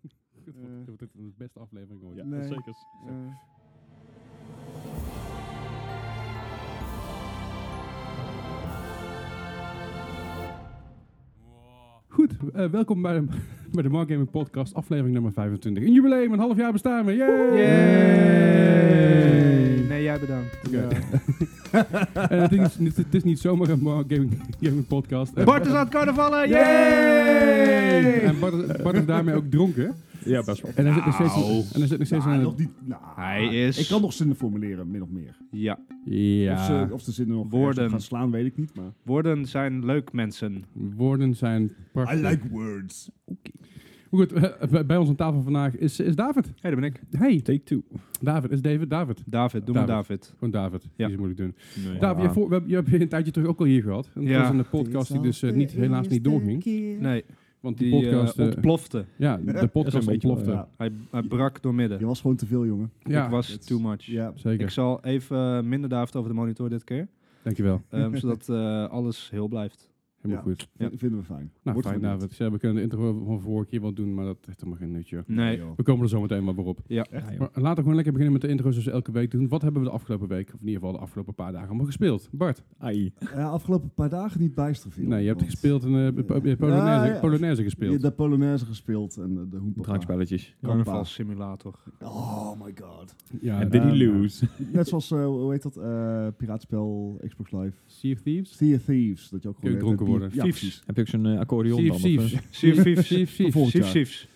wordt, Eh. wordt dit de beste aflevering ooit. Ja, Nee. zeker. Eh, Goed, eh, welkom bij de, bij de Mark Gaming Podcast, aflevering nummer 25. Een jubileum, een half jaar bestaan we. Yay! Yay! Nee, jij bedankt. Oké. En Eh, het, is, niet- het is niet zomaar een Mark Gaming, Gaming Podcast. Eh, Bart is aan het carnavallen! En Yay! Bart, is- Bart is daarmee ook dronken. Ja, best wel. En hij zit nog steeds, een- en hij zit nog steeds Nou, aan nog het... niet, nou, Hij is- Ik kan nog zinnen formuleren, min of meer. Ja, Of, Ja, ze, of de zinnen nog Woorden. ergens op gaan slaan, weet ik niet. Maar woorden zijn leuk mensen. woorden zijn prachtig. words. Goed, eh, bij- bij ons aan tafel vandaag is, is David. Hé, daar ben ik. Hey, Take two. David. Is David David? David, doe maar David. Gewoon David. Die Ja. is moeilijk doen. Nee. David, je, voor, we hebben- je hebt je een tijdje terug ook al hier gehad. En dat Ja. was een podcast die dus eh, niet, helaas niet doorging. Nee, Want die, die eh, podcast... eh, ontplofte. ja, de podcast ontplofte. Ja, Ja, Hij, hij brak door midden. je was gewoon te veel, jongen. ik was het- too much. Ja. zeker. Ik zal even eh, minder David over de monitor dit keer. Dankjewel. ehm, zodat eh, alles heel blijft. Helemaal Ja. goed. V- Vinden we fijn. Nou, Wordt fijn genoemd. David. Ze- We kunnen de intro van vorige keer wel doen, maar dat heeft helemaal geen nutje. Nee. joh. We komen er zo meteen maar weer op. Ja. Echt? Maar laten we gewoon lekker beginnen met de intro zoals we elke week doen. Wat hebben we de afgelopen week, of in ieder geval de afgelopen paar dagen, allemaal gespeeld? Bart, Ja, afgelopen paar dagen niet bijster veel. nee, je hebt want- gespeeld in eh, po- eh, Polonaise, Ja, ja. Polonaise Je gespeeld. hebt de Polonaise gespeeld en eh, de hoempa. Drankspelletjes. Carnavalsimulator. Oh my god. ja, En de- did he eh, lose? Net zoals, eh, hoe heet dat, eh piraatspel, Xbox Live. Sea of Thieves? Sea of Thieves. Dat je ook Kun je gewoon... dronken eh, bier- worden. Ja, Thieves. precies. Heb je ook zo'n eh, accordeon Sea dan? of of, eh? Thieves. Sief, sief, Sea of sief. Thieves. Volgend Sief, jaar. siefs.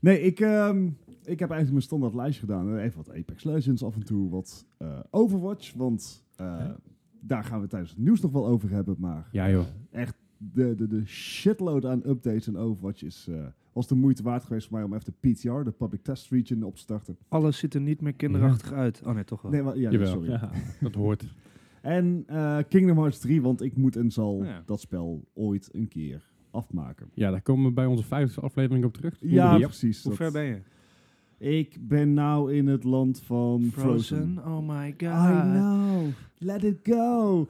Nee, ik, ehm, ik heb eigenlijk mijn standaard lijstje gedaan. Eh, Even wat Apex Legends, af en toe wat eh, Overwatch. Want eh, daar gaan we tijdens het nieuws nog wel over hebben. Maar Ja joh. de, de, de shitload aan updates en Overwatch is, eh, was de moeite waard geweest voor mij om even de PTR, de Public Test Region, op te starten. Alles ziet er niet meer kinderachtig uit. Oh nee, toch wel. Nee, maar, ja, Jawel. sorry. Ja. Dat hoort. En eh, Kingdom Hearts 3, want ik moet en zal Oh, Ja. dat spel ooit een keer afmaken. Ja, daar komen we bij onze vijfde aflevering op terug. Ja, Yep. precies. Hoe dat- ver ben je? Ik ben nou in het land van Frozen. Oh my god. I know. Let it go.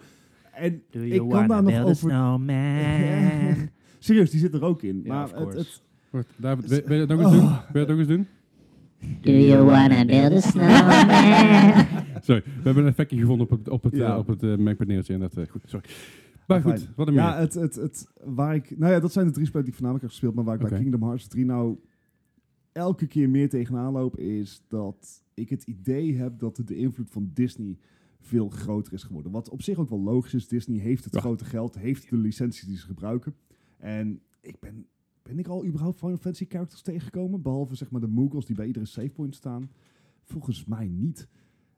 En Do Ik you kan want daar to nog build a over- snowman? serieus, die zit er ook in. Ja, maar of het, course. het, Wacht, David, wil, wil je dat ook Oh. eens doen? Wil je dat ook eens doen? Do you want to build a snowman? Sorry, we hebben een effectje gevonden op het, op het, Ja. eh, op het eh, MacBook neertje en dat, eh, goed, sorry. Maar Fijn. goed, wat een ja, het, het, het, waar ik, nou ja, dat zijn de drie spellen die ik voornamelijk heb gespeeld. Maar waar ik Oké. bij Kingdom Hearts 3 nou elke keer meer tegenaan loop, is dat ik het idee heb dat de invloed van Disney veel groter is geworden. Wat op zich ook wel logisch is. Disney heeft het Ja. grote geld, heeft de licenties die ze gebruiken. En ik ben, ben ik al überhaupt Final Fantasy characters tegengekomen? Behalve zeg maar de Moogles die bij iedere savepoint staan. Volgens mij niet.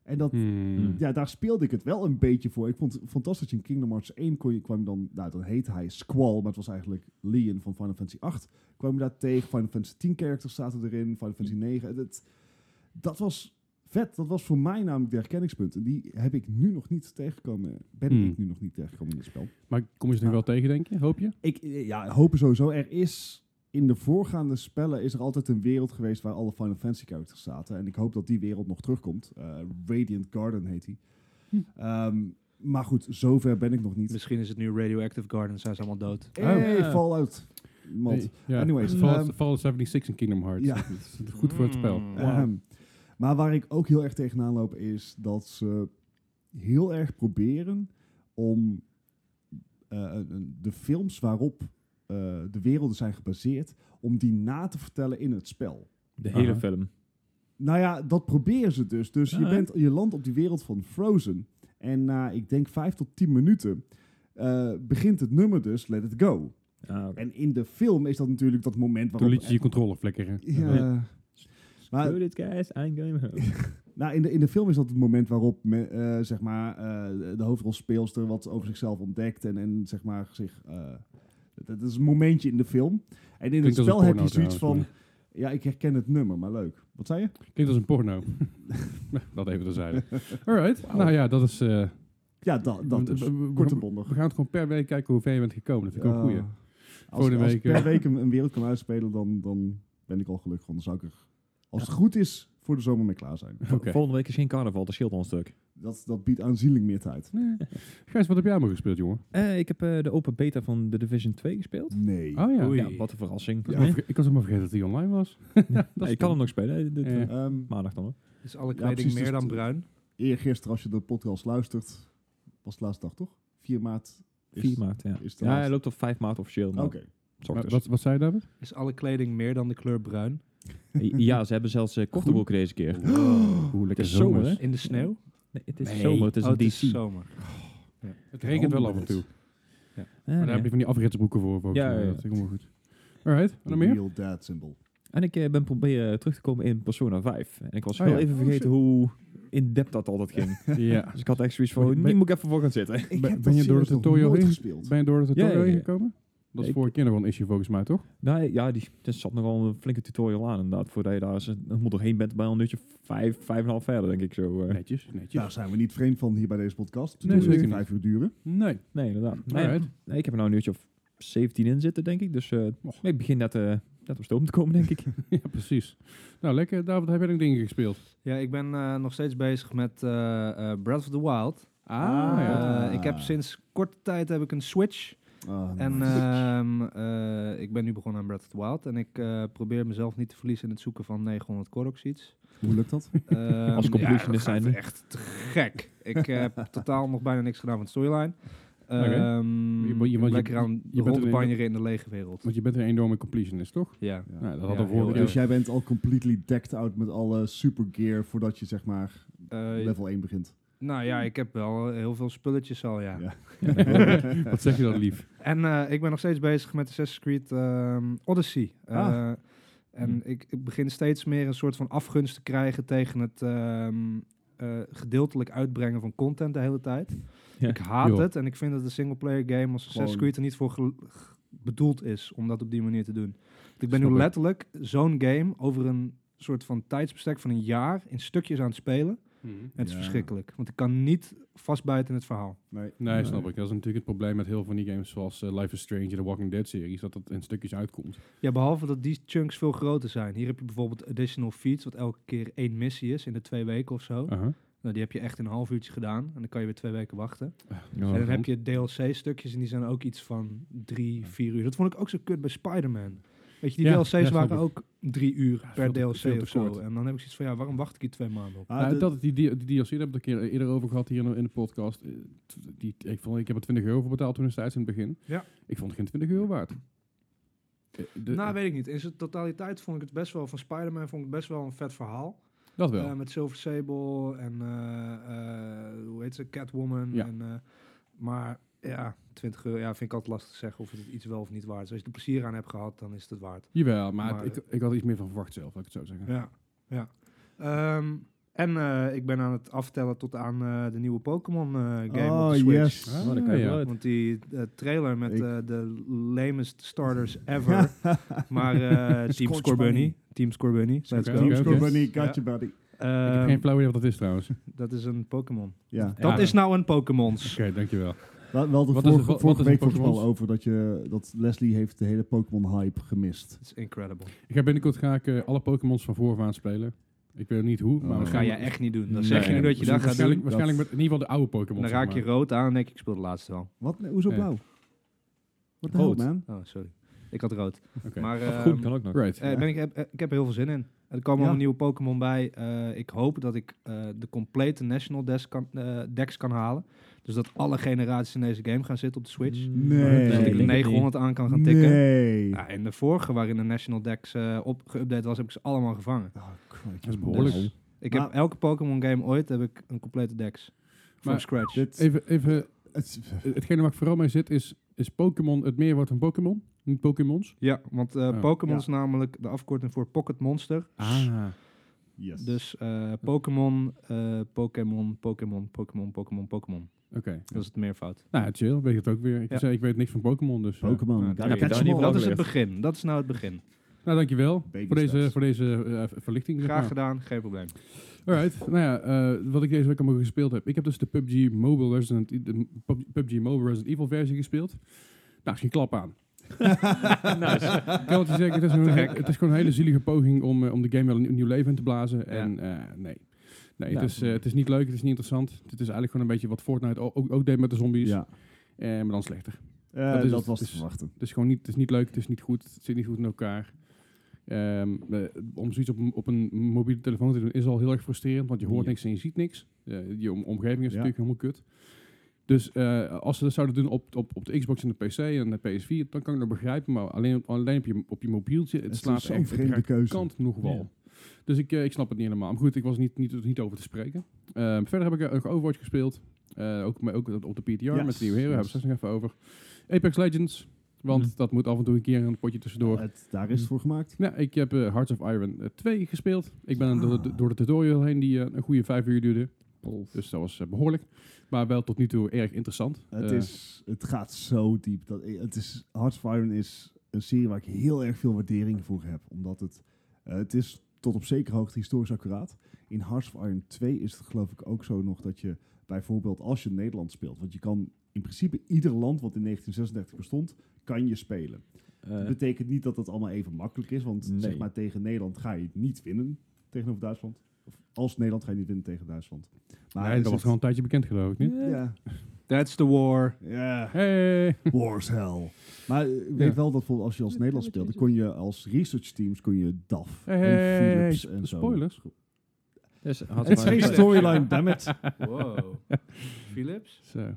En dat, Hmm. eh, ja, daar speelde ik het wel een beetje voor. Ik vond het fantastisch. In Kingdom Hearts 1 kon je, kwam je dan... Nou, dan heette hij Squall, maar het was eigenlijk Leon van Final Fantasy 8. Kwam je daar tegen. Final Fantasy 10 characters zaten erin. Final Hmm. Fantasy 9. Het- het- dat was vet. Dat was voor mij namelijk de herkenningspunt. En die heb ik nu nog niet tegengekomen. Ben Hmm. ik nu nog niet tegengekomen in het spel. Maar kom je ze nog wel tegen, denk je? Hoop je? Ik eh, ja, hoop sowieso. Er is... In de voorgaande spellen is er altijd een wereld geweest waar alle Final Fantasy characters zaten. En ik hoop dat die wereld nog terugkomt. Eh, Radiant Garden heet die. Ehm, maar goed, zover ben ik nog niet. Eh, Misschien is het nu Radioactive Garden, zijn ze allemaal dood. Hey, Ja. Fallout. Mat. Nee, ja. Anyways, Fallout, ehm, Fallout 76 in Kingdom Hearts. ja. Dat is Goed voor het spel. Mm. Ehm, maar waar ik ook heel erg tegenaan loop is dat ze heel erg proberen om eh, een- een- de films waarop eh, de werelden zijn gebaseerd, om die na te vertellen in het spel. De hele Aha. film. Nou ja, dat proberen ze dus. Dus je, Ja, hè? bent, je landt op die wereld van Frozen. En na, ik denk, vijf tot tien minuten eh, begint het nummer dus Let It Go. Ah, oké. En in de film is dat natuurlijk dat moment Toen waarop... liet je je controle flikkeren. Ja. Maar Do this guys, I'm going home. nou, in, de, in de film is dat het moment waarop me, eh, zeg maar, eh, de hoofdrolspeelster wat over zichzelf ontdekt. En, en zeg maar, zich. eh, dat is een momentje in de film. En in Klinkt het als spel een heb je porno zoiets van. trouwens, Ja, ik herken het nummer, maar leuk. Wat zei je? Klinkt als een porno. dat even terzijde. Alright, nou ja, dat is... eh, Ja, da, dat we- dus. we- we- Kort en We bondig. gaan het gewoon per week kijken hoe ver je bent gekomen. Dat vind ik ook een Ja, goeie. Als, Volgende als week, ik per eh. week een, een wereld kan uitspelen, dan, dan ben ik al gelukkig. Want dan zou ik er Als het goed is, voor de zomer mee klaar zijn. Oké. Volgende week is geen carnaval, dat scheelt al een stuk. Dat, dat biedt aanzienlijk meer tijd. Nee. Gijs, wat heb jij allemaal gespeeld, jongen? Eh, ik heb eh, de open beta van de Division 2 gespeeld. Oh Nee. ja. Oei. Ja, Ja, wat een verrassing. Ik Ja, was maar verge- Ik was helemaal vergeten dat hij online was. ik kan hem nog spelen. Dit, Eh. Ehm, Maandag dan hoor. Is alle kleding kleding meer meer dan dan bruin? eergisteren, als je de podcast luistert, was de laatste dag toch? 4 maart. is- 4 maart, ja. is de Ja, hij laatste. loopt op 5 maart officieel. Oké. maar dus. s Wat, ochtends. wat, wat zei je David? Is alle kleding meer dan de kleur bruin? Ja, ze hebben zelfs eh, korte broeken deze keer. Hoe lekker is zomer, zomers. hè? In de sneeuw? Nee, het is Nee. zomer, het is Oh, een het is DC. zomer. Het regent wel af en Honderd. toe. Eh, Maar Oh, daar nee. heb je van die afritsbroeken voor. volgens Ja, mij. ja, ja. Dat is helemaal goed. Alright, wat The nog meer? Real dad symbol. En ik eh, ben proberen terug te komen in Persona 5. En ik was Oh, wel ja. even Oh, vergeten hoe in depth dat altijd ging. Ja. dus ik had echt zoiets Maar van, je- nu moet ik even voor gaan zitten. Ik Ben- ben heb dat je door serieus het nog tutorial nooit heen? gespeeld. Ben je door het tutorial Ja, ja, ja. heen gekomen? Dat is Ik- vorige keer nog wel een issue volgens mij, toch? Nou ja, die, er zat nogal een flinke tutorial aan inderdaad. Voordat je daar eens een- helemaal doorheen bent, bij een uurtje vijf, vijf en een half verder denk ik zo. eh. Nee, Netjes, netjes. Daar zijn we niet vreemd van hier bij deze podcast. Het Nee, duurt zeker niet. vijf uur duren. Nee. inderdaad. Nee, Alright. nee, ik heb er nou een uurtje of 17 in zitten denk ik. Dus eh, Och. ik begin net, eh net op stoom te komen denk ik. Ja, precies. Nou, lekker. David, heb jij nog dingen gespeeld? Ja, ik ben eh, nog steeds bezig met eh, eh, Breath of the Wild. Ah, ja. Eh, ik heb sinds korte tijd heb ik een Switch. Ah, En nice. ehm, eh, ik ben nu begonnen aan Breath of the Wild. En ik eh, probeer mezelf niet te verliezen in het zoeken van 900 Korok-seeds. Hoe lukt dat? Ehm, Als completionist ja, dat zijnde. gaat Echt te gek. Ik heb totaal nog bijna niks gedaan van de storyline. Oké. Ehm, Je bo- je- ik ben want je- lekker aan bent er in- rondbanjeren in de lege wereld. Want je bent een enorme completionist, toch? Ja. Ja. Nou, dat had Ja, al vorige heel keer. Dus jij bent al completely decked out met alle super gear voordat je zeg maar Eh, level 1 begint. nou ja, ik heb wel heel veel spulletjes al, ja. Ja. Wat zeg je dan lief? En eh, ik ben nog steeds bezig met Assassin's Creed ehm, Odyssey. Eh, Ah. En Hmm. ik, ik begin steeds meer een soort van afgunst te krijgen tegen het ehm, eh, gedeeltelijk uitbrengen van content de hele tijd. Ja. Ik haat Joh. het en ik vind dat de singleplayer game als Assassin's Gewoon- Creed er niet voor gel- g- bedoeld is om dat op die manier te doen. Want ik ben Snap nu ik. letterlijk zo'n game over een soort van tijdsbestek van een jaar in stukjes aan het spelen. En het is Ja. verschrikkelijk, want ik kan niet vastbijten in het verhaal. Nee. Nee, snap ik. Dat is natuurlijk het probleem met heel veel van die games zoals eh, Life is Strange en de Walking Dead series, dat dat in stukjes uitkomt. Ja, behalve dat die chunks veel groter zijn. Hier heb je bijvoorbeeld additional feats, wat elke keer één missie is in de twee weken of zo. Aha. Nou, die heb je echt in een half uurtje gedaan en dan kan je weer twee weken wachten. Ja. en Mhm. dan heb je DLC-stukjes en die zijn ook iets van drie, vier uur. Dat vond ik ook zo kut bij Spider-Man. Weet je, die Ja, DLC's ja, snap waren ik. ook drie uur veel per te- veel DLC te of zo. kort. En dan heb ik zoiets van, ja, waarom wacht ik hier twee maanden op? Ah, Nou, de- dat, die, die, die DLC, daar heb ik het een keer eerder over gehad hier in de, in de podcast. Eh, t- Die, ik, vond, ik heb er 20 euro voor betaald toen destijds in het begin. Ja. Ik vond het geen 20 euro waard. Eh, de- nou, weet ik niet. In zijn totaliteit vond ik het best wel, van Spider-Man vond ik het best wel een vet verhaal. dat wel. Eh, met Silver Sable en eh, eh, hoe heet ze? Catwoman. Ja. En, eh, maar ja, 20 euro ja, vind ik altijd lastig te zeggen of het iets wel of niet waard is. Als je er plezier aan hebt gehad, dan is het het waard. Jawel, maar, maar- Eh, het- ik, ik had er iets meer van verwacht zelf, laat ik het zo zeggen. Ja, ja. Ehm, en eh, ik ben aan het aftellen tot aan eh, de nieuwe Pokémon eh, game op oh de Switch. yes. Ah, Oh, dan kan je ja. wel. Want die eh, trailer met Ik- eh, de lamest starters ever. maar eh, Team Scorch Scorbunny. Bunny. Team Scorbunny. Let's Oké. go. Team Oké, oké. Scorbunny, got you, buddy. Ik heb Ehm, geen flauw idee wat dat is trouwens. Oké, dat is een Pokémon. Ja. Ja. Dat is nou een Pokémons. dankjewel. Wel, wel de Wat is- vorige, wat- wat vorige is week een was het al Pokémon? over dat, je, dat Leslie heeft de hele Pokémon-hype gemist. Dat is incredible. Ik ga binnenkort ga ik, eh, alle Pokémon's van vooraf aan spelen. Ik weet niet hoe, maar Oh. Dat waarschijnlijk- ga je echt niet doen. Dan Nee. zeg je nu dat je dat gaat waarschijnlijk, doen. waarschijnlijk met in ieder geval de oude Pokémon. Dan raak je rood aan en denk ik, ik speel de laatste wel. Wat? Nee, hoezo Ja. blauw? Wat de hell, Rood. man? Oh, sorry. Ik had rood. Oké. Maar ehm, Goed, kan ook nog. Right. eh, ben ik, heb, eh, ik heb er heel veel zin in. Er komen Ja. allemaal nieuwe Pokémon bij. Eh, ik hoop dat ik eh, de complete National Desk kan, eh, decks kan halen. Dus dat alle generaties in deze game gaan zitten op de Switch. Nee. Dus dat ik denk er het 900 aan kan gaan tikken. Nee. Ah. Ja, in de vorige, waarin de National Decks eh op geüpdate was, heb ik ze allemaal gevangen. Oh, Christ. Dat is behoorlijk. Nou. Ik Maar- heb elke Pokémon game ooit heb ik een complete Dex. From Maar scratch. Dit, Even, even, het, hetgene waar ik vooral mee zit is, is Pokémon het meerwoord van Pokémon? Niet Pokémons? Ja, want eh, Oh. Pokémon Ja. is namelijk de afkorting voor Pocket Monster. Ah. yes. Dus eh, Pokémon, eh, Pokémon, Pokémon, Pokémon, Pokémon, Pokémon. Oké. Dat is het meervoud. Nou, chill. Weet ik het ook weer. Ik, Ja. zei, ik weet niks van Pokémon, dus... eh. Pokémon. Nou, gotta heb je catch daar them niet all. wel dat is het geleerd. begin. Dat is nou het begin. Nou, dankjewel Baby voor deze, steps. voor deze eh, verlichting. zeg Graag maar. gedaan, geen probleem. Alright, nou ja, eh, wat ik deze week allemaal gespeeld heb. Ik heb dus de PUBG Mobile Resident, E- de PUBG Mobile Resident Evil versie gespeeld. Nou, is geen klap aan. Ik kan het je zeggen, het is, Te gewoon, gek. het is gewoon een hele zielige poging om, eh, om de game wel een nieuw- nieuw leven in te blazen. En eh, nee. Nee, Nou, Ja. het, is, eh, het is niet leuk, het is niet interessant. Het is eigenlijk gewoon een beetje wat Fortnite o- ook, ook deed met de zombies. Ja, Eh, maar dan slechter. Eh, Dat dat, is het. was te Dus- verwachten. Het is gewoon niet, het is niet leuk, het is niet goed, het zit niet goed in elkaar. Ehm, eh, om zoiets op, een- op een mobiele telefoon te doen is al heel erg frustrerend, want je hoort Ja. niks en je ziet niks. Eh, je om- omgeving is Ja. natuurlijk helemaal kut. Dus eh, als ze dat zouden doen op, op, op de Xbox en de PC en de PS4, dan kan ik dat begrijpen. Maar alleen, alleen op, je, op je mobieltje, het, Het slaat is zo'n echt vreemde keuze. kant nog wel. Dus ik, eh, ik snap het niet helemaal. Maar goed, ik was niet, niet, niet over te spreken. Ehm, verder heb ik ook Overwatch gespeeld. Eh, ook, maar ook op de PTR Yes, met de nieuwe hero. Daar hebben we yes. straks nog even over. Apex Legends. Want Mhm. dat moet af en toe een keer een potje tussendoor. Nou, Het, daar is het voor gemaakt. ik heb eh, Hearts of Iron eh, 2 gespeeld. Ik ben Ah. door, de- door de tutorial heen die eh, een goede vijf uur duurde. Dus dat was eh, behoorlijk. Maar wel tot nu toe erg interessant. Het, Eh, is, het gaat zo diep. Dat, i- het is, Hearts of Iron is een serie waar ik heel erg veel waardering voor heb. Omdat het, eh, het is tot op zekere hoogte historisch accuraat. In Hearts of Iron 2 is het geloof ik ook zo nog dat je bijvoorbeeld als je Nederland speelt. Want je kan in principe ieder land wat in 1936 bestond, kan je spelen. Dat betekent niet dat dat allemaal even makkelijk is. Want Eh. Nee. zeg maar tegen Nederland ga je het niet winnen tegenover Duitsland. Of als Nederland ga je niet winnen tegen Duitsland. nee, er dat was zit- gewoon een tijdje bekend geloof ik niet. Ja, That's the war. ja. Hey! Wars hell. Maar eh, ik weet Ja. wel dat bijvoorbeeld als je als Nederlands speelde, kon je als research teams kon je DAF Hey, hey, hey, en hey, Philips sp- en zo. spoilers. Dus, Het is geen storyline, dammit. Wow. Philips? Dus, eh, Zo.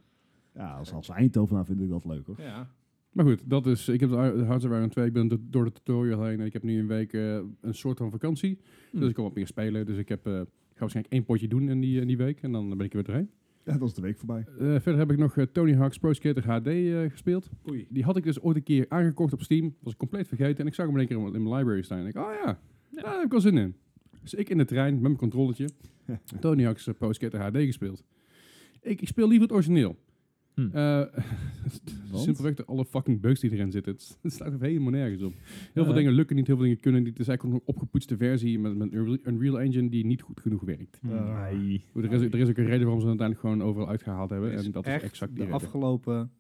Ja, als, als Eindhovenaar vind ik dat leuk hoor. Ja. Maar goed, dat is. Ik heb de Ar- de Hearts of Iron 2. Ik ben do- door de tutorial heen. En ik heb nu een week eh, een soort van vakantie. Hmm. Dus ik kan wat meer spelen. Dus ik heb, eh, ik ga waarschijnlijk één potje doen in die, eh, in die week. En dan ben ik er weer doorheen. Ja, dat is de week voorbij. Eh, verder heb ik nog eh, Tony Hawk's Pro Skater HD eh, gespeeld. Oei. Die had ik dus ooit een keer aangekocht op Steam. Was ik compleet vergeten. En ik zag hem in één keer in mijn- in mijn library staan. En ik, oh ja, daar heb ik wel zin in. Dus ik in de trein met mijn controllertje. Tony Hawk's eh, Pro Skater HD gespeeld. Ik, ik speel liever het origineel. Hmm. Eh, simpelweg de alle fucking bugs die erin zitten. Het, het staat er helemaal nergens op. Heel veel Ja. dingen lukken niet, heel veel dingen kunnen niet. Het is eigenlijk een opgepoetste versie met, met een Unreal Engine die niet goed genoeg werkt. Eh, Nee. Er is, er is ook een reden waarom ze het uiteindelijk gewoon overal uitgehaald hebben. Er is En dat is echt exact die de reden. afgelopen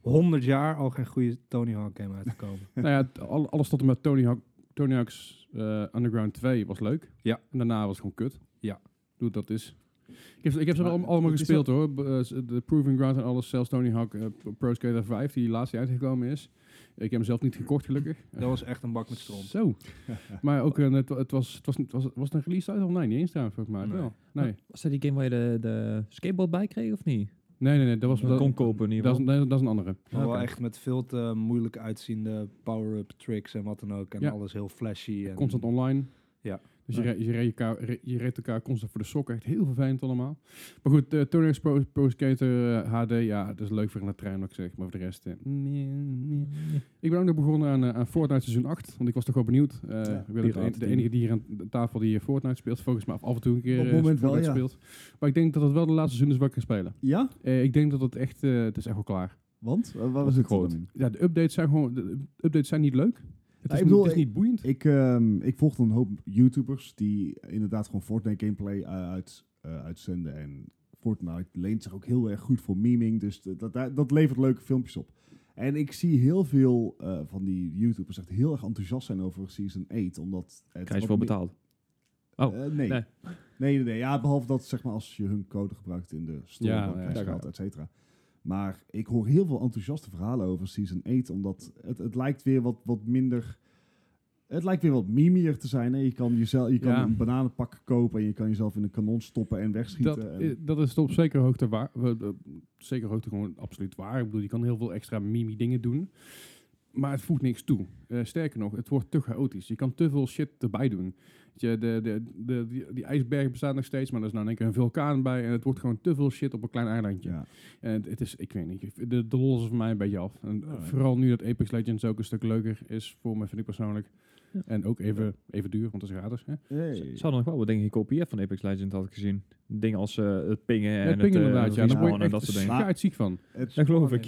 100 jaar al geen goede Tony Hawk game uitgekomen. nou ja, t- al- alles tot en met Tony, Hawk, Tony Hawk's eh, Underground 2 was leuk. Ja. En daarna was het gewoon kut. Ja. Doe dat is. Ik heb, ze- ik heb ze wel Maar allemaal allemaal het is gespeeld hoor. B- eh, s- De Proving Ground en alles. Zelfs Tony Hawk eh, Pro Skater 5, die laatst uitgekomen is. Ik heb hem zelf niet gekocht gelukkig. Dat was echt een bak met stront. Zo. maar ook, eh, het, wa- het was, het was, niet- was, was het een release uit? Of nee, niet eens trouwens, volgens mij. Nee. Wel. Nee. Was dat die game waar je de, de skateboard bij kreeg of niet? nee, nee, nee, dat was... Dat Dat, kon kopen in ieder dat is, geval. nee, dat is een andere. Maar wel Oké. echt met veel te moeilijk uitziende power-up tricks en wat dan ook. En Ja. alles heel flashy. Ehm, En constant online. Ja. Dus je, Ja. re- je, reed elkaar, re- je reed elkaar constant voor de sokken. Echt heel vervelend allemaal. Maar goed, eh Tony Hawk's Pro, Pro Skater eh, HD. Ja, dat is leuk voor in de trein, wat ik zeg. Maar voor de rest... eh, nee, nee. Ik ben ook nog begonnen aan, eh, aan Fortnite seizoen 8. Want ik was toch wel benieuwd. Eh, Ja, ik ben ook de, en- de piratenteam. enige die hier aan de tafel die hier Fortnite speelt. Volgens mij af en toe een keer Op het eh, moment wel, Fortnite ja. speelt. Maar ik denk dat het wel de laatste seizoen is waar ik kan spelen. Ja? Eh, ik denk dat het echt... eh, het is echt wel klaar. Want? Waar was het Groot. dan in? Ja, de updates zijn gewoon... De updates zijn niet leuk. Het Ja, is, ik niet, bedoel, het is niet boeiend. Ik, ehm, ik volgde een hoop YouTubers die inderdaad gewoon Fortnite gameplay eh, uit, eh, uitzenden. En Fortnite leent zich ook heel erg goed voor meming. Dus d- dat, dat, dat levert leuke filmpjes op. En ik zie heel veel eh, van die YouTubers echt heel erg enthousiast zijn over Season 8. Omdat het Krijg je wat wel meer- betaald. Oh, Eh, nee. nee. Nee. nee, nee, Ja, behalve dat zeg maar als je hun code gebruikt in de store, Ja, dan ja, krijg je ja. geld, et cetera. Maar ik hoor heel veel enthousiaste verhalen over Season 8, omdat het, het lijkt weer wat, wat minder... Het lijkt weer wat mimier te zijn. Hè? Je kan, jezelf, je kan Ja. een bananenpak kopen en je kan jezelf in een kanon stoppen en Dat, wegschieten. en- i- dat is op zekere hoogte waar. we- we- Zekere hoogte gewoon absoluut waar. Ik bedoel, je kan heel veel extra mimi dingen doen. Maar het voegt niks toe. Eh, sterker nog, het wordt te chaotisch. Je kan te veel shit erbij doen. Weet Je, de, de, de, die, die ijsberg bestaat nog steeds, maar er is nou in één keer een vulkaan bij. En het wordt gewoon te veel shit op een klein eilandje. ja. En het, het is, ik weet niet, ik- de, de lol is voor mij een beetje af. En Alright. Vooral nu dat Apex Legends ook een stuk leuker is voor mij, vind ik persoonlijk. Ja. En ook even, even duur, want het is gratis. Hè? Hey. Ze hadden nog wel wat dingen gekopieerd van Apex Legends, had ik gezien. Dingen als eh, het pingen en Ja, het, ping eh, inderdaad, ja. Dan respawnen word je en dat echt soort dingen. Maar- schaatsziek van. Het- Dat geloof ik.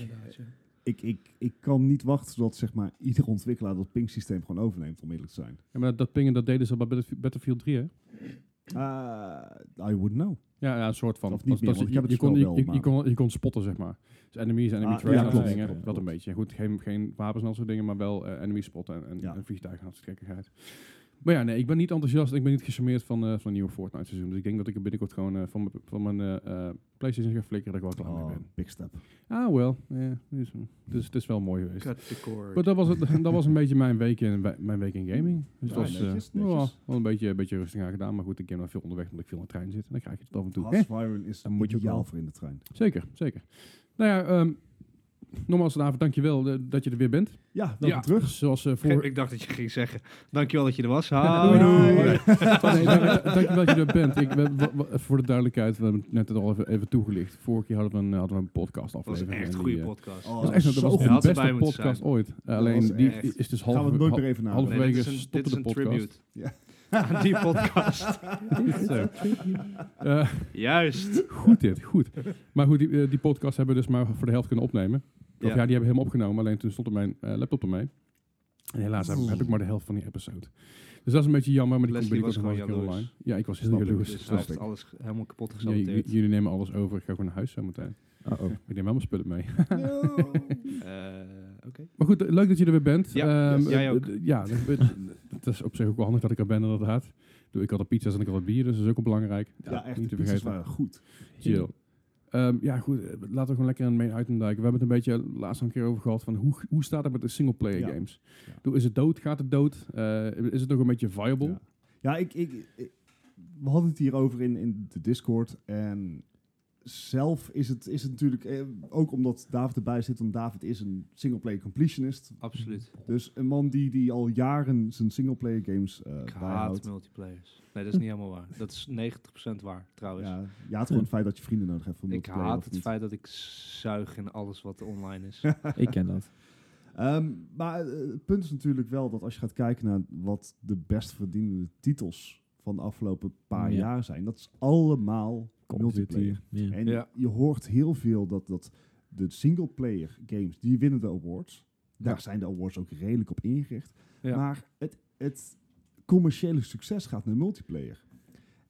ik, ik, ik kan niet wachten tot zeg maar, ieder ontwikkelaar dat ping-systeem gewoon overneemt, om eerlijk te zijn. Ja, maar dat, dat pingen, dat deden ze al bij Battlefield- Battlefield 3, hè? Eh, Ah, I would know. Ja, ja, een soort van. Of niet Dat- dat- meer, want ik je- heb het je kon- spel wel, je- je- Je maar- kon- je kon spotten, zeg maar. Dus enemies, enemy Ah, traps, ja, dat soort klopt, dingen. klopt, dat een klopt. beetje. Goed, geen, geen wapens en dat soort dingen, maar wel eh enemies spotten en, en, Ja. en vliegtuigen en dat soort gekkigheid. Maar ja, nee, ik ben niet enthousiast. Ik ben niet gecharmeerd van, eh van het nieuwe Fortnite seizoen. Dus ik denk dat ik er binnenkort gewoon eh, van, mijn- van mijn eh, eh, Playstation ga flikkeren dat ik wel klaar mee Oh, ben. big step. Ah, wel. Ja, dus, dus het is wel mooi geweest. Cut the cord. Maar dat was, het, dat was een beetje mijn week in, mijn week in gaming. Dus Ja, dat was eh, netjes, ja, netjes. wel een beetje, een beetje rustig aan gedaan. Maar goed, ik ben nog veel onderweg omdat ik veel in de trein zit. En dan krijg je het af en toe. Eh, Hasfiren is Dan moet je ook ideaal wel. voor in de trein. Zeker, zeker. Nou ja, ehm nogmaals, David, dankjewel eh, dat je er weer bent. Ja, welkom ja, terug. Zoals eh Ge- voor... Ik dacht dat je ging zeggen, dankjewel dat je er was. Doei, Hoi. doei. Oh, nee, dank- dankjewel dat je er bent. Ik, ben- wa- wa- voor de duidelijkheid, we hebben het net al even, even toegelicht. Vorige keer hadden we een, hadden we een podcast Dat was aflevering. echt en een die, goede eh, podcast. Oh, Dat was echt dat Zo was goed. de Had ze beste bij moeten podcast zijn. ooit. alleen was die echt- is dus half, Gaan we het nooit meer even naar. halverwege dit is een, dit is stopte een de podcast. tribute Ja. aan die podcast. Zo. Eh, Juist. Goed dit, goed. Maar goed, die, eh, die podcast hebben we dus maar voor de helft kunnen opnemen. Of ja, Ja. die hebben we helemaal opgenomen, alleen toen stond er mijn eh, laptop ermee. En helaas heb, heb ik maar de helft van die episode. Dus dat is een beetje jammer, maar die komt Leslie was binnenkort nog wel eens een keer gewoon online. Ja, ik was heel Snap ik, jaloers. Dus Dat hij is- heeft alles ge- helemaal kapot Ja, j- gesaboteerd. jullie nemen alles over, ik ga gewoon naar huis zo meteen. Ah, oh. Ik neem wel mijn spullen mee. Eh, Oké. Maar goed, eh, leuk dat je er weer bent. Ja, Ehm, yes. Jij eh, ook. d- Ja, dat- dat- het is op zich ook wel handig dat ik er ben inderdaad. Ik bedoel, Ik had de pizza's en ik had de bier, dus dat is ook wel belangrijk. Ja, echt. de pizzas waren goed. Chill. Ehm, ja, goed. eh, Laten we gewoon lekker in main item duiken. We hebben het een beetje laatst al een keer over gehad van hoe, hoe staat het met de singleplayer Ja. games? Ja. Doe, Is het dood? Gaat het dood? Eh, is het nog een beetje viable? Ja, ja ik, ik, ik- we hadden het hierover in, in de Discord. En zelf is het, is het natuurlijk, eh, ook omdat David erbij zit, want David is een singleplayer completionist. Absoluut. Dus een man die, die al jaren zijn singleplayer games eh Ik haat bijhoudt. multiplayers. Nee, dat is niet helemaal waar. Dat is 90% waar, trouwens. Ja, je haat gewoon het feit dat je vrienden nodig hebt voor ik multiplayer. haat of het niet. feit dat ik zuig in alles wat online is. oh. Ik ken dat. Ehm, maar eh, het punt is natuurlijk wel dat als je gaat kijken naar wat de best verdienende titels van de afgelopen paar Ja. jaar zijn, dat is allemaal Call of Duty. multiplayer. Ja. En Ja. je hoort heel veel dat, dat de singleplayer games, die winnen de awards. Daar zijn de awards ook redelijk op ingericht. Ja. Maar het, het commerciële succes gaat naar multiplayer.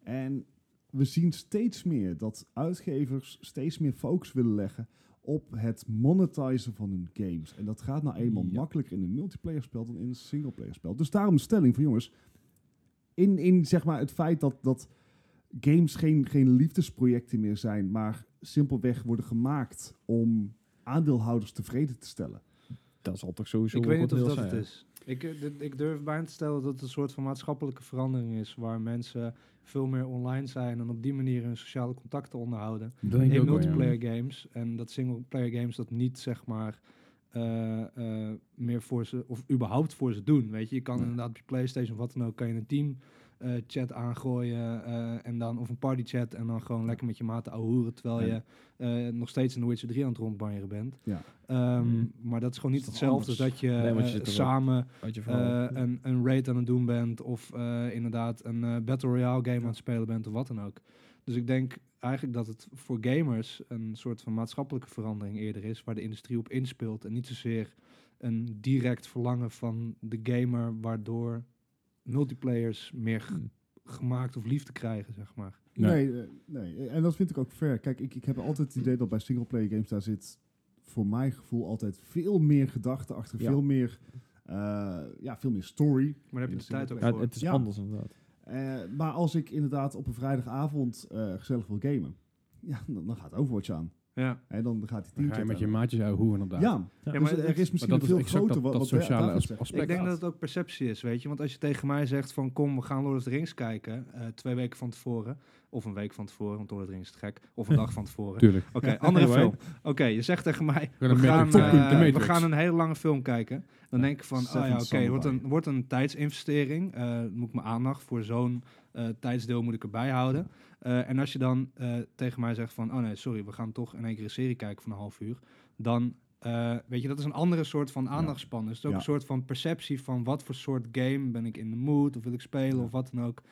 En we zien steeds meer dat uitgevers steeds meer focus willen leggen op het monetizen van hun games. En dat gaat nou eenmaal Ja. makkelijker in een multiplayer spel dan in een singleplayer spel. Dus daarom de stelling van jongens, in, in zeg maar het feit dat, dat games geen, geen liefdesprojecten meer zijn, maar simpelweg worden gemaakt om aandeelhouders tevreden te stellen. Dat zal toch sowieso ik wel weet niet goed of deel dat het zijn, is. Ik, eh, dit- ik durf bijna te stellen dat het een soort van maatschappelijke verandering is. Waar mensen veel meer online zijn en op die manier hun sociale contacten onderhouden. Dat denk ik in ook wel, ja. multiplayer games. En dat singleplayer games dat niet, zeg maar, eh, eh, meer voor ze, of überhaupt voor ze doen. Weet je, je kan inderdaad op je PlayStation of wat dan ook, kan je een team eh, chat aangooien eh, en dan, of een party chat en dan gewoon lekker met je maten ouwehoeren terwijl Ja. je eh, nog steeds in The Witcher 3 aan het rondbanjeren bent. Ja. Ehm, Mm. Maar dat is gewoon niet Dat is toch hetzelfde als anders? dat je, Nee, want je eh, zit er wel- samen Had je eh, vooral- een, een raid aan het doen bent of eh, inderdaad een eh, Battle Royale game aan het spelen bent of wat dan ook. Dus ik denk eigenlijk dat het voor gamers een soort van maatschappelijke verandering eerder is, waar de industrie op inspeelt en niet zozeer een direct verlangen van de gamer, waardoor multiplayers meer g- Hmm. gemaakt of liefde krijgen, zeg maar. Nee. Nee. eh, nee, eh, en dat vind ik ook fair. Kijk, ik, ik heb altijd het idee dat bij singleplayer games daar zit voor mijn gevoel altijd veel meer gedachten achter, Ja. veel meer, eh, ja, veel meer story. Maar daar heb je de Ja, tijd ook Ja, het- voor. het is Ja. anders inderdaad. Eh, maar als ik inderdaad op een vrijdagavond eh, gezellig wil gamen, ja, dan, dan gaat Overwatch aan. ja. En dan gaat die Dan team ga je met je maatjes ouwe hoe inderdaad. Ja, Ja, dus maar er het- is Maar misschien dat een is veel exact groter dat, wat, dat wat sociale David as- zegt. aspect. Ik denk Ja. dat het ook perceptie is, weet je. Want als je tegen mij zegt van kom, we gaan Lord of the Rings kijken, eh, twee weken van tevoren. Of een week van tevoren, want Lord of the Rings is te gek. Of een dag van tevoren. Tuurlijk. Oké, andere Anyway. film. Oké, je zegt tegen mij, gaan we een gaan, Matrix kijken. eh, De Matrix. we gaan een hele lange film kijken. Dan denk ik van, oh Seven ja, oké, Samurai. wordt, een, wordt een tijdsinvestering. Eh, moet ik mijn aandacht voor zo'n eh, tijdsdeel moet ik erbij houden. Eh, en als je dan eh, tegen mij zegt van, oh nee, sorry, we gaan toch in één keer een serie kijken van een half uur. Dan, eh, weet je, dat is een andere soort van aandachtspan. Dus het is ook Ja. een soort van perceptie van wat voor soort game ben ik in de mood of wil ik spelen Ja. of wat dan ook.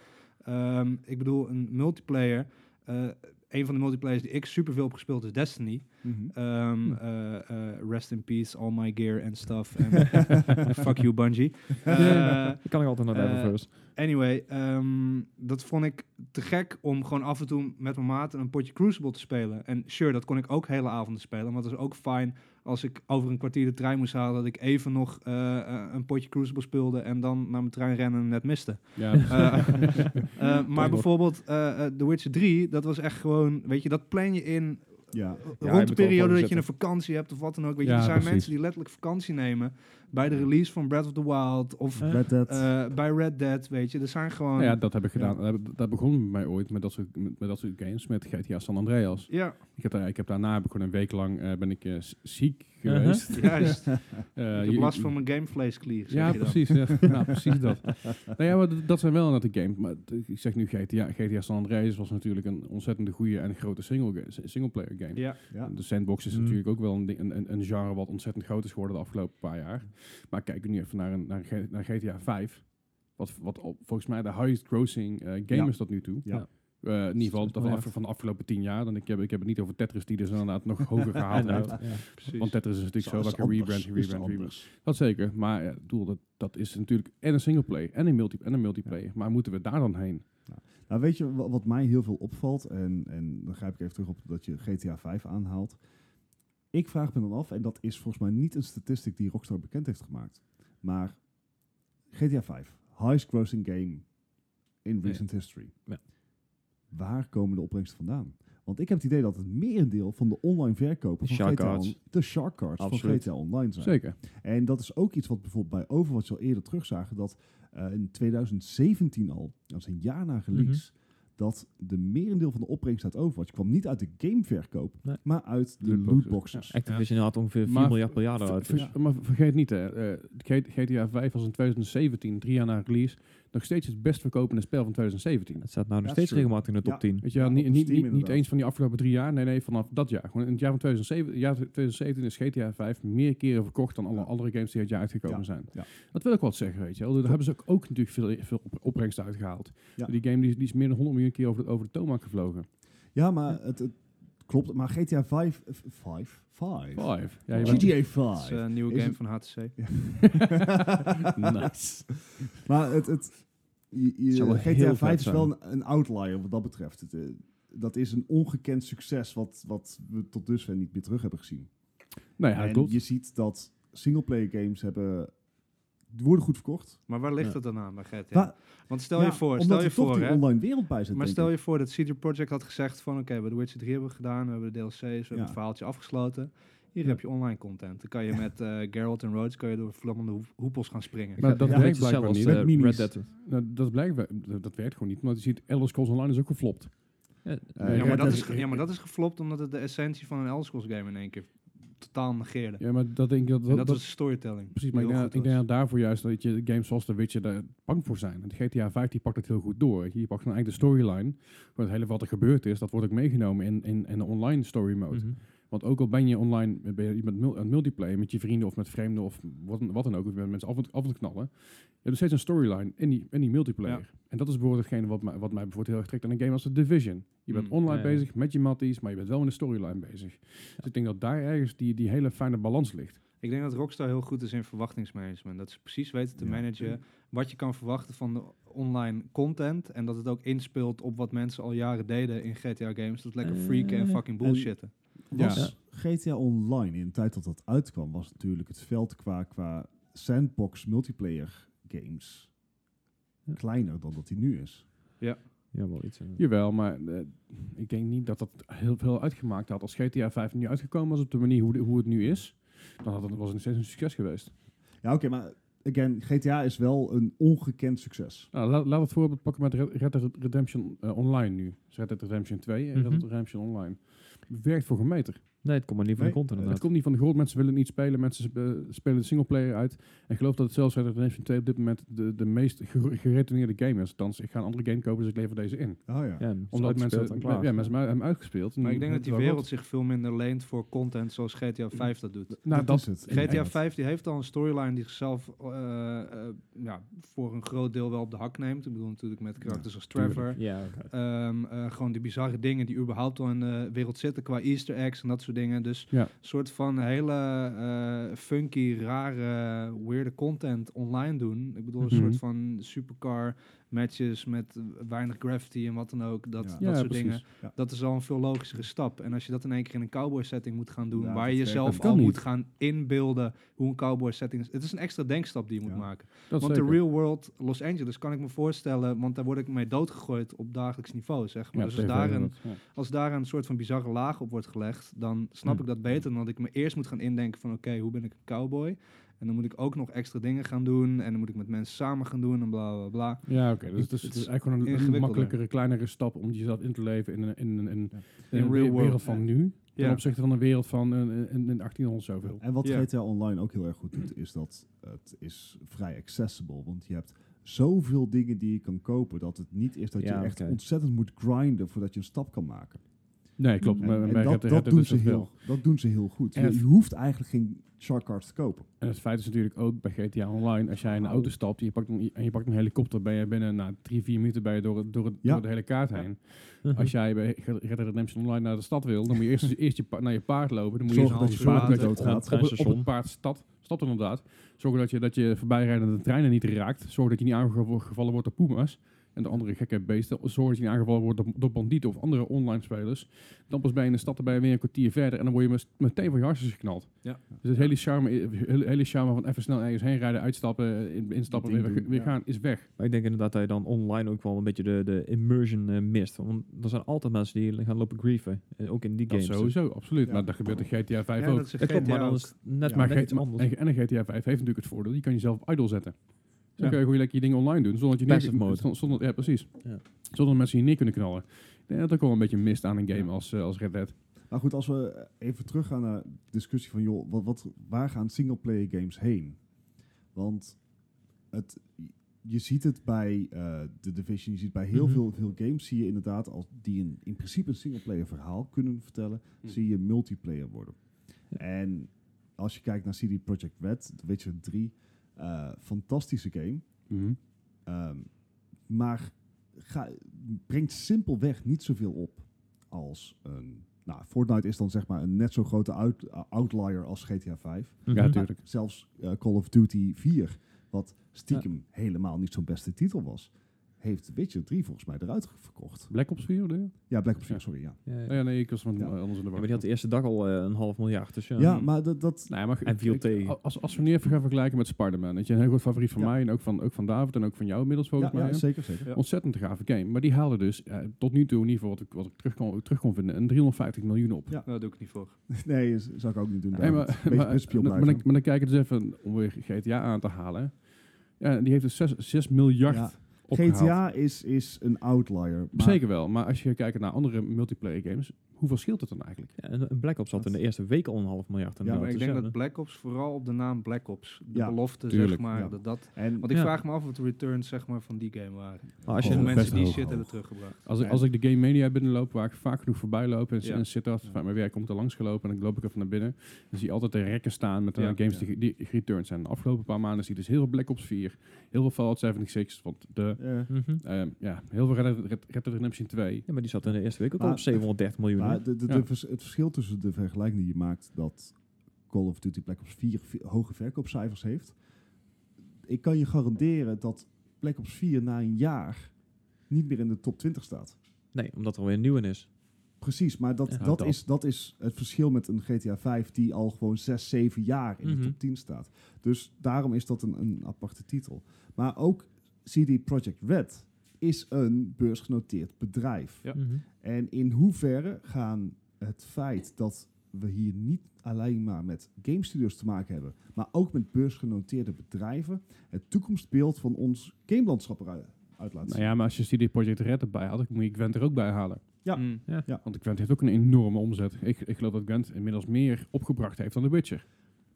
Ehm, ik bedoel, een multiplayer. eh, een van de multiplayers die ik superveel heb gespeeld is Destiny. Mhm. Ehm, eh, eh, rest in peace, all my gear and stuff. En fuck you, Bungie. Eh, Ik kan ik altijd naar Eh, Diverse. anyway, ehm, um, dat vond ik te gek om gewoon af en toe met mijn maten een potje Crucible te spelen. En sure, dat kon ik ook hele avonden spelen. Maar het was ook fijn als ik over een kwartier de trein moest halen... dat ik even nog eh, eh, een potje Crucible speelde... en dan naar mijn trein rennen en hem net miste. Ja, Eh, Eh, maar bijvoorbeeld eh, eh, The Witcher 3, dat was echt gewoon... Weet je, dat plan je in Ja, je rond moet de wel periode dat je voorzetten. een vakantie hebt of wat dan ook. Weet je, Ja, er zijn precies. mensen die letterlijk vakantie nemen... bij de release van Breath of the Wild of... Eh, Red Dead. eh, bij Red Dead, weet je. Er zijn gewoon... Nou ja, dat heb ik gedaan. Dat- Dat begon bij mij ooit met dat soort, met, met dat soort games, met GTA San Andreas. Ja, Ik heb, daar, ik heb daarna heb ik gewoon een week lang eh, ben ik eh, z- ziek Uh-huh. geweest. juist. Eh, ik heb je- last van mijn gamevleesklier. zeg Ja, je dan. precies. Ja, Ja, precies dat. Nou ja, maar d- dat zijn wel inderdaad de games. Maar t- ik zeg nu GTA, GTA San Andreas was natuurlijk een ontzettend goede en grote single ga- singleplayer game. Ja, ja. De sandbox is Mm. natuurlijk ook wel een, ding- een, een, een genre wat ontzettend groot is geworden de afgelopen paar jaar. Maar kijk nu even naar, een, naar, G- naar GTA 5. Wat, wat al- volgens mij de highest grossing eh, game Ja. is tot nu toe. Ja. Eh, in ieder geval Zes dat miljard. af- van de afgelopen tien jaar. Dan ik, heb, ik heb het niet over Tetris die dus inderdaad nog hoger Ja, gehaald heeft. nou, ja. precies. Want Tetris is natuurlijk zo Is lekker anders, rebrand, is rebrand, rebrand. anders. Dat zeker. Maar ja, ik bedoel, dat, dat is natuurlijk en een singleplay en een, multi en een multiplayer. Maar moeten we daar dan heen? Nou, weet je wa- wat mij heel veel opvalt? En, en dan grijp ik even terug op dat je GTA 5 aanhaalt. Ik vraag me dan af, en dat is volgens mij niet een statistiek die Rockstar bekend heeft gemaakt. Maar GTA 5, highest grossing game in recent history. Ja. Waar komen de opbrengsten vandaan? Want ik heb het idee dat het merendeel van de online verkopen van Shark GTA cards. on- de shark cards van Absoluut. GTA Online zijn. Zeker. En dat is ook iets wat bijvoorbeeld bij Overwatch al eerder terugzagen. Dat eh, in 2017 al, dat is een jaar na release, dat de merendeel van de opbrengst uit Overwatch kwam niet uit de gameverkoop, Nee. maar uit de Lootboxes. lootboxes. Activision had ongeveer 4 Maar- miljard per jaar eruit. Ver- dus- ver- Maar vergeet niet, hè, eh, G- GTA 5 was in 2017, drie jaar na release, nog steeds het best verkopende spel van 2017. Het staat nou nog That's steeds true. regelmatig in de top Ja. 10. Weet je, wel, Ja, niet, op niet, Steam niet, niet inderdaad. eens van die afgelopen drie jaar, nee, nee, vanaf dat jaar. Gewoon in het jaar van 2017, jaar 2017 is GTA 5 meer keren verkocht dan alle Ja. andere games die het jaar uitgekomen Ja, zijn. ja. Dat wil ik wat zeggen, weet je wel. Daar hebben ze ook, ook natuurlijk veel, veel op- opbrengst uitgehaald. Ja. Die game die is, die is meer dan 100 miljoen keer over de, over de toonbank gevlogen. Ja, maar het, het klopt. Maar GTA 5, 5, 5. Five. Ja, je bent- GTA Dat is 5. eh, een nieuwe Is game het- van HTC. nice. Maar het, het, je- je- eh, Zou wel heel GTA vet 5 is zijn. wel een, een outlier wat dat betreft. Het, eh, dat is een ongekend succes wat, wat we tot dusver niet meer terug hebben gezien. nou ja, en klopt. je ziet dat singleplayer games hebben, die worden goed verkocht. Maar waar ligt Ja. dat dan aan bij GTA? Waar- Want stel je Ja, voor, omdat stel er je toch voor, die hè. online wereld bij zit. Maar denk stel ik. je voor dat CD Projekt had gezegd van... oké, we hebben The Witcher 3 hebben we gedaan, we hebben de DLC's, we hebben Ja. het verhaaltje afgesloten. Hier Ja. heb je online content. Dan kan je met eh Geralt en Rhodes kan je door vlammende hoep- hoepels gaan springen. Maar dat Ja, werkt beetje hetzelfde blijkbaar als, niet. eh, Met minis. Red Dead. Nou, dat, blijkbaar, dat, dat werkt gewoon niet. Maar je ziet, Elder Scrolls Online is ook geflopt. Ja, Eh, ja, maar Red dat Dead is, ge- ja, maar dat is geflopt omdat het de essentie van een Elder Scrolls game in één keer totaal negeerde. Ja, maar dat denk ik dat... en dat, dat, dat- was storytelling. precies, maar ik denk, die heel dat- ik goed denk was. dat daarvoor juist dat je games zoals The Witcher daar bang voor zijn. Want GTA 5 die pakt het heel goed door. weet je. Je pakt dan eigenlijk de storyline. Van het hele wat er gebeurd is, dat wordt ook meegenomen in, in, in de online story mode. Mhm. Want ook al ben je online ben je met mul- aan het multiplayer met je vrienden of met vreemden of wat, dan- wat dan ook, of je bent mensen af, en- af te knallen, je hebt nog steeds een storyline in die, in die multiplayer. En dat is bijvoorbeeld hetgene wat mij, wat mij bijvoorbeeld heel erg trekt aan een game als The Division. Je bent Mm, online ja, ja. bezig met je matties, maar je bent wel in de storyline bezig. Dus ik denk dat daar ergens die, die hele fijne balans ligt. Ik denk dat Rockstar heel goed is in verwachtingsmanagement. Dat ze precies weten te Ja. managen wat je kan verwachten van de online content. En dat het ook inspeelt op wat mensen al jaren deden in GTA games. Dat lekker freaken en Eh, fucking bullshitten. Was Ja. GTA Online in de tijd dat dat uitkwam, was natuurlijk het veld qua, qua sandbox multiplayer games Ja. kleiner dan dat die nu is. Ja, wel iets. eh. Jawel, maar eh, ik denk niet dat dat heel veel uitgemaakt had. Als GTA 5 nu uitgekomen was op de manier hoe, de- hoe het nu is, dan had het, was het nog steeds een succes geweest. Ja, oké, maar again, GTA is wel een ongekend succes. Nou, laat, laat het voorbeeld pakken met Red Red Dead Redemption eh, Online nu. Dus Red Dead Redemption 2 en Red Dead Mhm. Redemption Online. Werkt voor gemeter. Nee, het komt maar niet van de Nee, kont Het inderdaad. komt niet van de grond. Mensen willen het niet spelen. Mensen eh, spelen de singleplayer uit. En ik geloof dat het zelfs Red Dead Redemption 2 op dit moment de, de meest ge- geretoneerde game is. Althans, ik ga een andere game kopen, dus ik lever deze in. Oh ja. Ja, het is Omdat uitgespeeld mensen, en ja, klaar. mensen hebben hem uitgespeeld. Maar ik denk En- dat die wereld zich veel minder leent voor content zoals GTA 5 dat doet. Nou, dat, is het. GTA inderdaad. 5 die heeft al een storyline die zichzelf eh, eh, ja, voor een groot deel wel op de hak neemt. Ik bedoel natuurlijk met karakters als Trevor. Ja, oké. Ehm, eh, gewoon die bizarre dingen die überhaupt al in de wereld zitten qua easter eggs en dat soort dingen. Dus Ja. een soort van hele eh, funky, rare, weirde content online doen. Ik bedoel, een Mhm. soort van supercar matches met eh, weinig gravity en wat dan ook. Dat, Ja. dat Ja, soort precies. dingen. Ja. Dat is al een veel logischere stap. En als je dat in één keer in een cowboy setting moet gaan doen, Ja, waar dat je werkt- jezelf dat kan al niet. moet gaan inbeelden hoe een cowboy setting is. Het is een extra denkstap die je moet Ja. maken. Dat Want zeker. de real world Los Angeles kan ik me voorstellen, want daar word ik mee doodgegooid op dagelijks niveau, zeg maar. Ja, dus als TV daar, een, inderdaad. Ja. als daar een soort van bizarre laag op wordt gelegd, dan snap Hm. ik dat beter dan dat ik me eerst moet gaan indenken van, oké, hoe ben ik een cowboy? En dan moet ik ook nog extra dingen gaan doen en dan moet ik met mensen samen gaan doen en bla bla bla. Ja, oké. Dus het is, het Het is is eigenlijk gewoon een- een ingewikkelder. makkelijkere, kleinere stap om jezelf in te leven in een, in een, in Ja. een In real wereld world, van ja. nu. Ten Ja. opzichte van een wereld van eh, een, een, een 1800 zoveel. En wat Ja. GTA Online ook heel erg goed doet, is dat het is vrij accessible. Want je hebt zoveel dingen die je kan kopen, dat het niet is dat Ja, je echt oké. ontzettend moet grinden voordat je een stap kan maken. Nee, klopt. En, maar en bij dat, Red dat, Dead doen is ze dus dat wel. heel, dat doen ze heel goed. En Je, het- je hoeft eigenlijk geen shark cards te kopen. En het feit is natuurlijk ook bij GTA Online, als jij in een auto stapt je pakt een, en je pakt een helikopter, ben je binnen na drie, vier minuten ben je door, het- door, het, Ja. door de hele kaart heen. Als jij bij Red Dead Redemption Online naar de stad wil, dan moet je eerst, eerst je pa- naar je paard lopen. Dan moet Zorgen je dus dat eerst je aan het paard niet dat je doodgaat. op, het- op Treinstation. het paard stapt, stapt inderdaad. Zorgen dat je, dat je voorbijrijdende treinen niet raakt. Zorg dat je niet aangevallen wordt door puma's en de andere gekke beesten. Zorg dat je niet aangevallen wordt door, door bandieten of andere online spelers. Dan pas ben je in de stad, dan ben je weer een kwartier verder en dan word je mes- meteen van je hartjes geknald. Ja. Dus het hele charme, hele, hele charme van even snel ergens heen rijden, uitstappen, in- instappen, Ding weer, doen, weer ja. gaan, is weg. Maar ik denk inderdaad dat je dan online ook wel een beetje de, de immersion eh, mist. Want er zijn altijd mensen die gaan lopen grieven. Eh, ook in die Dat games. Dus- sowieso, absoluut. Ja. Maar dat gebeurt in GTA 5 Ja, ook. dat is een Dat klopt, maar GTA dan ook. is het net maar Ja. maar net G- iets anders. En, en een GTA 5 heeft natuurlijk het voordeel, je kan jezelf op idle zetten. Dus Ja. dan kun je gewoon lekker je dingen online doen, zonder dat je Passive mode. Zonder, zonder- ja, precies. Ja. Zonder dat mensen je neer kunnen knallen. Ik denk dat ook wel een beetje mist aan een game als, eh, als Red Dead. Maar goed, als we even teruggaan naar de discussie van, joh, wat, wat, waar gaan singleplayer games heen? Want het, je ziet het bij eh The Division, je ziet bij heel Mhm. veel, veel games, zie je inderdaad, als die een, in principe een singleplayer verhaal kunnen vertellen, Mhm. zie je multiplayer worden. Ja. En als je kijkt naar CD Projekt Red, The Witcher 3, eh, fantastische game. Mhm. Ehm, maar ga, brengt simpelweg niet zoveel op als een... Nou, Fortnite is dan zeg maar een net zo grote out- uh, outlier als GTA 5. Mhm. Ja, natuurlijk. Zelfs eh, Call of Duty 4, wat stiekem helemaal niet zo'n beste titel was, heeft Witcher 3 volgens mij eruit ge- verkocht. Black Ops 4, hoor. Ja, Black Ops 4, Ja. sorry. Ja, Ja, ja. Oh ja, nee, ik was van Ja. eh, anders in de war. maar die had de eerste dag al eh, een half miljard. Dus ja. ja. maar dat... dat Nee, maar ge- En viel ik- tegen. a- Als, als we nu even gaan vergelijken met Spider-Man. Dat is een heel groot favoriet van Ja. mij en ook van, ook van David en ook van jou inmiddels volgens ja, ja, mij. zeker, zeker. Ja. Ontzettend gave game. Maar die haalde dus eh, tot nu toe, in ieder geval wat ik, wat ik terug, kon, terug kon vinden, een 350 miljoen op. Nou, daar doe ik niet voor. Nee, z- zou ik ook niet doen. Nee, David. maar, Beetje maar, principieel maar, blijven. dan, maar dan kijk ik dus even om weer GTA aan te halen. Ja, die heeft dus 6, miljard Ja. opgehaald. GTA is, is een outlier. Maar Zeker wel, maar als je kijkt naar andere multiplayer games, hoeveel scheelt het dan eigenlijk? Ja, en en Black Ops had in de eerste week al een half miljard. Ja, Ja, inderdaad. maar ik Dus denk ja, dat Black Ops, vooral op de naam Black Ops, de Ja, belofte, zeg tuurlijk, maar, ja. dat dat... En, Want ik Ja. vraag me af wat de returns, zeg maar, van die game waren. Maar als je Of Oh, mensen best die hoog, shit hoog. hebben teruggebracht. Als ik, Ja. als ik de Game Media binnenloop, waar ik vaak genoeg voorbij loop en, Ja. en zit dat, van mijn werk komt er langs gelopen en dan loop ik even naar binnen, dan zie je altijd de rekken staan met de Ja. games Ja. die, die gereturned zijn. De afgelopen paar maanden zie je dus heel veel Black Ops 4, heel veel Fallout 76, want de, eh, Mhm. ehm, ja, heel veel Red Dead- Red Red Dead Redemption 2. Ja, maar die zat in de eerste week ook al Maar- op 730 miljoen. hè? Maar de, de, de Ja. vers- het verschil tussen de vergelijking die je maakt dat Call of Duty Black Ops 4 vi- hoge verkoopcijfers heeft. Ik kan je garanderen dat Black Ops 4 na een jaar niet meer in de top 20 staat. Nee, omdat er weer een nieuwe is. Precies, maar dat, Ja, dat, dat. Is, dat is het verschil met een GTA 5 die al gewoon 6, 7 jaar in Mhm. de top 10 staat. Dus daarom is dat een, een aparte titel. Maar ook CD Projekt Red is een beursgenoteerd bedrijf. Ja. Mhm. En in hoeverre gaan het feit dat we hier niet alleen maar met game studios te maken hebben, maar ook met beursgenoteerde bedrijven, het toekomstbeeld van ons gamelandschap eruit uit laten Nou zien? ja, maar als je CD Projekt Red erbij had, dan moet je Gwent er ook bij halen. Ja. Mm. Want Gwent heeft ook een enorme omzet. Ik, ik geloof dat Gwent inmiddels meer opgebracht heeft dan The Witcher.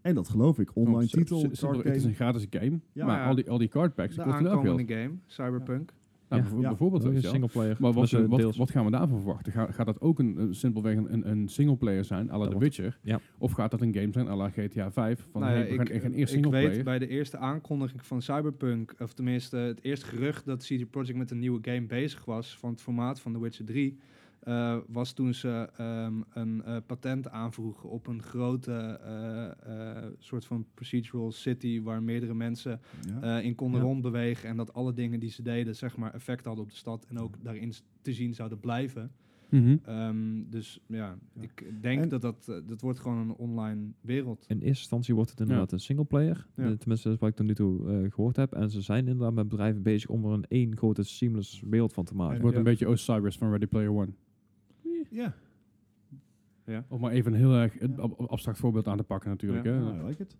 En dat geloof ik. Online Want, eh, titel, s- s- card Het is game. een gratis game, Ja, maar ja. al die, al die card packs De kosten wel geld. aankomende game, Cyberpunk. Nou, Ja. bijvo- Ja. Bijvoorbeeld, Dat weet is je een wel. singleplayer. Maar wat, Dus, eh, wat, deels- wat gaan we daarvan verwachten? Ga- gaat dat ook een, een simpelweg een, een, een singleplayer zijn, à la The wordt- Witcher? ja. Of gaat dat een game zijn à la GTA 5? Van Nou ja, hey, we gaan echt een eerst ik singleplayer. weet bij de eerste aankondiging van Cyberpunk, of tenminste het eerste gerucht dat CD Projekt met een nieuwe game bezig was van het formaat van The Witcher 3, eh, was toen ze ehm, een eh, patent aanvroegen op een grote eh, eh, soort van procedural city waar meerdere mensen Ja. eh, in konden Ja. rondbewegen en dat alle dingen die ze deden zeg maar effect hadden op de stad en ook daarin s- te zien zouden blijven. Mhm. Ehm, dus ja, Ja. ik denk En- dat dat, eh, dat wordt gewoon een online wereld. In eerste instantie wordt het inderdaad een singleplayer. Ja. Eh, Tenminste, dat is wat ik tot nu toe eh, gehoord heb. En ze zijn inderdaad met bedrijven bezig om er een één grote seamless wereld van te maken. Het wordt een Ja. beetje Osiris van Ready Player One. Ja. Om maar even een heel erg eh, Ja. ab- abstract voorbeeld aan te pakken natuurlijk. Ja. Hè? Ah, I like it.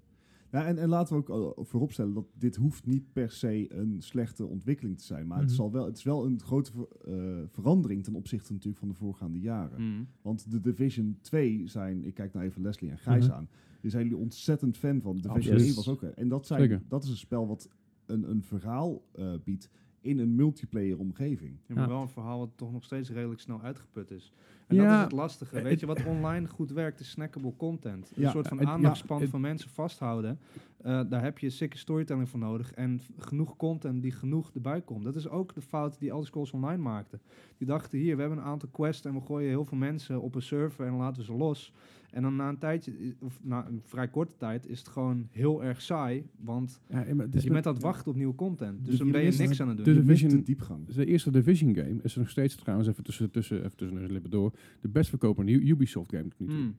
Ja, en, en laten we ook eh, vooropstellen dat dit hoeft niet per se een slechte ontwikkeling te zijn. Maar het, Mhm. zal wel, het is wel een grote ver- eh, verandering ten opzichte natuurlijk van de voorgaande Mhm. jaren. Want de Division 2 zijn, ik kijk nou even Leslie en Gijs Mhm. aan, die zijn jullie ontzettend fan van. Division Absoluut. 1 was ook. eh, En dat, zijn, Zeker. dat is een spel wat een, een verhaal eh, biedt in een multiplayer omgeving. Ja, maar Ja. wel een verhaal wat toch nog steeds redelijk snel uitgeput is. En dat Ja. is het lastige. Weet je, wat online goed werkt is snackable content. Een Ja, soort van het- ja, aandachtspan het- van mensen vasthouden. Eh, daar heb je sikke storytelling voor nodig. En v- genoeg content die genoeg erbij komt. Dat is ook de fout die Elder Scrolls Online maakte. Die dachten, hier, we hebben een aantal quests en we gooien heel veel mensen op een server en laten we ze los. En dan na een tijdje, i- of na een vrij korte tijd, is het gewoon heel erg saai. Want Ja, maar het is je bent aan het wachten op nieuwe content. Dus Dus dan ben jullie je is- niks aan het doen. De Je mist de Division- diepgang. De eerste Division game is nog steeds trouwens, even tussen, tussen, even tussen neus en lippen door, de best verkopende U- Ubisoft game tot nu toe. Mm.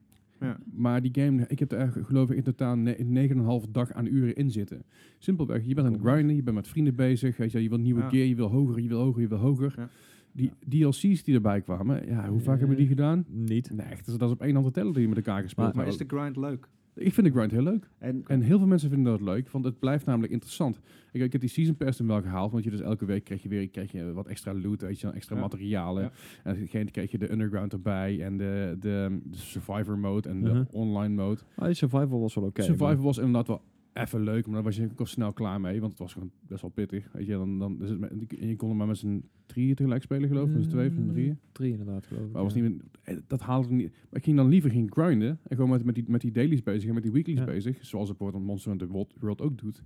Maar die game, ik heb er eigenlijk, geloof ik in totaal ne- 9,5 dag aan uren in zitten. Simpelweg, je bent aan het grinden, je bent met vrienden bezig, weet je, je wil nieuwe Ja. gear, je wil hoger, je wil hoger, je wil hoger. Ja. Eh. Die DLC's die erbij kwamen, ja, hoe vaak hebben we die gedaan? Niet. Nee, echt, dat is op één hand te tellen die je met elkaar gespeeld Maar hebt. is de grind leuk? Ik vind de grind heel leuk. En En heel veel mensen vinden dat leuk, want het blijft namelijk interessant. Ik, ik heb die season pass dan wel gehaald, want je dus elke week kreeg je weer kreeg je wat extra loot, weet je, wel, extra Ja. materialen. Ja. En dan kreeg je de underground erbij en de, de, de survivor mode en Mhm. de online mode. Ah, die survival was wel oké. survivor was inderdaad wel even leuk, maar daar was je ook al snel klaar mee, want het was gewoon best wel pittig. Weet je, dan, dan is het met- en je kon er maar met z'n drieën tegelijk spelen, geloof ik, met z'n tweeën of met z'n drieën. drie. Drie inderdaad, geloof ik. Maar was ja. niet meer, eh, dat haalde het niet. Maar ik ging dan liever ging grinden en gewoon met, met, die, met die dailies bezig en met die weeklies Ja. bezig. Zoals het bijvoorbeeld Monster Hunter World, World ook doet.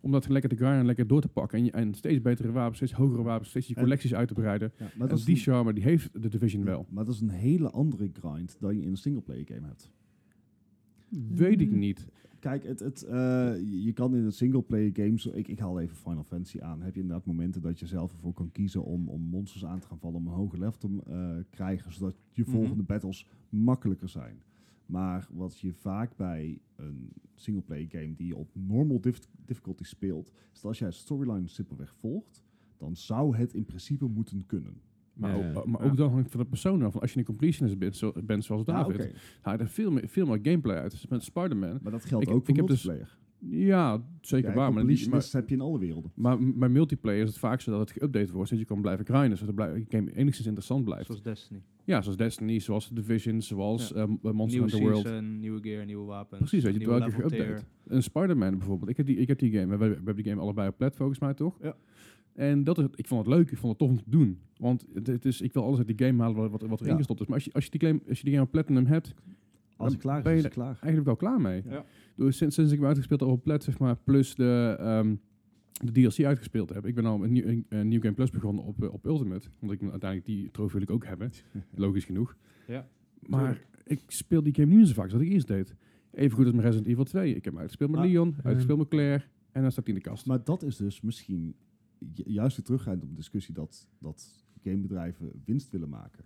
Om dat lekker te grinden en lekker door te pakken. En, je- en steeds betere wapens, steeds hogere wapens, steeds je En- collecties uit te breiden. ja, maar en dat is die een- charme, die heeft de Division wel. Maar dat is een hele andere grind dan je in een singleplayer game hebt. Weet ik niet. Kijk, het, het, eh, je- je kan in een singleplayer game, zo, ik, ik haal even Final Fantasy aan, heb je inderdaad momenten dat je zelf ervoor kan kiezen om, om monsters aan te gaan vallen, om een hoger level te eh, krijgen, zodat je Mhm. volgende battles makkelijker zijn. Maar wat je vaak bij een singleplayer game die je op normal dif- difficulty speelt, is dat als jij het storyline simpelweg volgt, dan zou het in principe moeten kunnen. Maar, Ja, ja. ook, Oh, maar ook dan hangt het van de persoon af. Want Als je een completionist bent, zo, bent zoals Ja, David, Ah, oké. haal je er veel meer, veel meer gameplay uit. Dus met Spider-Man. Maar dat geldt Ik- ook voor ik heb dus- multiplayer. Ja, zeker Ja, waar. Maar, die- maar, completionists heb je in alle werelden. maar m- bij multiplayer is het vaak zo dat het geüpdate wordt, zodat je kan blijven grinden, zodat de blij- game enigszins interessant blijft. Zoals Destiny. Ja, zoals Destiny, zoals Division, zoals Ja. eh, M- eh, Monster nieuwe Hunter season, World. nieuwe gear, nieuwe wapens. Precies, weet je, nieuwe elke keer level tier. geüpdate. Een Spider-Man bijvoorbeeld. Ik heb die, ik heb die game, we, we hebben die game allebei op plat volgens mij, toch? Ja. En dat is, ik vond het leuk, ik vond het tof om te doen. Want het, het is, ik wil alles uit die game halen wat, wat, wat erin Ja. gestopt is. Maar als je, als, je die game, als je die game op Platinum hebt, Als het klaar is, ben is je het klaar. eigenlijk wel klaar mee. Ja. Dus sinds, sinds ik hem uitgespeeld heb op plat, zeg maar, plus de, ehm, de DLC uitgespeeld heb. Ik ben al een, nieuw- een, een New Game Plus begonnen op, eh, op Ultimate. Want ik wil uiteindelijk die trofee wil ik ook hebben. Logisch genoeg. Ja. Maar ik speel die game niet meer zo vaak als dat ik eerst deed. Evengoed als mijn Resident Evil 2. Ik heb hem uitgespeeld met Maar- Leon, ehm, uitgespeeld met Claire. En dan staat hij in de kast. Maar dat is dus misschien ju- juist weer teruggaand op de discussie dat, dat gamebedrijven winst willen maken.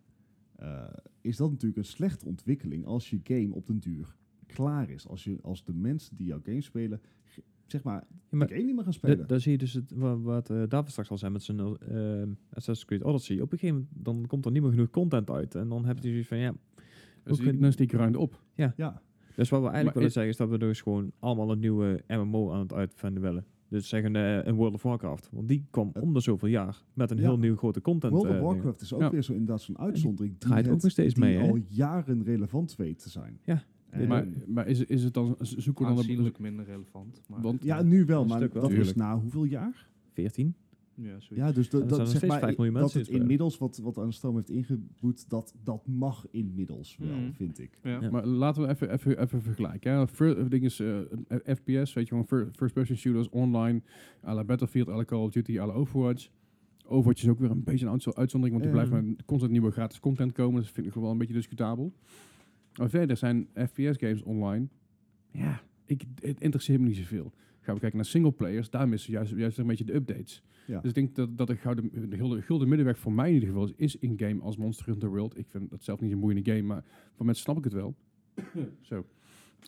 Eh, is dat natuurlijk een slechte ontwikkeling als je game op den duur klaar is. Als, je, als de mensen die jouw game spelen, ge- zeg maar, Ja, maar de game niet meer gaan Da- spelen. Daar zie je dus het, wa- wat eh, David straks al zei met zijn eh, Assassin's Creed Odyssey. Op een gegeven moment dan komt er niet meer genoeg content uit. En dan heb je zoiets van, ja, Dus ook die- een- dan is die grind op. ja, Dus wat we eigenlijk Maar willen is- zeggen is dat we dus gewoon allemaal een nieuwe MMO aan het uitvinden willen. Dus zeggen eh, een World of Warcraft. Want die kwam Ja. om de zoveel jaar met een Ja. heel nieuw grote content. World of eh, ding. Warcraft is ook Ja. weer zo inderdaad zo'n uitzondering die, draait het- ook nog steeds die mee, hè? al jaren relevant weet te zijn. Ja. En- Maar, maar is, is het dan, z- zoeken we dan... Op, Aanzienlijk minder relevant. Maar want ja, nu wel, Een maar stuk wel. dat is Tuurlijk. na hoeveel jaar? 14. ja, zoiets. Ja, dus dat- er zijn dat, nog zeg steeds maar, vijf i- miljoen dat mensen het in spelen. inmiddels wat, wat aan stroom heeft ingeboet, dat, dat mag inmiddels wel, Mhm. vind ik. Ja. Ja. Maar laten we even, even, even vergelijken. Ja, Fir- ding is, eh, eh, FPS, weet je gewoon, fir- first-person shooters, online, à la Battlefield, à la Call of Duty, à la Overwatch. Overwatch is ook weer een beetje een uitzo- uitzondering, want er Ja. blijft maar constant nieuwe gratis content komen. Dus dat vind ik nog wel een beetje discutabel. Maar verder zijn FPS-games online. Ja, ik, het interesseert me niet zoveel. Gaan we kijken naar singleplayers, daar missen juist, juist een beetje de updates. Ja. Dus ik denk dat, dat de, gouden, de, gulden, gulden middenweg voor mij in ieder geval is, is in-game als Monster Hunter World. Ik vind dat zelf niet een boeiende game, maar voor mensen snap ik het wel. Zo,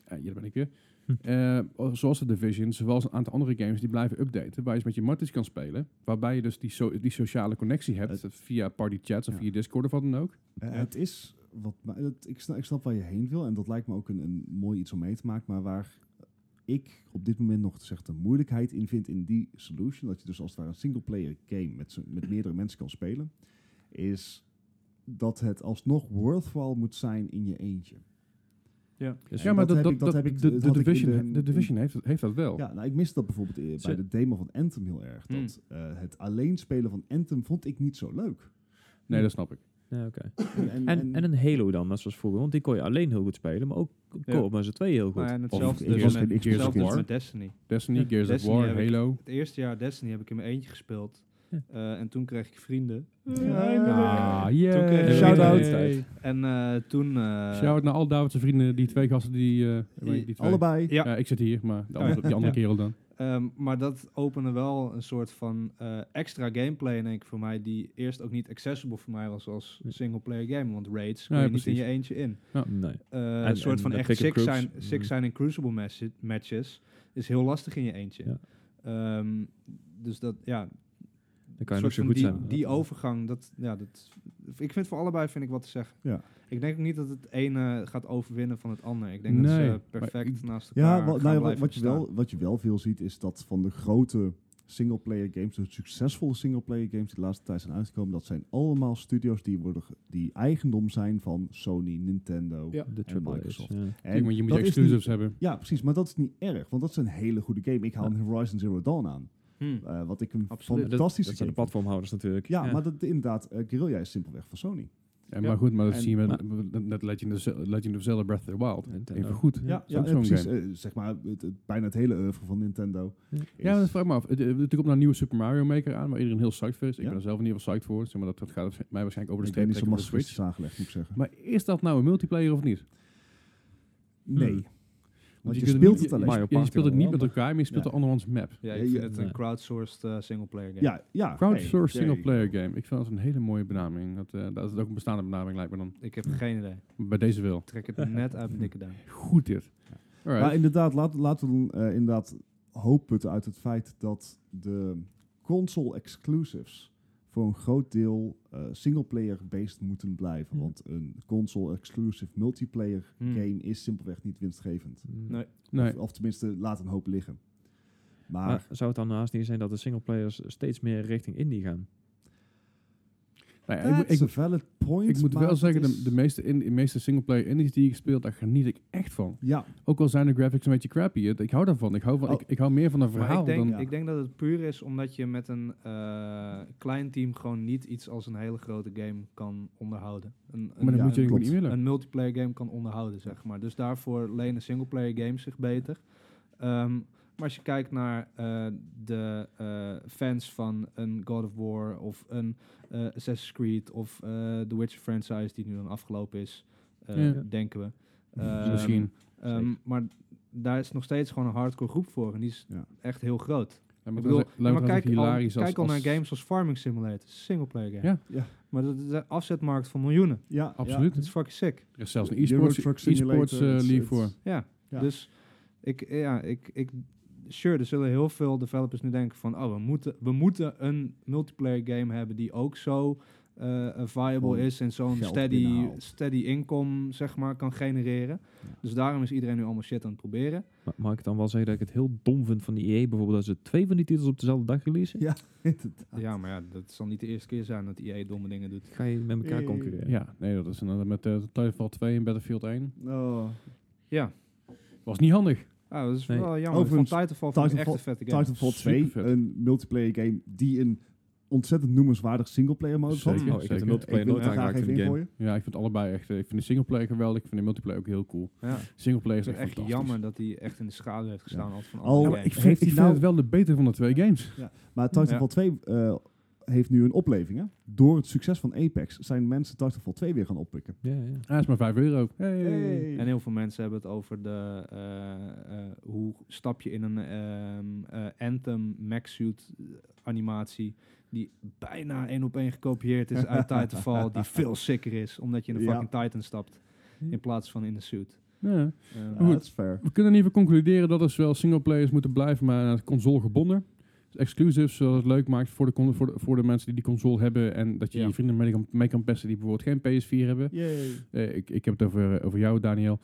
Eh hier ben ik weer. Hm. Eh, o- zoals de Division, zoals een aantal andere games die blijven updaten, waar je eens met je matties kan spelen, waarbij je dus die, so- die sociale connectie hebt via party chats of Eh, Ja. via Discord of wat dan ook. Eh, Het is, wat, mij- het- ik, snap, ik snap waar je heen wil en dat lijkt me ook een, een mooi iets om mee te maken, maar waar ik op dit moment nog zeg, de moeilijkheid in vind in die solution, dat je dus als het ware een singleplayer game met, z'n- met meerdere mensen kan spelen, is dat het alsnog worthwhile moet zijn in je eentje. Dus ja, maar dat dat, heb dat, ik- dat dat- heb ik- eh, de, dat de had ik in Division, de- de Division heeft, heeft dat wel. Ja, nou, ik miste dat bijvoorbeeld eh, bij Ze- de demo van Anthem heel erg. Hmm. Dat, eh, het alleen spelen van Anthem vond ik niet zo leuk. Nee, dat snap ik. Ja, oké. En, en, en, en een Halo dan, net zoals vroeger. Want die kon je alleen heel goed spelen, maar ook Ja. op met z'n tweeën heel goed. Maar en Of hetzelfde Gears dus of- met, Gears of hetzelfde dus War. met Destiny. Destiny, Gears Destiny of War, heb ik. Halo. Het eerste jaar Destiny heb ik in mijn eentje gespeeld. Ja. Eh, en toen kreeg ik vrienden. eh, Ah, Toen kreeg yeah. ik Shout-out. vrienden. En eh, toen... eh, Shout-out naar al David's vrienden, die twee gasten die... eh, die twee. allebei. Ja. Eh, ik zit hier, maar de andere, die andere Ja. kerel dan. Ehm, maar dat opende wel een soort van eh, extra gameplay, denk ik, voor mij, die eerst ook niet accessible voor mij was als Nee. single-player game. Want raids kon Ja, je ja, niet in je precies. eentje in. Nee. dus, Eh, En- een soort en van de echt pick-up six groups. zijn, Mm. six zijn in crucible matches, matches is heel lastig in je eentje. Ja. Ehm, dus dat, ja, Dan kan soort je nog zo van goed die, zijn. Die overgang, dat, ja, dat, ik vind voor allebei vind ik wat te zeggen. Ja. Ik denk ook niet dat het ene gaat overwinnen van het ander. Ik denk Nee, dat ze maar perfect ik- naast elkaar Ja, wa- nou gaan ja, wa- blijven wat, je bestaan. wel, wat je wel veel ziet is dat van de grote singleplayer games, de succesvolle singleplayer games die de laatste tijd zijn uitgekomen, dat zijn allemaal studios die, worden, ge- die eigendom zijn van Sony, Nintendo. Ja. de triple triple A's, Microsoft. Ja. En want je moet dat je is exclusives niet- hebben. ja, precies, maar dat is niet erg, want dat is een hele goede game. Ik haal een Horizon Zero Dawn aan, Hm. eh, wat ik een Absoluut. Dat- fantastische dat zijn de game platformhouders natuurlijk. vind. Ja, maar dat, inderdaad, eh, Guerrilla is simpelweg van Sony. En, maar goed, maar dat En- zie je met, maar- met- met Legend of, Ze- Legend of Zelda Breath of the Wild. Nintendo. Even goed. Ja, Zo'n- eh, zo'n precies, game. eh, zeg maar, het, het- bijna het hele oeuvre van Nintendo. Ja. Ja, dat is- vraag ik me af. Het- eh, Er komt nou een nieuwe Super Mario Maker aan, waar iedereen heel psyched voor is. Ik Ja. ben er zelf in ieder geval psyched voor. Zeg maar dat, dat gaat waarsch- mij waarschijnlijk over de ik ben streep niet zo trekken met de massief Switch. aangelegd, moet ik zeggen. Maar is dat nou een multiplayer of niet? Nee. Hmm. Want Je je, kunt hem speelt niet- het alleen. Mario Ja, je Party speelt het dan niet wel, met elkaar, maar je speelt Ja. de andermans map. Ja, Ja, ik ja, vind het nee. een crowdsourced eh, singleplayer game. Ja, ja. Crowdsourced Ah, hey, single-player game. Ik vind dat een hele mooie benaming. Dat, eh, dat is ook een bestaande benaming, lijkt me dan. Ik heb geen idee. Bij deze wel. Ik trek het net uit mijn dikke duim. Goed dit. Alright. Maar inderdaad, laat- laten we dan, eh, inderdaad hoop putten uit het feit dat de console exclusives voor een groot deel single singleplayer based moeten blijven. Ja. Want een console exclusive multiplayer Hmm. game is simpelweg niet winstgevend. Nee. nee. Of, of tenminste, laat een hoop liggen. Maar, Maar zou het dan naast niet zijn dat de singleplayers steeds meer richting indie gaan? Nou ja, ik, that's moet- ik, a valid point. Ik moet maar wel het zeggen, de, is- de meeste, in, de meeste singleplayer indies die ik speel, daar geniet ik echt van. Ja, Ook al zijn de graphics een beetje crappy, het- ik hou daarvan. Ik hou, van, Oh. ik, ik hou meer van een Maar verhaal ik denk, dan... ik denk dat het puur is omdat je met een eh, klein team gewoon niet iets als een hele grote game kan onderhouden. Een, een, Maar dan Ja, moet je dat er klopt. niet willen. een multiplayer game kan onderhouden, zeg maar. Dus daarvoor lenen singleplayer games zich beter. Ehm, maar als je kijkt naar eh, de eh, fans van een God of War of een eh, Assassin's Creed of eh, The Witcher franchise, die nu dan afgelopen is, eh, Ja. denken we. Dus Ehm, Misschien. ehm, maar daar is nog steeds gewoon een hardcore groep voor. En die is Ja. echt heel groot. Ja, maar Ik bedoel, dat is- lijkt me maar trouwens kijk, al, hilarisch als- kijk al naar als- games als Farming Simulator. Singleplayer game. Ja. Ja. Maar dat is een afzetmarkt van miljoenen. ja, Absoluut. Dat is fucking sick. Er is zelfs een Euro e-sports, Truck e-sports eh, Simulator, it's- league it's- voor. Ja. Ja. Dus ik, ja, ik, ik, sure, er zullen heel veel developers nu denken van, oh, we moeten, we moeten een multiplayer game hebben die ook zo eh, eh, viable Gewoon is en zo'n geld steady, binnenhaalt. steady income, zeg maar, kan genereren. Ja. Dus daarom is iedereen nu allemaal shit aan het proberen. Ma- Mag ik dan wel zeggen dat ik het heel dom vind van die EA bijvoorbeeld dat ze twee van die titels op dezelfde dag releasen? Ja. Inderdaad. Ja, maar ja, dat zal niet de eerste keer zijn dat EA domme dingen doet. Ga je met elkaar Eh, Ja. concurreren? nee, dat is inderdaad met eh, Titanfall 2 en Battlefield 1. Oh. Ja, Was niet handig. ah, dat is Nee. wel jammer. Overigens, van Titanfall vond ik echt Titanfall- een vette game. Titanfall 2, Supervet. een multiplayer game die een ontzettend noemenswaardig singleplayer modus had. Zeker. Oh, ik heb Dus, eh, Zeker. de multiplayer Ik wil nooit het er graag aangeraakt in even die game. ingooien. Ja, ik vind allebei echt... eh, ik vind de singleplayer geweldig, ik vind de multiplayer ook heel cool. Ja. Singleplayer Ik is vind echt, het echt fantastisch. jammer dat hij echt in de schaduw heeft gestaan. Als van Al- andere Ja, maar ik games. vind, hij ik vind nou- het wel de betere van de twee games. Maar Titanfall Ja. 2 eh, heeft nu een opleving. Hè? Door het succes van Apex zijn mensen Titanfall 2 weer gaan oppikken. Ja, ja. Ah, is maar 5 euro. Hey. En heel veel mensen hebben het over de, eh, eh, hoe stap je in een ehm eh Anthem Maxsuit animatie die bijna één op één gekopieerd is uit Titanfall, die veel sicker is, omdat je in een Ja. fucking Titan stapt in plaats van in de suit. Ja. Ehm, Ja, Goed. dat is fair. We kunnen in ieder geval concluderen dat er zowel singleplayers moeten blijven, maar aan het console gebonden. Dus exclusives, zodat het leuk maakt voor de, con- voor de, voor de mensen die die console hebben. En dat je Ja. je vrienden mee kan, mee kan pesten die bijvoorbeeld geen PS4 hebben. Eh, ik, ik heb het over, eh, over jou, Daniel.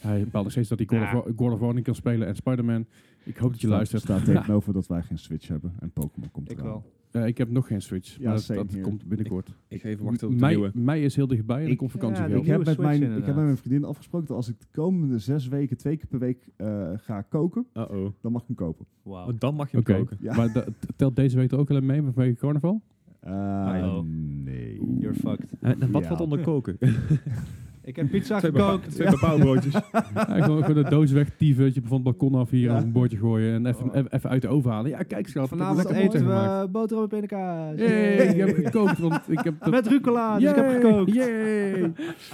Hij bepaalt nog steeds dat hij God of, War- God of War niet kan spelen en Spider-Man. Ik hoop dat je Staat- luistert. staat tegenover dat wij geen Switch hebben en Pokémon komt ik eraan. wel. Eh, ik heb nog geen Switch, Ja, maar dat, same Nou, dat here. komt binnenkort. Ik ga even wachten op de Mei, nieuwe. mei is heel dichtbij en ik Ik- kom vakantie ja, weer. ik Ik Nieuwe heb, met Switch mijn, ik heb inderdaad. met mijn vriendin afgesproken dat als ik de komende zes weken twee keer per week eh, ga koken, Uh-oh. dan mag ik hem kopen. Wauw. Oh, dan mag je hem Oké, koken. Ja. maar da- telt deze week er ook al mee vanwege carnaval? Eh, Oh. nee. You're fucked. En, en wat Ja. valt onder koken? Ik heb pizza Twee bepa- gekookt. Twee bepaalbroodjes. Ja, gewoon even de doos wegtieven, dat je van het balkon af hier Ja. op een bordje gooien en even, Oh. even- even uit de oven halen. Ja, kijk schat, Vanavond ik heb lekker eten eten gemaakt. we boterham in de kaas. Yay, ik heb gekookt, want ik heb... dat- Met rucola, dus ik Yay, heb gekookt. yay.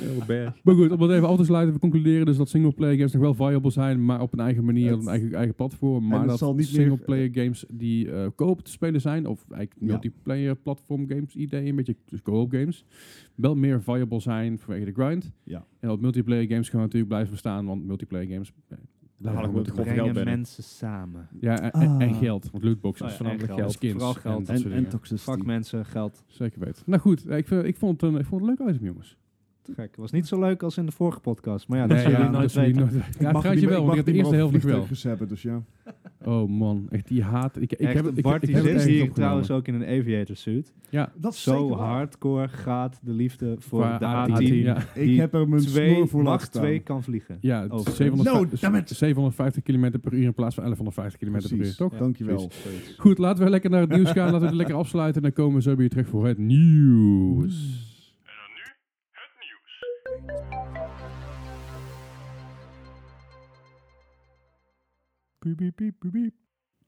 Heel berg. Maar goed, om dat even af te sluiten, we concluderen dus dat singleplayer games nog wel viable zijn, maar op een eigen manier, Het- op een eigen, eigen platform. Maar het dat zal niet meer- singleplayer games die eh, co-op te spelen zijn, of eigenlijk Ja. multiplayer platform games idee, een beetje dus co-op games, wel meer viable zijn vanwege de grind. Ja. En dat multiplayer games gaan natuurlijk blijven bestaan, want multiplayer games... eh, Daar haal ik gewoon me op de grond geld Brengen binnen. mensen samen. Ja, en, Ah. en geld. Want lootboxen Oh is ja, voornamelijk en geld. geld. Skins Vooral geld. en dat En, soort en dingen. toxicity. Fuck mensen, geld. Zeker weten. Nou goed, ik, vind- ik, vond het een, ik vond het een leuk item, jongens. Te Gek. Was niet zo leuk als in de vorige podcast. Maar ja, dat Nee, zullen ja, jullie nooit dat zullen weten. jullie nooit- Ja, mag het gaat niet je meer- wel, want mag ik heb de niet eerste meer helft over nog wel. vliegtuigjes hebben, dus ja. Oh man, echt die haat. Ik, ik Echt, heb, het- ik, Bart ik die heb het zit ergens hier opgenomen. trouwens ook in een aviator suit. Ja, Dat is Zo zeker waar. hardcore gaat de liefde voor Qua de A10, A10. Ja, Ik Die heb er mijn Twee, snor voor mag laten staan. twee kan vliegen. ja het is Overigens. 750 No, damn it. 750 km per uur in plaats van 1150 km per uur. Precies, Toch? toch? Oh, Dankjewel. Goed, laten we lekker naar het nieuws gaan. Laten we het lekker afsluiten. En dan komen we zo weer terug voor het nieuws.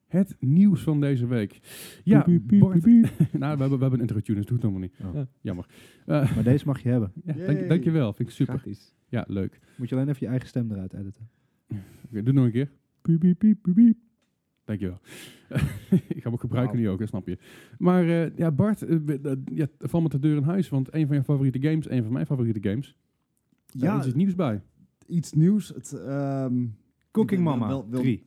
Het nieuws van deze week. Ja, Bart, nou, we hebben, we hebben een intro tune, dus doet het helemaal niet. Oh. Ja, Jammer. Eh, Maar deze mag je hebben. ja, Yay. dank, dankjewel, vind ik super. Gratis. Ja, leuk. Moet je alleen even je eigen stem eruit editen. Oké, doe nog een keer. Dankjewel. ik ga hem ook gebruiken nu ook, hè, snap je. Maar eh, ja, Bart, eh, we- eh, ja, val met de deur in huis, want een van je favoriete games, een van mijn favoriete games, daar Ja, is het nieuws bij. iets nieuws. Het, ehm, Cooking ik ben Mama wel- Oh. wel- 3.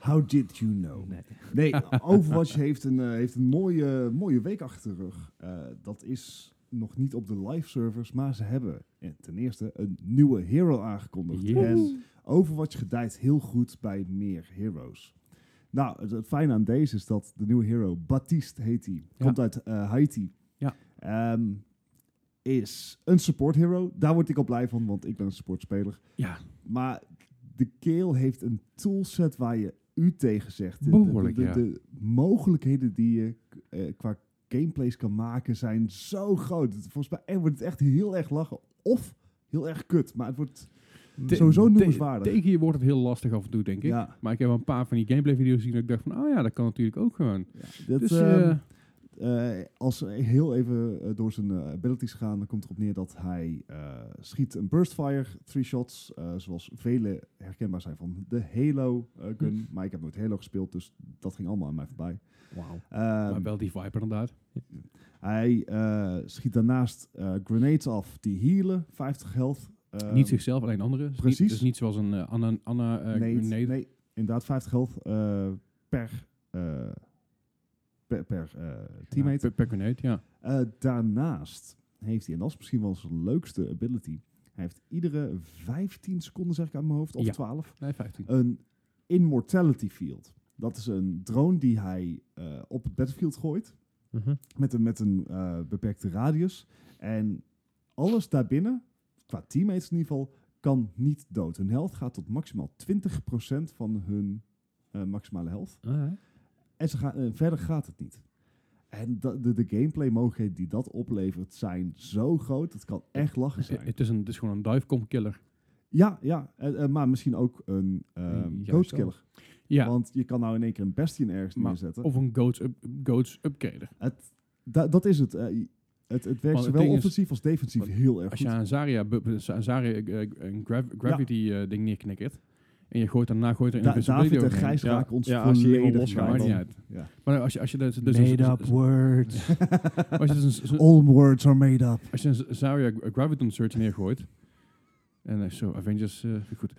How did you know? Nee. Nee, Overwatch heeft een, eh, heeft een mooie, mooie week achter de rug. Eh, dat is nog niet op de live servers, maar ze hebben eh, ten eerste een nieuwe hero aangekondigd. Yes. En Overwatch gedijt heel goed bij meer heroes. Nou, het, het fijne aan deze is dat de nieuwe hero, Baptiste heet hij, Ja. komt uit eh, Haiti. Ja. Ehm, is een support hero. Daar word ik al blij van, want ik ben een supportspeler. Ja. Maar de keel heeft een toolset waar je u tegen zegt. De- Behoorlijk, de, de, ja. de mogelijkheden die je eh, qua gameplays kan maken zijn zo groot. Het- Volgens mij wordt het echt heel erg lachen of heel erg kut. Maar het wordt Te- sowieso te- noemenswaardig. Tegen je wordt het heel lastig af en toe, denk ik. Ja, Maar ik heb wel een paar van die gameplay video's gezien dat ik dacht van, oh ja, dat kan natuurlijk ook gewoon. ja, dat, dus ehm, eh, eh, als we heel even eh, door zijn eh, abilities gaan, dan komt erop neer dat hij eh, schiet een burstfire, three shots, eh, zoals vele herkenbaar zijn van de Halo eh, gun. Hm. Maar ik heb nooit Halo gespeeld, dus dat ging allemaal aan mij voorbij. Wauw. Ehm, maar wel die vibe inderdaad. Hij eh, schiet daarnaast eh, grenades af die healen, 50 health. Ehm, niet zichzelf, alleen anderen. Dus precies. Niet, dus niet zoals een eh, Anna, Anna eh, nee, grenade. nee, inderdaad 50 health eh, per, eh, per, per eh, teammate. Ja, per, per grenade, ja. Eh, daarnaast heeft hij, en dat is misschien wel zijn leukste ability, hij heeft iedere 15 seconden, zeg ik uit mijn hoofd, of Ja. 12, Nee, 15. een immortality field. Dat is een drone die hij eh, op het battlefield gooit, Mhm. met een, met een eh, beperkte radius. En alles daarbinnen, qua teammates in ieder geval, kan niet dood. Hun health gaat tot maximaal 20% van hun eh, maximale health. Ah, En ze gaan, eh, verder gaat het niet. En da- de, de gameplay mogelijkheden die dat oplevert zijn zo groot. Het kan echt lachen Eh, zijn. Het is, een, het is gewoon een divecom killer. Ja, ja. eh, eh, maar misschien ook een ehm juist goat killer. Ja, Want je kan nou in één keer een Bastion ergens Maar- neerzetten. of een goats, up, goats upgrader. da- dat is het. eh, het, het werkt het zowel ding is- offensief als defensief Want heel erg Als je goed. aan Zarya, bu- bu- Za- Zarya eh, eh, een grav- gravity eh, ding neerknikkert en je gooit daarna gooit er Da- een invisibility David en overheen, Gijs Ja. raken ons Ja, als je iemand volledig losgaat, maakt kwijt. niet uit. Ja. Maar als je, als je dat- dus Made dus- up words. als je dus een- een- All words are made up. Als je een Zarya Gra- eh, Graviton Search neergooit. En eh, zo, Avengers, eh, goed.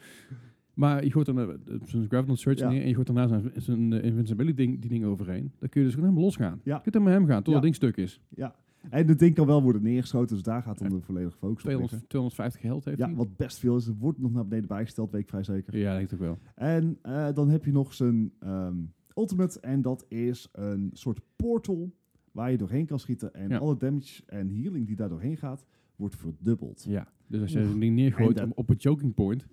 Maar je gooit dan eh, zo'n Graviton Search Ja. neer en je gooit daarna zijn, zijn eh, Invincibility ding, die ding overheen. Dan kun je dus gewoon helemaal losgaan. Ja. Je kunt helemaal hem gaan, tot Ja. dat ding stuk is. Ja. En het ding kan wel worden neergeschoten, dus daar gaat dan de volledige focus op 200, liggen. 250 geld heeft Ja, hij. wat best veel is. Het wordt nog naar beneden bijgesteld, weet ik vrij zeker. Ja, dat denk ik wel. En eh, dan heb je nog zijn ehm, ultimate. En dat is een soort portal waar je doorheen kan schieten. En Ja. alle damage en healing die daar doorheen gaat, wordt verdubbeld. Ja. Dus als je Oef. zo'n ding En neergooit dat- op- op het choking point,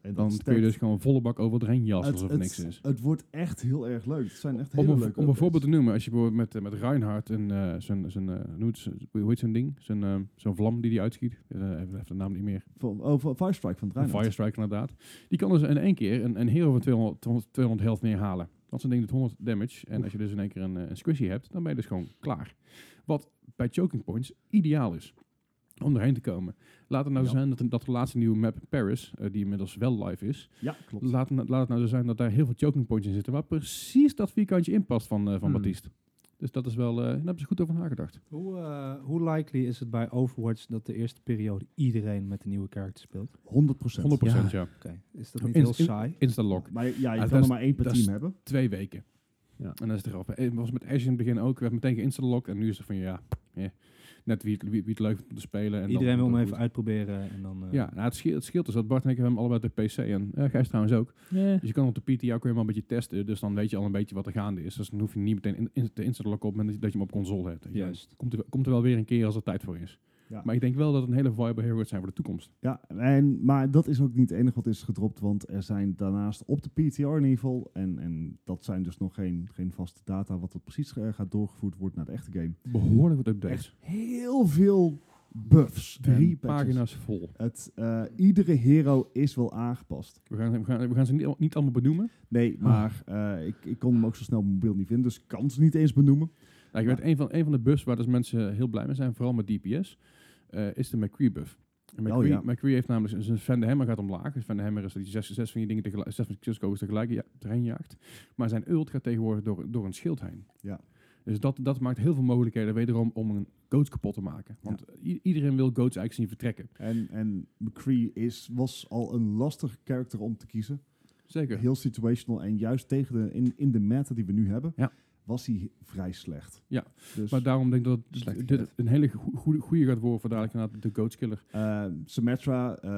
En dat dan sterkt. kun je dus gewoon volle bak over het heen jassen het, alsof het, er niks is. het wordt echt heel erg leuk. Het zijn echt Om hele een, leuke om een updates. voorbeeld te noemen, als je bijvoorbeeld met, eh, met Reinhardt en eh, zijn, zijn, eh, hoe heet ze- hoe heet zo'n ding? Zijn, eh, Zo'n vlam die die uitschiet. Eh, even, even de naam niet meer. Van, oh, van Firestrike van Een Draenor. Firestrike inderdaad. Die kan dus in één keer een, een hero van 200, 200, 200 health neerhalen. Dat is een ding dat 100 damage. En als je dus in één keer een, eh, een squishy hebt, dan ben je dus gewoon klaar. Wat bij choking points ideaal is. Om erheen te komen. Laat het nou zo Ja. zijn dat, dat de laatste nieuwe map Paris, eh, die inmiddels wel live is. Ja, klopt. Laat, het- laat het nou zo zijn dat daar heel veel choking points in zitten. Waar precies dat vierkantje in past van, eh, van Hmm. Baptiste. Dus dat is wel, eh, daar hebben ze goed over nagedacht. Hoe, eh, hoe likely is het bij Overwatch dat de eerste periode iedereen met de nieuwe karakter speelt? 100 100% ja. Oké, is dat niet In- heel in- saai? Insta-lock. Maar ja, je Ah, kan dat er is- maar één per dat team is- hebben. twee weken. Ja. En dat is eraf. Eh, Het was met Ashe in het begin ook. We hebben meteen geïnstalleerd. En nu is het van ja, eh, net wie het, wie, wie het leuk vindt om te spelen. En dan Iedereen wil komt hem het even goed. uitproberen en dan... eh, Ja, nou, het, scheelt, het scheelt dus dat Bart en ik hebben hem allebei de PC en eh Gijs trouwens ook. Dus je kan op de PTA kun je hem al een beetje testen. Dus dan weet je al een beetje wat er gaande is. Dus dan hoef je niet meteen in, in, te installeren op het moment dat je hem op console hebt. weet je wel. Juist. Komt er, komt er wel weer een keer als er tijd voor is. Ja. Maar ik denk wel dat het een hele viable hero wordt zijn voor de toekomst. Ja, en, maar dat is ook niet het enige wat is gedropt, want er zijn daarnaast op de PTR in ieder geval, en, en dat zijn dus nog geen, geen vaste data wat er precies eh, gaat doorgevoerd wordt naar de echte game. Behoorlijk wat updates. Echt heel veel buffs. Drie En patches. pagina's vol. Het, eh, iedere hero is wel aangepast. We gaan, we gaan, we gaan ze niet, al- niet allemaal benoemen. Nee, maar eh, ik, ik kon hem ook zo snel op mijn mobiel niet vinden, dus ik kan ze niet eens benoemen. Nou, ik weet, een van, een van de buffs waar dus mensen heel blij mee zijn, vooral met DPS, eh, is de McCree buff. En McCree, Oh, ja. McCree heeft namelijk zijn Van de Hammer gaat omlaag. Dus Van de Hammer is dat hij zes, zes van die dingen tegelijk, zes van die kogels tegelijk ja, erheen jaagt. Maar zijn ult gaat tegenwoordig door, door een schild heen. Ja. Dus dat, dat maakt heel veel mogelijkheden wederom om een goats kapot te maken. Want i- iedereen wil goats eigenlijk zien vertrekken. En, en McCree is, was al een lastig karakter om te kiezen. Zeker. heel situational. En juist tegen de, in, in de meta die we nu hebben, Ja. was hij vrij slecht. Ja, Dus, Maar daarom denk ik dat Slecht dit dit een hele goe- goede, goede gaat worden voor dadelijk inderdaad de goats killer. eh, Symmetra, eh,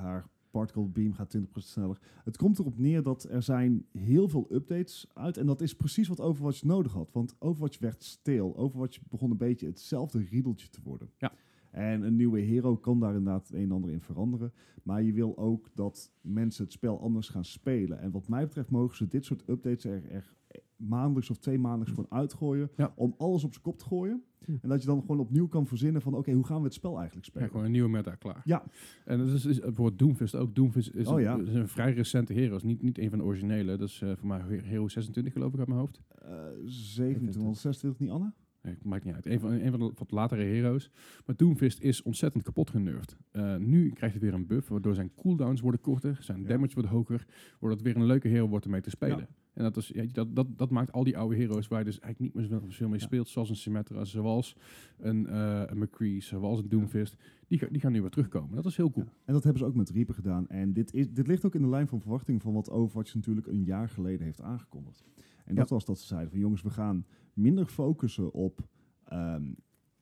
haar particle beam gaat 20% sneller. Het komt erop neer dat er zijn heel veel updates uit. En dat is precies wat Overwatch nodig had. Want Overwatch werd stil. Overwatch begon een beetje hetzelfde riedeltje te worden. Ja. En een nieuwe hero kan daar inderdaad het een en ander in veranderen. Maar je wil ook dat mensen het spel anders gaan spelen. En wat mij betreft mogen ze dit soort updates er, er maandelijks of twee maandelijks gewoon uitgooien. Ja. Hm. Om alles op zijn kop te gooien. En dat je dan gewoon opnieuw kan verzinnen van... oké, hoe gaan we het spel eigenlijk Ja, spelen? gewoon een nieuwe meta, klaar. Ja. En dat is, is bijvoorbeeld Doomfist ook. Doomfist is, Oh, een, ja. is een vrij recente hero. Is niet, niet een van de originele. Dat is eh, voor mij Hero 26 geloof ik uit mijn hoofd. Eh, 27, 26, niet Anne? Nee, maakt niet uit. Een van, een van de wat latere heroes. Maar Doomfist is ontzettend kapot genurfd. Eh, nu krijgt hij weer een buff, waardoor zijn cooldowns worden korter, zijn Ja. damage wordt hoger, waardoor het weer een leuke hero wordt om mee te spelen. Ja. En dat, is, ja, dat, dat, dat maakt al die oude heroes waar je dus eigenlijk niet meer zoveel, zoveel mee Ja. speelt, zoals een Symmetra, zoals een, eh, een McCree, zoals een Doomfist, die, ga- die gaan nu weer terugkomen. Dat is heel cool. Ja. En dat hebben ze ook met Reaper gedaan. En dit, is, dit ligt ook in de lijn van verwachting van wat Overwatch natuurlijk een jaar geleden heeft aangekondigd. En dat was dat ze zeiden van jongens, we gaan minder focussen op ehm,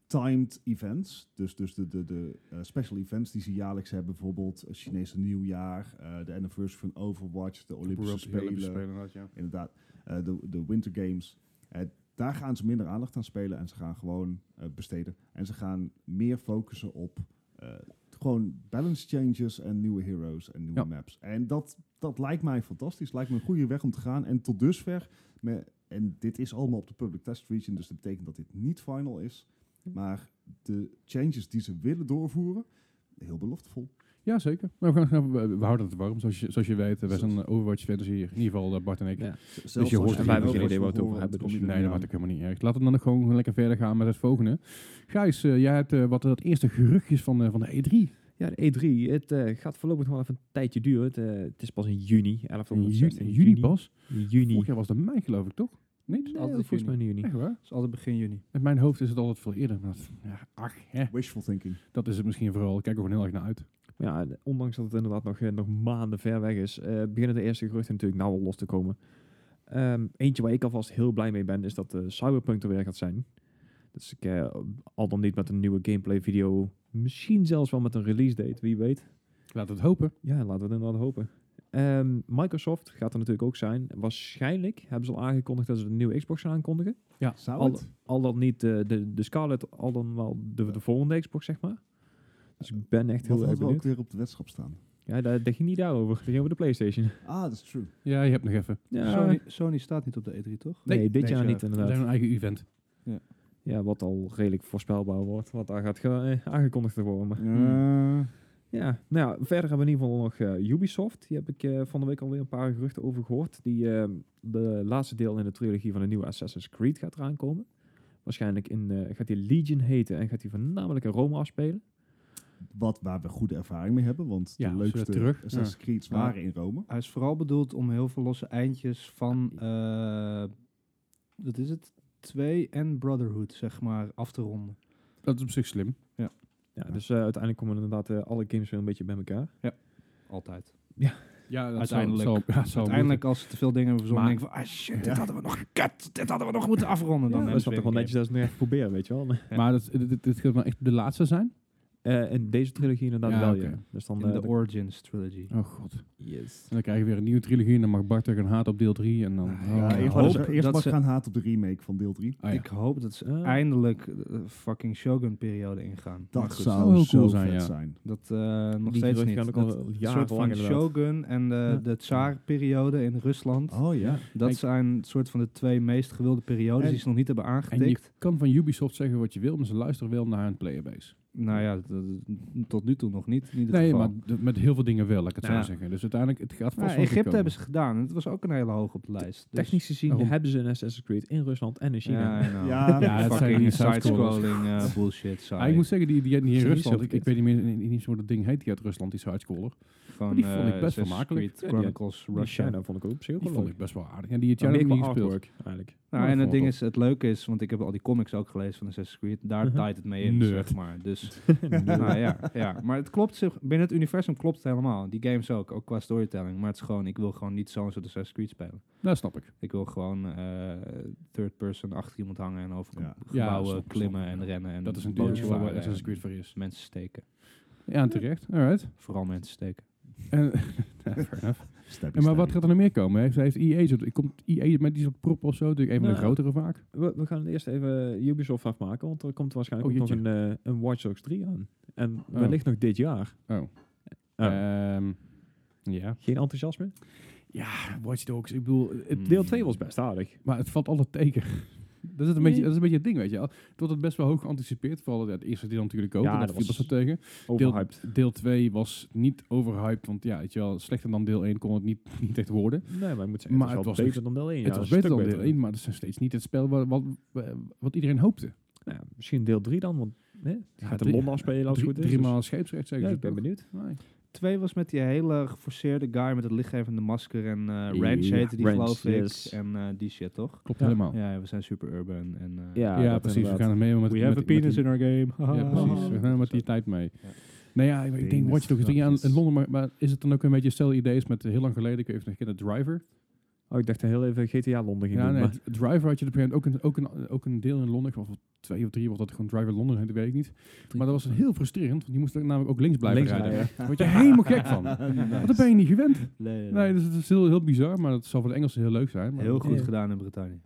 timed events. Dus, dus de, de, de eh, special events die ze jaarlijks hebben. Bijvoorbeeld het Chinese nieuwjaar, eh, de anniversary van Overwatch, de Olympische Bijvoorbeeld de Spelen. inderdaad, ja. inderdaad, eh, de, de Winter Games. Eh, daar gaan ze minder aandacht aan spelen en ze gaan gewoon eh, besteden. En ze gaan meer focussen op eh, gewoon balance changes en nieuwe heroes en nieuwe Ja. maps. En dat, dat lijkt mij fantastisch. Lijkt me een goede weg om te gaan. En tot dusver, me- en dit is allemaal op de public test region, dus dat betekent dat dit niet final is. Maar de changes die ze willen doorvoeren, heel beloftevol. Ja, zeker. Maar we, gaan, nou, we, we houden het warm, zoals je, zoals je weet. We zijn eh, Overwatch-fans hier. In ieder geval eh, Bart en ik. Ja. Zelfs Dus je als hoort en wij hebben ook geen idee wat waar we het over hoort, hebben, dus kom dus je Nee, dat er maakt niet ook helemaal niet erg. Laten we dan ook gewoon lekker verder gaan met het volgende. Gijs, eh, jij hebt eh, wat dat eerste geruchtjes van, eh, van de E3. Ja, de E3, het eh, gaat voorlopig nog wel even een tijdje duren. Het, eh, het is pas in juni, 11 In of ju- 16 in juni pas. Juni. Vorig jaar was dat mei, geloof ik, toch? Nee? Nee, altijd volgens mij in juni. Echt waar? is altijd begin juni. In mijn hoofd is het altijd veel eerder. Maar dat- ja, ach, hè. aan. Wishful thinking. dat is het misschien vooral. Ik kijk er gewoon heel erg naar uit. Ja, de- ondanks dat het inderdaad nog, eh, nog maanden ver weg is, eh, beginnen de eerste geruchten natuurlijk nou al los te komen. Ehm, eentje waar ik alvast heel blij mee ben, is dat eh, Cyberpunk er weer gaat zijn. Dus ik, eh, al dan niet met een nieuwe gameplay video, misschien zelfs wel met een release date, wie weet. Laten we het hopen. Ja, laten we het inderdaad hopen. Ehm, Microsoft gaat er natuurlijk ook zijn. Waarschijnlijk hebben ze al aangekondigd dat ze een nieuwe Xbox gaan aankondigen. Zou Al, het? al dan niet eh, de, de Scarlett, al dan wel de, de volgende Xbox, zeg maar. Dus ik ben echt Wat heel erg hadden we ook benieuwd. weer op de wedstrijd staan? Ja, daar, daar ging niet daarover. Dat ging over de Playstation. Ah, dat is true. Ja, je hebt nog even. Ja, Sony, Sony staat niet op de E3, toch? nee, nee, dit deze jaar jaar. niet We zijn inderdaad. een eigen event. Ja, wat al redelijk voorspelbaar wordt. Wat daar gaat ge- eh, aangekondigd te worden. Maar, hmm. Hmm. Ja. Ja, nou ja, verder hebben we in ieder geval nog eh, Ubisoft. Die heb ik eh, van de week alweer een paar geruchten over gehoord. Die eh, de laatste deel in de trilogie van de nieuwe Assassin's Creed gaat eraan komen. Waarschijnlijk in, eh, gaat die Legion heten en gaat die voornamelijk in Rome afspelen. Wat waar we goede ervaring mee hebben, want Ja, de zullen we leukste terug? Assassin's Creed's Ja. waren in Rome. Hij is vooral bedoeld om heel veel losse eindjes van, eh wat is het, 2 en Brotherhood, zeg maar, af te ronden. Dat is op zich slim. Ja, Ja. Dus eh, uiteindelijk komen inderdaad eh, alle games weer een beetje bij elkaar. Altijd. Oh, Ja, dat Uiteindelijk. Zou, zou, ja, zou Uiteindelijk, als ze te veel dingen hebben verzonnen, Maar- denk ik van, ah shit, dit hadden we nog gekut, dit hadden we nog moeten afronden. Dan Ja, hebben dat ze toch weer wel een netjes dat ze het nog even proberen, weet je wel. Maar, moeten. Maar dat, dit, dit, dit gaat wel echt de laatste zijn? eh, in deze trilogie inderdaad Ja, wel, oké. ja. Dus dan... game. eh, In de de- Origins Trilogy. Oh god. En yes. dan krijg je weer een nieuwe trilogie en dan mag Bart er een haat op deel 3 en dan... Ah, oh, Ja, ik eerst hoop maar- dat eerst maar ze- gaan haat op de remake van deel 3. Ah, ja. Ik hoop dat ze Ah. eindelijk de fucking Shogun-periode ingaan. Maar Dat goed, zou heel zou cool zo zijn, vet ja. zijn. Dat eh, nog Die steeds geruchten niet. gaan ook Dat al een soort jarenlang van inderdaad. Shogun en de, Ja. de Tsaar-periode in Rusland. Oh ja. Dat Ik- zijn een soort van de twee meest gewilde periodes En- die ze nog niet hebben En je aangetikt. kan van Ubisoft zeggen wat je wil, maar ze luisteren wel naar hun playerbase. Nou ja, dat- dat- tot nu toe nog niet. In ieder Nee, geval. maar d- met heel veel dingen wel, laat ik het Ja. zo zeggen. Dus uiteindelijk, het gaat vast Nou, wel goed Egypte komen. hebben ze gedaan. en Het was ook een hele hoog op de lijst. Dus- Technisch gezien Waarom? hebben ze een Assassin's Creed in Rusland en in China. Dus Ja, I know. Ja, Ja, het zijn die fucking side-scrolling eh, bullshit. Ah, Saai. ik moet zeggen, die, die, die Is in niet zo Rusland, ik, ik verkeerd. weet niet meer in, in, in zo'n ding heet die uit Rusland, die sidescroller. Gewoon, die vond ik best eh, wel Assassin's makkelijk. Creed Ja, die- Chronicles Die Russia. China vond ik ook op zich ook Die wel vond leuk. ik best wel aardig. En die heb Maar jij nog meer niet qua gespeeld. artwork, eigenlijk. Nou, Ja, en vond het ik ding is, het leuke is, want ik heb al die comics ook gelezen van Assassin's Creed, daar Mhm. taait het mee in, Nerd. zeg maar. Dus, nou ja, ja. Maar het klopt, zich- binnen het universum klopt het helemaal. Die games ook, ook qua storytelling. Maar het is gewoon, ik wil gewoon niet zo'n soort Assassin's Creed spelen. Dat snap ik. Ik wil gewoon eh, third person achter iemand hangen en over Ja. Ja, gebouwen snap ik, klimmen snap ik, en ja. rennen. En Dat is een bootje deeltje waar varen waar Assassin's en Creed voor is. Mensen steken. Ja, en terecht. Alright. Vooral mensen steken. En, en maar wat gaat er nog meer komen? Heeft, E, heeft EA, zo, komt EA met die soort prop of zo? Natuurlijk een van de Nou, grotere vaak. We, we gaan eerst even Ubisoft afmaken, want er komt waarschijnlijk Oh, ook nog een, eh, een Watch Dogs 3 aan. En Oh. wellicht nog dit jaar. Oh. Oh, Ehm, ja. geen enthousiasme? Ja, Watch Dogs. Ik bedoel, het, Deel 2 was best aardig. maar het valt altijd tegen. Dat is, een beetje, dat is een beetje het ding, weet je wel. Het wordt het best wel hoog geanticipeerd. Vooral ja, het eerste deel natuurlijk ook. Ja, en dat dat viel was- best wel tegen. Overhyped. Deel 2 was niet overhyped. Want ja, weet je wel, slechter dan deel 1 kon het niet, niet echt worden. Nee, maar ik moet zeggen, Maar het het was, wel was beter dan deel 1. het was beter dan deel 1, maar dat is nog steeds niet het spel wat, wat, wat iedereen hoopte. misschien deel 3 dan, want hè, het gaat in drie- Londen afspelen als het Drie, goed is. drie dus- maal scheepsrecht Ja, zeggen ik ben benieuwd. Twee was met die hele geforceerde guy met het lichtgevende masker en eh Ranch Ja, heette die Ranch, geloof ik. yes. En eh, die shit, toch? Klopt Ja. helemaal. Ja, Ja, we zijn super urban en... eh, dat precies. We inderdaad. gaan er mee met, We met, have a met penis die- in our game. Ja, precies. We gaan met die tijd mee. Ja. Nou ja, ik, ik denk Penis, Watch Dogs 3 aan grapjes. in Londen, maar, maar is het dan ook een beetje stel idee is met eh, heel lang geleden, ik weet even nog kennen, Driver? Oh, ik dacht heel even GTA Londen ging Ja, doen, nee, maar- d- Driver had je op een gegeven moment ook een, ook een, ook een deel in Londen, ik geloof wel twee of drie, wat dat gewoon Driver Londen heet, dat weet ik niet. Maar dat was heel frustrerend, want je moest namelijk ook links blijven Links rijden. blijven. Daar word je helemaal gek van. Want Nice. dat ben je niet gewend. Nee, Nee, dus het is heel, heel bizar, maar dat zal voor de Engelsen heel leuk zijn. Maar Heel goed Ja. gedaan in Brittannië.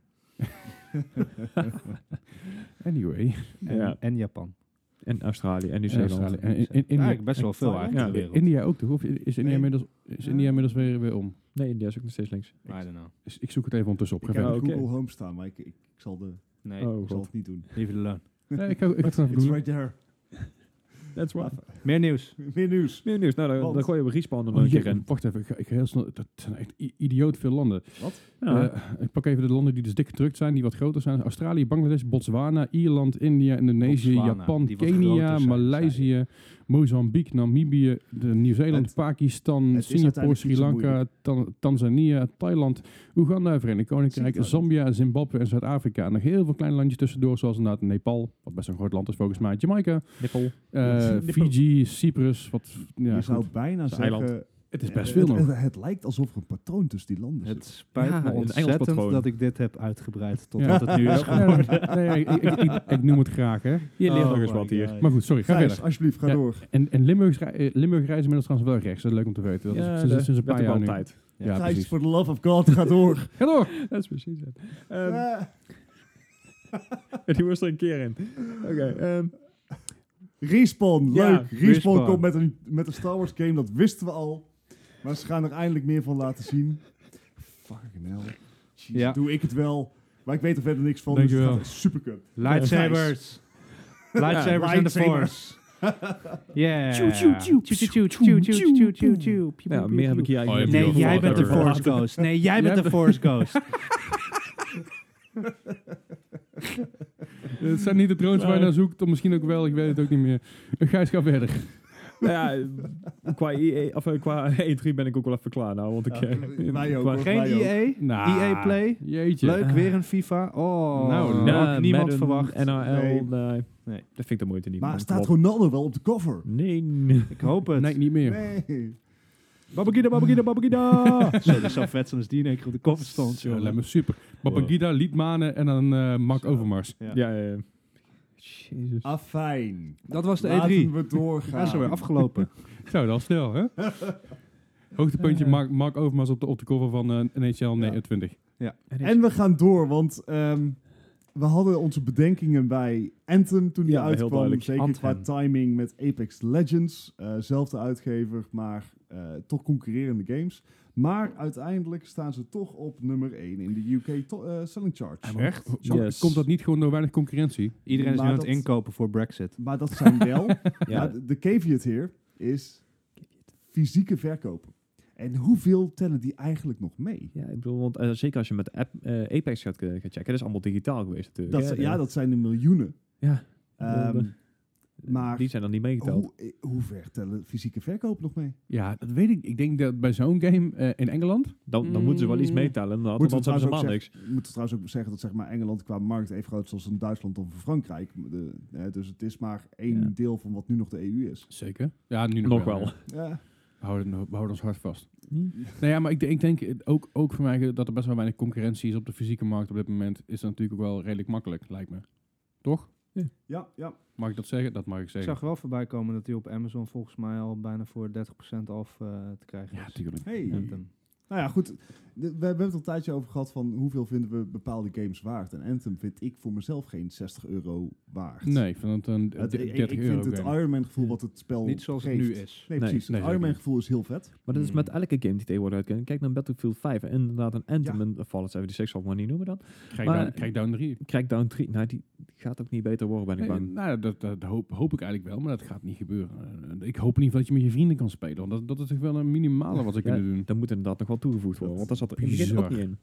Anyway. En, Ja. en Japan. En Australië en En Nieuw-Zeeland. Australië. En in, in, Eigenlijk best wel veel eigenlijk in de India, wereld. India ook toch? Of is India Nee. inmiddels, is Ja. India inmiddels weer, weer om? Nee, India is ook nog steeds links. I don't know. Dus ik zoek het even ondertussen op. Ik Ga heb verder. Oh, Google oké. Home staan, maar ik, ik, ik zal, de, Nee, Oh ik zal god. het niet doen. leave it alone. Nee, ik ga ik ga het even It's doen. right there. Ja, That's right. Meer nieuws. Meer nieuws. Meer nieuws. Nou, dan, Want- dan gooi je op respawn er nog Oh, een jee, keer in. Wacht even, ik ga, ik ga heel snel. Dat zijn echt i- idioot veel landen. Ja. Eh, ik pak even de landen die dus dik gedrukt zijn, die wat groter zijn. Australië, Bangladesh, Botswana, Ierland, India, Indonesië, Botswana, Japan, die wat groter Kenia, zijn, Maleisië, Mozambique, Namibië, de Nieuw-Zeeland, Het- Pakistan, het is Singapore, uiteindelijk Sri niet zo Lanka, Tan- Tanzania, Thailand, Oeganda, Verenigd Koninkrijk, Ziet dat. Zambia, Zimbabwe en Zuid-Afrika. En nog heel veel kleine landjes tussendoor, zoals inderdaad Nepal, wat best een groot land is volgens mij, Jamaica, Nippel. eh, Ja, Fiji, Cyprus, wat... Ja, je goed. zou bijna Het is een zeggen... het is best eh, veel nog. het, het, het lijkt alsof er een patroon tussen die landen Het zit. spijt Ja, een me Engels ontzettend patroon. dat ik dit heb uitgebreid tot Ja. wat het nu is geworden. Ja, nee, nee, ik, ik, ik, ik noem het graag, hè. Je leert Oh nog eens my wat hier. God. Maar goed, sorry, ga Gijs, verder. alsjeblieft, ga Ja. door. En, en Limburg, rij- eh, Limburg rijdt inmiddels trouwens wel rechts. Dat is leuk om te weten. Dat is sinds, sinds een paar jaar nu. tijd. Ja, Gijs, precies. for the love of God, ga door. Ga door! Dat is precies het. Ehm, Eh, Die moest er een keer in. Oké. ehm, Respawn, Ja, leuk. Respawn, Respawn. komt met een, met een Star Wars game, dat wisten we al. Maar ze gaan er eindelijk meer van laten zien. Fucking hell. Jeez, Ja. Doe ik het wel. Maar ik weet er verder niks van, dus het Dankjewel. gaat super kut. Lightsabers. Lightsabers in the lightsaber. Force. Yeah. Tjoe, tjoe, tjoe. Tjoe, tjoe, tjoe, tjoe, tjoe, tjoe, tjoe, tjoe. Piep, Nou, piep, meer heb ik piep. hier eigenlijk Oh, je Nee, niet hebt over. jij Whatever. bent de Force Ghost. Nee, jij bent de Force Ghost. Het zijn niet de drones waar je naar zoekt. Of misschien ook wel, ik weet het ook niet meer. Eh, Gijs, ga verder. Nou ja, qua, EA, of, eh, qua E3 ben ik ook wel even klaar nou. Want ik, Ja, eh, wij ook, qua- hoor. Geen E Mij ook. EA. Nou, EA Play. Jeetje. Leuk, weer een FIFA. Oh, Nou, nou, had Nah, niemand Madden, verwacht. NRL, Nee. eh, nee. Nee. Dat vind ik de moeite niet. Maar man. staat Kom op. Ronaldo wel op de cover? Nee. nee. Ik hoop het. Nee, niet meer. Nee. Babagida, babagida, babagida. Zo, dat zou vet zijn als die in één keer op de koffer stond. Zo, joh. lijkt me super. Babangida, Liedmanen en dan eh Mark Zo. Overmars. Ja. Ja, ja, Ah, ja. Jezus. Afijn. Dat was de Laten E3. we Ja, doorgaan. zo weer afgelopen. Zo, dan snel, hè? Hoogtepuntje Ja. Mark, Mark Overmars op de, op de cover van eh, NHL 29. En we gaan door, want ehm, we hadden onze bedenkingen bij Anthem toen die Ja, heel uitkwam. duidelijk. Zeker Anthem. qua timing met Apex Legends. eh, zelfde uitgever, maar eh, toch concurrerende games. Maar uiteindelijk staan ze toch op nummer 1 in de UK to- eh, selling charts. Echt? Zo, Yes. Komt dat niet gewoon door weinig concurrentie? Iedereen is nu Maar aan het dat- inkopen voor Brexit. Maar dat zijn wel. Ja. maar de caveat hier is fysieke verkopen. En hoeveel tellen die eigenlijk nog mee? Ja, ik bedoel, want eh, zeker als je met de app, eh, Apex gaat, eh, gaat checken, dat is allemaal digitaal geweest natuurlijk. Dat, hè. zijn- ja, dat zijn de miljoenen. Ja. Ehm, Eh, maar- Die zijn dan niet meegeteld. hoe, eh, hoe ver tellen fysieke verkopen nog mee? Ja, dat weet ik. Ik denk dat bij zo'n game eh, in Engeland... Dan, dan moeten ze wel iets Mm. meetellen, inderdaad, want Moeten we anders hebben ze trouwens ook helemaal niks. zeggen- moeten we trouwens ook zeggen dat zeg maar, Engeland qua markt even groot is als een Duitsland of een Frankrijk. De, hè, dus het is maar één Ja. deel van wat nu nog de EU is. Zeker. Ja, nu nog, Nog wel. ja. Ja. We houden, we houden ons hard vast. Nou ja, maar ik, denk- ik denk eh, ook, ook voor mij dat er best wel weinig concurrentie is op de fysieke markt op dit moment. Is dat natuurlijk ook wel redelijk makkelijk, lijkt me. Toch? Ja, ja. Mag ik dat zeggen? Dat mag ik Ik zeggen. zag wel voorbij komen dat hij op Amazon volgens mij al bijna voor 30% af eh, te krijgen Ja, is. tuurlijk. Hey. Nou Anthem. ja, goed. De- We we hebben het al een tijdje over gehad van hoeveel vinden we bepaalde games waard. En Anthem vind ik voor mezelf geen 60 euro waard. Nee, van het een Het- ik, 30 ik euro vind het game. Iron Man gevoel wat het spel Niet zoals het geeft. nu is. Nee, Nee, precies. nee, het zeker Iron Man niet. gevoel is heel vet. Maar dat is met Mm. elke game die tegenwoordig uitkomt. Kijk naar Battlefield 5 en inderdaad een Anthem Ja. en eh, Fallout 76 zal ik maar niet noemen dan. Maar- Krijg down, down 3. Crackdown 3, nou die gaat ook niet beter worden ben ik Nee, bang. nou, dat, dat hoop, hoop ik eigenlijk wel, maar dat gaat niet gebeuren. Eh, Ik hoop in ieder geval dat je met je vrienden kan spelen. Want dat, dat is toch wel een minimale wat ze Ja, kunnen doen. Dat moet inderdaad nog wel toegevoegd worden, want dat zat er in het begin ook Bizar. niet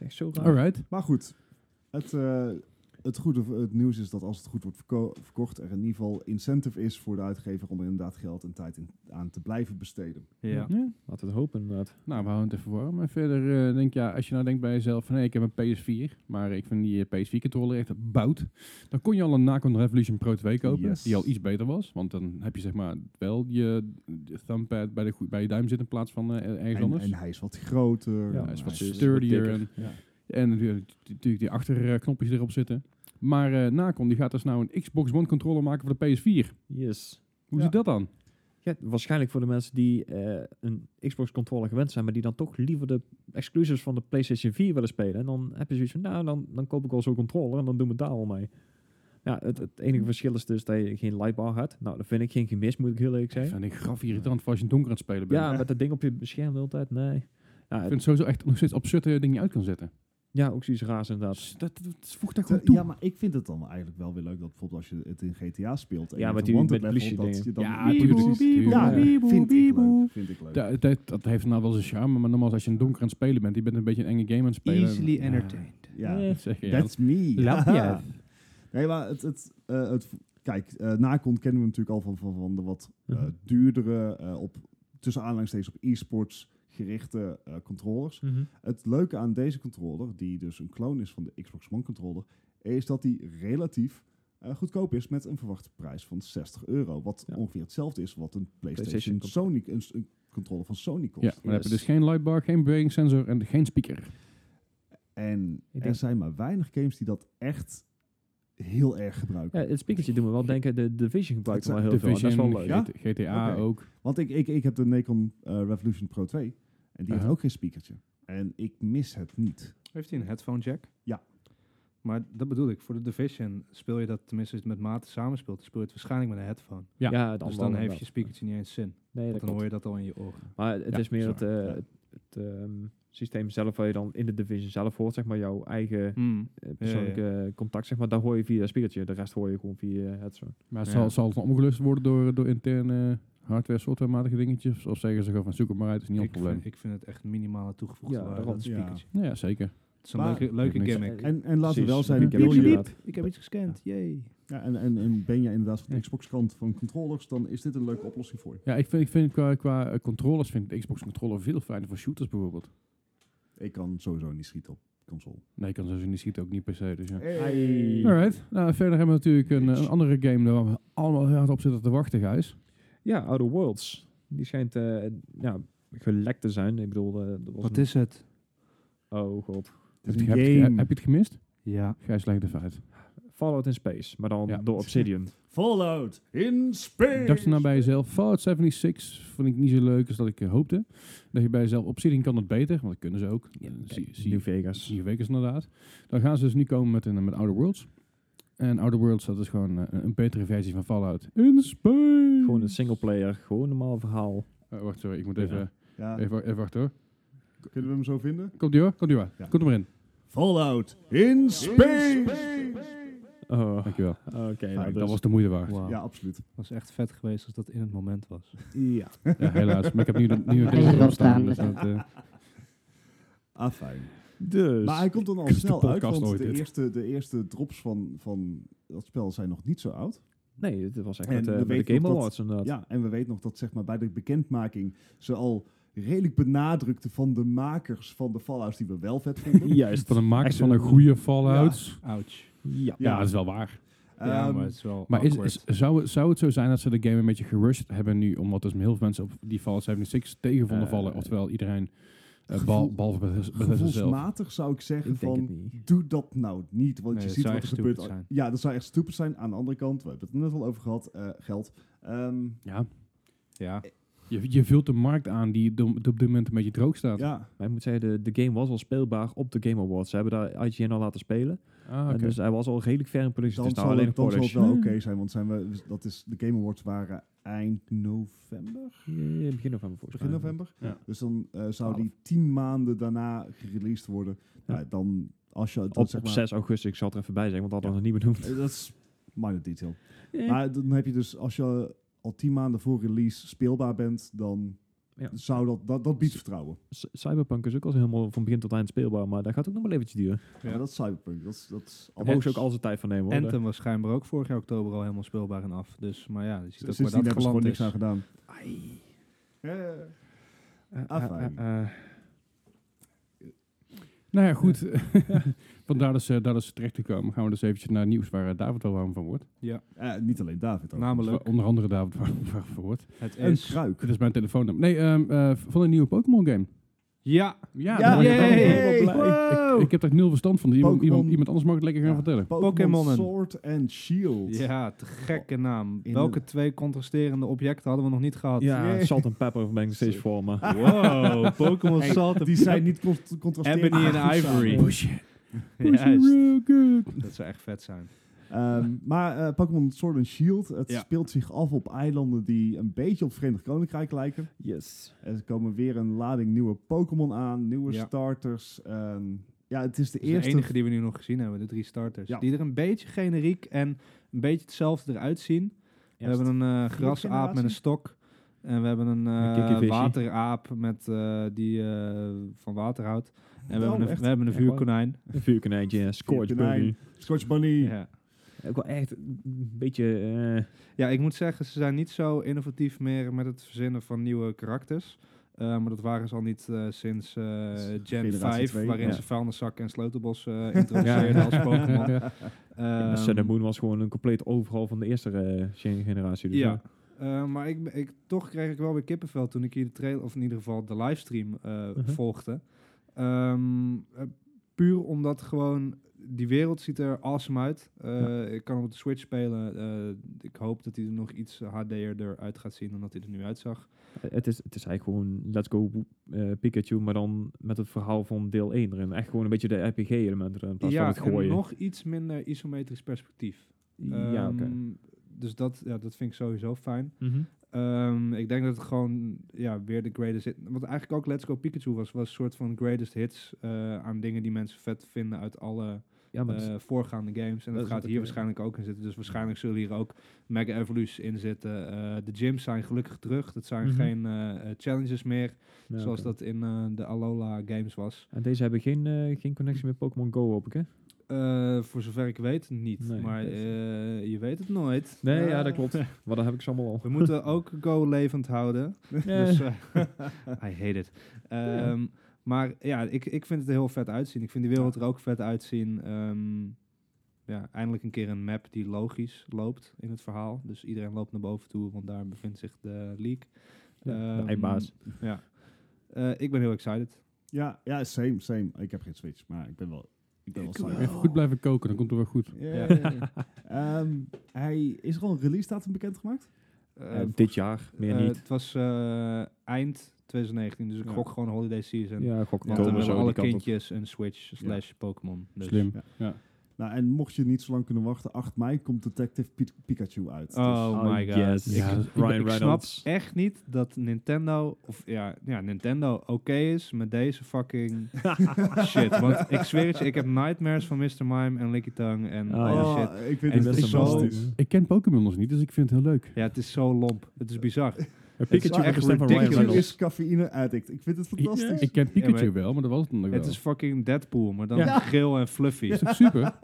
in. Echt zo raar. Alright. Maar goed, het, eh, het goede v- het nieuws is dat als het goed wordt verko- verkocht, er in ieder geval incentive is voor de uitgever om er inderdaad geld en tijd in, aan te blijven besteden. Ja. Laten we het hopen inderdaad. Nou, we houden het even warm. En verder eh, denk ja, als je nou denkt bij jezelf van hé, ik heb een PS4, maar ik vind die eh, PS4 controller echt bout. Dan kon je al een Nacon Revolution Pro 2 kopen, Yes. die al iets beter was. Want dan heb je zeg maar wel je thumbpad bij, de, goe- bij je duim zitten in plaats van eh, ergens En, anders. en hij is wat groter. Ja, hij is wat precies. sturdier Wat en, dikker, ja. en natuurlijk natuurlijk die achterknopjes erop zitten. Maar eh Nacon die gaat dus nou een Xbox One controller maken voor de PS4. Yes. Hoe Ja. zit dat dan? Ja, waarschijnlijk voor de mensen die eh, een Xbox controller gewend zijn, maar die dan toch liever de exclusives van de PlayStation 4 willen spelen. En dan heb je zoiets van, nou, dan, dan koop ik al zo'n controller en dan doen we het daar al mee. Ja, het, het enige verschil is dus dat je geen lightbar hebt. Nou, dat vind ik geen gemis, moet ik heel eerlijk Dat zeggen. vind ik graf irritant voor als je in het donker aan het spelen bent. Ja, met dat ding op je scherm de hele tijd, nee. Ja, Ik het- vind het sowieso echt nog steeds absurd dat je dat ding niet uit kan zetten. Ja, ook zoiets raars inderdaad. Dus Dat, dat, dat voegt daar Te- gewoon toe. Ja, maar ik vind het dan eigenlijk wel weer leuk dat bijvoorbeeld als je het in GTA speelt en Ja, met je hebt die- een wanted met level, politie dat je dan... Ja, Ja, tuurlijk, precies. tuurlijk. Ja, Ja. vind ik leuk. Vind ik leuk. Dat, dat, dat heeft nou wel zijn charme, maar normaal als je een donker aan het spelen bent, je bent een beetje een enge game aan het spelen. Easily Ja, entertained. Ja, dat zeg je, ja. that's me. Love Ja. Nee, maar het... het, eh, het kijk, eh Nacon kennen we natuurlijk al van, van, van de wat eh, Mhm. duurdere, eh, op, tussen aanhalingstekens op e-sports gerichte eh, controllers. Mhm. Het leuke aan deze controller, die dus een clone is van de Xbox One controller, is dat die relatief eh, goedkoop is met een verwachte prijs van 60 euro. Wat Ja. ongeveer hetzelfde is wat een PlayStation, PlayStation Sony, een, s- een controller van Sony kost. Ja, maar dan heb je Yes. dus geen lightbar, geen bewegingssensor en geen speaker. En Ik er denk- zijn maar weinig games die dat echt heel erg gebruiken. Ja, het speakertje doet me wel denken, de Division gebruikt Het wel heel Division, veel. en Dat is wel leuk. Ja? GT- GTA Oké. ook. Want ik, ik, ik heb de Nikon eh, Revolution Pro 2 en die Aha. heeft ook geen speakertje. En ik mis het niet. Heeft hij een headphone jack? Ja. Maar dat bedoel ik, voor de Division speel je dat, tenminste als je het met maten samenspeelt, dan speel je het waarschijnlijk met een headphone. Ja. Ja, het Dus andere dan heeft wel je inderdaad. speakertje niet eens zin. Nee, Want dat dan hoor klopt. je dat al in je oren. Maar het Ja, is meer sorry. het, eh, Ja. het, het, ehm, systeem zelf waar je dan in de Division zelf hoort, zeg maar, jouw eigen eh, persoonlijke eh, contact, zeg maar. Daar hoor je via het speakertje, de rest hoor je gewoon via eh, het zo. Maar het Ja. zal, zal het dan omgelust worden door, door interne hardware, softwarematige dingetjes? Of zeggen ze gewoon van zoek het maar uit, is niet een Ik, probleem. vind, ik vind het echt minimale toegevoegde Ja, waarde, daarom. dat Ja. speakertje. Ja, zeker. Het is een Maar- leuke, leuke Heeft niks- gimmick. Eh, En, en laten we wel Precies, zijn, ik heb wil ook je, inderdaad. Ik heb iets gescand, jee. ja, en, en, en ben je inderdaad van Ja. de Xbox kant van controllers, dan is dit een leuke oplossing voor je. Ja, ik vind, ik vind qua, qua eh, controllers vind ik de Xbox controller veel fijner voor shooters bijvoorbeeld. Ik kan sowieso niet schieten op console. Nee, ik kan sowieso niet schieten, ook niet per se. Dus ja. Hey. Alright. Nou, verder hebben we natuurlijk een, een andere game waar we allemaal heel hard op zitten te wachten, Gijs. Ja, Outer Worlds. Die schijnt eh, ja, gelekt te zijn. Ik bedoel, eh, er was Wat een- is het? Oh god. heb, Het is je een het ge- game. heb je het gemist? Ja. Gijs legt het uit. Fallout in Space, maar dan Ja. door Obsidian. Fallout in space. Dacht je nou bij jezelf, Fallout 76 vond ik niet zo leuk als dat ik eh, hoopte. Dat je bij jezelf, Obsidian kan het beter, want dat kunnen ze ook. Ja, Kijk, New Vegas. Vier weken is inderdaad. Dan gaan ze dus nu komen met, een, met Outer Worlds. En Outer Worlds, dat is gewoon eh, een betere versie van Fallout. In space! Gewoon een singleplayer, gewoon een normaal verhaal. Eh, wacht, sorry, ik moet Ja. even, Ja, even, even wachten hoor. kunnen we hem zo vinden? Komt ie hoor, komt ie hoor. Ja. Komt er maar in. Fallout in space. Oh, Dankjewel. oké. Fijn, nou, dat dus- was de moeite waard. Wauw. Ja, absoluut. was echt vet geweest als dat in het moment was. Ja. Ja, helaas. Maar ik heb nu, de, nu Hij deze is erop staan. opstaan. Dus dat, eh, Ah, fijn. Dus. Maar hij komt dan al Kutste snel uit, podcast want ooit de dit. eerste, de eerste drops van, van dat spel zijn nog niet zo oud. Nee, het was echt En met, eh, we met de weten Game nog dat- Awards inderdaad. Ja, en we weten nog dat zeg maar, bij de bekendmaking ze al redelijk benadrukten van de makers van de Fallouts die we wel vet vonden. Juist. van een maker Echt van een- een goede Fallout. Ja. Ouch. Ja. dat is wel waar. ja, Ehm, maar het is wel Maar is, awkward. is- zou, het, zou het zo zijn dat ze de game een beetje gerushed hebben nu? Omdat dus heel veel mensen op die Fallout 76 tegen vonden Eh, vallen. Oftewel iedereen, eh gevoel- bal, behalve Bethesda Bethesda zelf. Gevoelsmatig zou ik zeggen Ik denk van, het niet. doe dat nou niet. Want Nee, je dat ziet zou wat er echt gebeurt. stupid zijn. Ja, dat zou echt stupid zijn. Aan de andere kant, we hebben het er net al over gehad, eh, geld. Ehm, Ja, Ja. je, je vult de markt aan die do- op dit moment een beetje droog staat. ja, Maar ik moet zeggen, de, de game was al speelbaar op de Game Awards. Ze hebben daar IGN al laten spelen. Ah, En oké. dus hij was al redelijk ver in productie. dan Dus zal alleen het, nog dan zal het polish. wel oké zijn. Want zijn we, dat is, de Game Awards waren eind november, Ja, ja, begin november volgens begin mij. november. Ja. Dus dan eh, zou Twaalf. Nou, die tien maanden daarna gereleased worden. Ja. Nou, dan, als je dat Op, zeg op maar- 6 augustus, ik zal het er even bij zeggen, want dat hadden we nog niet benoemd. eh, dat is minor detail. Maar dan heb je dus, als je al tien maanden voor release speelbaar bent, dan Ja. zou dat, dat, dat biedt vertrouwen. C- Cyberpunk is ook al helemaal van begin tot eind speelbaar, maar dat gaat ook nog wel eventjes duren. Ja. Maar dat is Cyberpunk. Dat is, dat is Daar allemaal- mogen ze ook al zijn tijd van nemen. Hoor. Anthem was schijnbaar ook vorig jaar oktober al helemaal speelbaar en af. Dus, maar ja, je ziet ook Sindsdien waar dat hebben ze gewoon geland niks is. aan gedaan. Eh, eh, Ah, eh, fijn. eh, Nou ja, goed. Vandaar dat ze, dat ze terecht te komen. Gaan we dus eventjes naar nieuws waar eh, David wel warm van wordt. Eh, niet alleen David ook. Namelijk, Waar Onder andere David warm warm van wordt. het Een is... kruik. Dit is mijn telefoonnummer. Nee, ehm, eh, van een nieuwe Pokémon game. Ja! Ja, Ja, daar ben ik wel yay! blij. Hey, Ik- ik, ik, Wow! ik heb daar nul verstand van. Iemand, Pokémon. iemand, iemand anders mag het lekker gaan Ja. vertellen. Pokémonnen. Pokémon Sword and Shield. Ja, te gekke naam. In Welke de- twee contrasterende objecten hadden we nog niet gehad? ja, Jee. Salt and Pepper ben ik nog steeds voor, maar... Ah. Wow, Pokémon Hey, Salt. Die zijn niet cont- contrasterend. Ebony and goed samen. Ivory. Pushen. Juist. real good. Dat zou echt vet zijn. Ehm, maar eh, Pokémon Sword and Shield, het Ja. speelt zich af op eilanden die een beetje op het Verenigd Koninkrijk lijken. Yes. Er komen weer een lading nieuwe Pokémon aan, nieuwe Ja. starters. ehm, Ja, het is de Dat is de eerste. enige die we nu nog gezien hebben, de drie starters. Ja. Die er een beetje generiek en een beetje hetzelfde eruit zien. We hebben een eh, grasaap met een generatie. stok. En we hebben een eh, kikkervisje. wateraap met, eh, die eh, van water houdt. En we, Oh, hebben een, echt? we hebben een Echt waar? vuurkonijn. Een vuurkonijntje, ja, Scorch Vuurkonijn. Bunny. Scotch Bunny. Ja. Ook wel echt een beetje... eh, Ja, ik moet zeggen, ze zijn niet zo innovatief meer met het verzinnen van nieuwe karakters. Eh, maar dat waren ze al niet eh, sinds eh, Gen generatie 5, twee, waarin ja. ze vuilniszakken en sleutelbos eh introduceerden als Pokémon. ja, Ehm, Sun and Moon was gewoon een compleet overhaal van de eerste eh, gen- generatie. Dus ja. ja. Eh, maar ik, ben- ik, toch kreeg ik wel weer kippenvel toen ik hier de trailer, of in ieder geval de livestream eh, Uh-huh. Mhm. volgde. Ehm, eh, puur omdat gewoon die wereld ziet er awesome uit. Eh, Ik kan hem op de Switch spelen. Eh, ik hoop dat hij er nog iets HD'erder uit gaat zien dan dat hij er nu uitzag. Het, is, het is eigenlijk gewoon Let's Go eh, Pikachu, maar dan met het verhaal van deel 1 erin. Echt gewoon een beetje de RPG-elementen erin, in plaats ja, van het en gooien. nog iets minder isometrisch perspectief. Ja, oké. Ehm, Dus dat, ja, dat vind ik sowieso fijn. Mhm. Ehm, ik denk dat het gewoon ja, weer de greatest hit... Wat eigenlijk ook Let's Go Pikachu was, was een soort van greatest hits eh, aan dingen die mensen vet vinden uit alle Ja, maar Oh, dat is- eh, voorgaande games. En dat dat is gaat wat hier ik- waarschijnlijk ook in zitten. Dus waarschijnlijk zullen hier ook Mega Evolution in zitten. Eh, de gyms zijn gelukkig terug. Dat zijn Mhm. geen eh, eh, challenges meer, ja, zoals oké. dat in eh, de Alola games was. En deze hebben geen, eh, geen connectie met Pokémon Go, hoop ik, hè? Eh, voor zover ik weet, niet. Nee, maar dat is- eh, je weet het nooit. Nee, ja, Eh, dat klopt. Maar dat heb ik ze allemaal al. We moeten ook Go levend houden. Dus, eh, I hate it. Ehm, Maar ja, ik, ik vind het er heel vet uitzien. Ik vind die wereld er ook vet uitzien. Ehm, ja, eindelijk een keer een map die logisch loopt in het verhaal. Dus iedereen loopt naar boven toe, want daar bevindt zich de leak. Ja, de Ehm, eindbaas. Ja. Eh, ik ben heel excited. Ja, ja, same, same. Ik heb geen Switch, maar ik ben wel, ik ben wel Ik saai. Even goed blijven koken, dan komt het wel goed. Ja. Ehm, hij is er al een release datum bekendgemaakt? Eh, Eh, dit jaar, meer eh, niet. Het was eh, eind 2019, dus ik Ja. gok gewoon holiday season. Ja, gok want eh, Want dan oktober dan willen zo hebben die alle kant op. kindjes een Switch slash Pokémon. Dus. Slim. Ja. Ja. Nou, en mocht je niet zo lang kunnen wachten, 8 mei komt Detective Pi- Pikachu uit. Dus- Oh, Oh, my god. yes. Ik- Ja, Ryan ik- ik snap Ik snap Reynolds. echt niet dat Nintendo, of ja, ja Nintendo oké is met deze fucking shit. Want ik zweer het je, ik heb nightmares van Mr. Mime en Licky Tongue en Ah, al Oh, die ja. shit. ik vind En het het echt is zo- fantastisch. Ik ken Pokémon nog niet, dus ik vind het heel leuk. Ja, het is zo lomp. Het is bizar. Eh, Het is Pikachu heeft echt de stem van Ryan ridiculous. Pikachu Reynolds. is cafeïne addict. Ik vind het fantastisch. Ik ken Pikachu maar- wel, maar dat was het dan ook wel. Het is fucking Deadpool, maar dan Ja. geel en fluffy. Is toch super?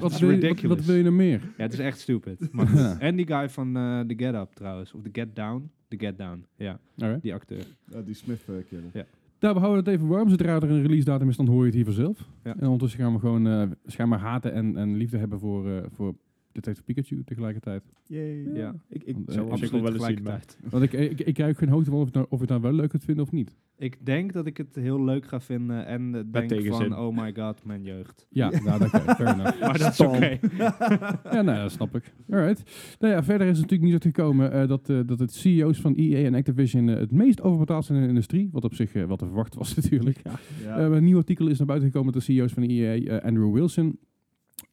wat, is wil je, wat, ridiculous. wat wil je nou meer? Ja, het is echt stupid. Maar Ja. goed. En die guy van eh The Get Up trouwens, of The Get Down. The Get Down, ja, Alright. die acteur. Ja, die Smith eh, kerel. Nou, we houden het even warm. Zodra er een release datum is, dan hoor je het hier vanzelf. Ja. En ondertussen gaan we gewoon eh, schijnbaar haten en, en liefde hebben voor, eh, voor Detective Pikachu tegelijkertijd. Yay. Ja. Ik, ik Want, eh, zou absoluut Absoluut wel eens zien, maar... tegelijkertijd. Want ik, ik, ik krijg geen hoogte van of, het nou, of ik het nou wel leuk het vinden of niet. Ik denk dat ik het heel leuk ga vinden en eh, denk tegenzin. van, oh my god, mijn jeugd. Ja, nou, oké, fair enough. Maar dat is oké. Ja, nou, dat snap ik. Alright. Nou ja, verder is het natuurlijk niet zo gekomen eh, dat, eh, dat het CEO's van EA en Activision eh, het meest overbetaald zijn in de industrie. Wat op zich eh, wat te verwachten was natuurlijk. Ja. Eh, een nieuw artikel is naar buiten gekomen met de CEO's van EA, eh, Andrew Wilson.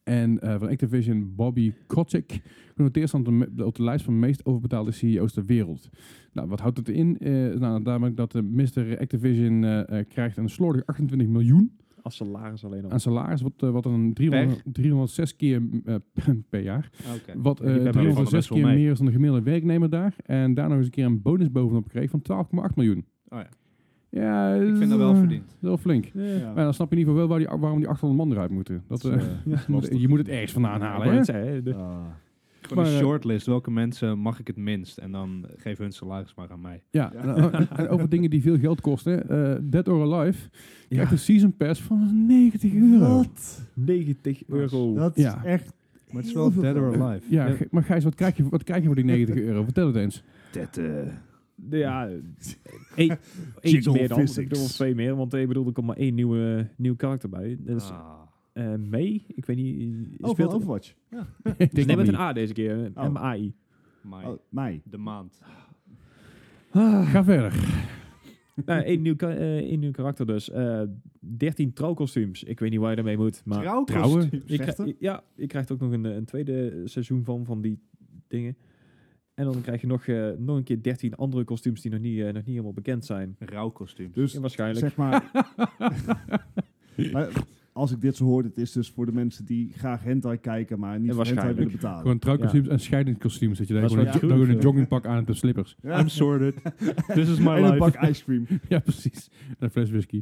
En eh, van Activision, Bobby Kotick. Genoteerd staan op de, me- op de lijst van de meest overbetaalde CEO's ter wereld. Nou, wat houdt het in? Eh nou, namelijk dat de Mr. Activision eh, eh, krijgt een slordig 28 miljoen Als salaris alleen al. aan salaris. Wat, eh, wat een 300, 306 keer eh, per jaar. Oké. Wat eh ben wel van de 306 best wel keer mee. meer is dan de gemiddelde werknemer daar. En daar nog eens een keer een bonus bovenop kreeg van 12,8 miljoen. Oh ja. Ja, Ik vind dat wel verdiend. Heel flink. Ja. Maar dan snap je in ieder geval wel waar die, waarom die 800 man eruit moeten. Dat, Dat is, eh, eh, moet- je moet het ergens vandaan halen. Hè? ah. Gewoon Maar, een eh, shortlist. Welke mensen mag ik het minst? En dan eh, geef hun salaris maar aan mij. Ja, Ja. nou, en- en over dingen die veel geld kosten. eh, Dead or Alive krijgt Ja. een season pass van 90 euro. Wat? 90 euro. Dat Ja. is echt... Maar het is heel wel veel dead or geld. alive. Ja, G- maar Gijs, wat krijg, je, wat krijg je voor die 90 euro? Vertel het eens. Ja, eh, één- eentje Jigsaw meer dan. physics. Ik bedoel, of twee meer, want eh, ik bedoel, er komt maar één nieuwe, nieuw karakter bij. Dat is Ah. eh, May, ik weet niet. eh, Oh, speelt van Overwatch. Ik denk Nee, dat met een niet. A deze keer. een Oh. M-A-I. Mei. Oh, mei. De maand. Ah, Ga verder. nou, één nieuw, ka- eh, één nieuw karakter dus. Eh 13 trouwkostuums. Ik weet niet waar je daarmee moet, maar... Trouwen. Je Zegt krij- het? ja, je krijgt ook nog een, eh, een tweede seizoen van, van die dingen. En dan krijg je nog, eh, nog een keer 13 andere kostuums die nog niet, eh, nog niet helemaal bekend zijn. Rauwkostuum. Dus Ja, waarschijnlijk. zeg maar... Maar als ik dit zo hoor, het is dus voor de mensen die graag hentai kijken, maar niet En voor hentai willen waarschijnlijk. betalen. Gewoon trouwkostuums en scheidingskostuums. Dat je daar Dat is gewoon wel een jo- goed, gewoon een ja. joggingpak aan en de slippers. Ja. I'm sorted. This is my en een life. bak ice cream. Ja, precies. En een fles whisky.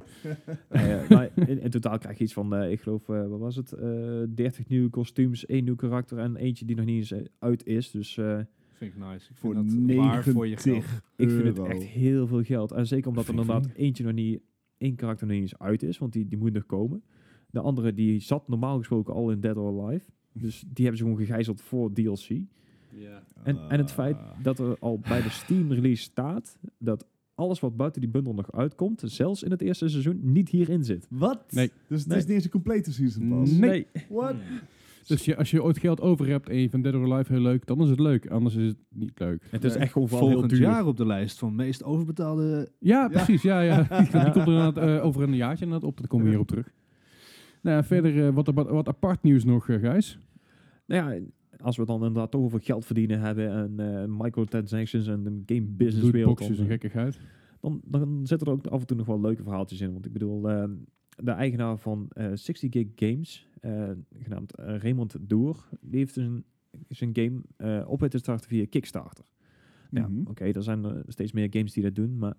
Nou ja, maar in, in totaal krijg je iets van, eh, ik geloof, eh, wat was het? eh 30 nieuwe kostuums, één nieuw karakter en eentje die nog niet eens eh, uit is. Dus eh, Vind ik nice. Ik Voor vind dat waar voor je geld. 90 ik vind Euro. het echt heel veel geld. En zeker omdat er Vind ik inderdaad eentje nog niet, één karakter nog niet eens uit is, want die, die moet nog komen. De andere die zat normaal gesproken al in Dead or Alive. Dus die hebben ze gewoon gegijzeld voor DLC. En, en het feit dat er al bij de Steam release staat dat alles wat buiten die bundel nog uitkomt, zelfs in het eerste seizoen, niet hierin zit. Wat? Nee. Dus het Nee. is niet eens een complete season pass. Nee. What? Dus je, als je ooit geld over hebt en je vindt Dead or Alive heel leuk, dan is het leuk. Anders is het niet leuk. Het is Nee. echt gewoon vooral heel Volgend duur. jaar op de lijst van meest overbetaalde... Ja, precies. Ja, ja. Die komt er inderdaad, eh, over een jaartje inderdaad op. Daar komen we hier op terug. Nou, ja, verder eh, wat, apa- wat apart nieuws nog, eh, Gijs. Nou ja, als we dan inderdaad toch over geld verdienen hebben en eh, microtransactions en de game business wereld, Lootboxes en dan, gekkigheid. dan, dan zitten er ook af en toe nog wel leuke verhaaltjes in. Want ik bedoel, eh, de eigenaar van eh 60 Gig Games, eh, genaamd eh, Raymond Doer, die heeft zijn, zijn game eh, op weten te starten via Kickstarter. Nou Mhm. Ja, oké, er zijn er steeds meer games die dat doen, maar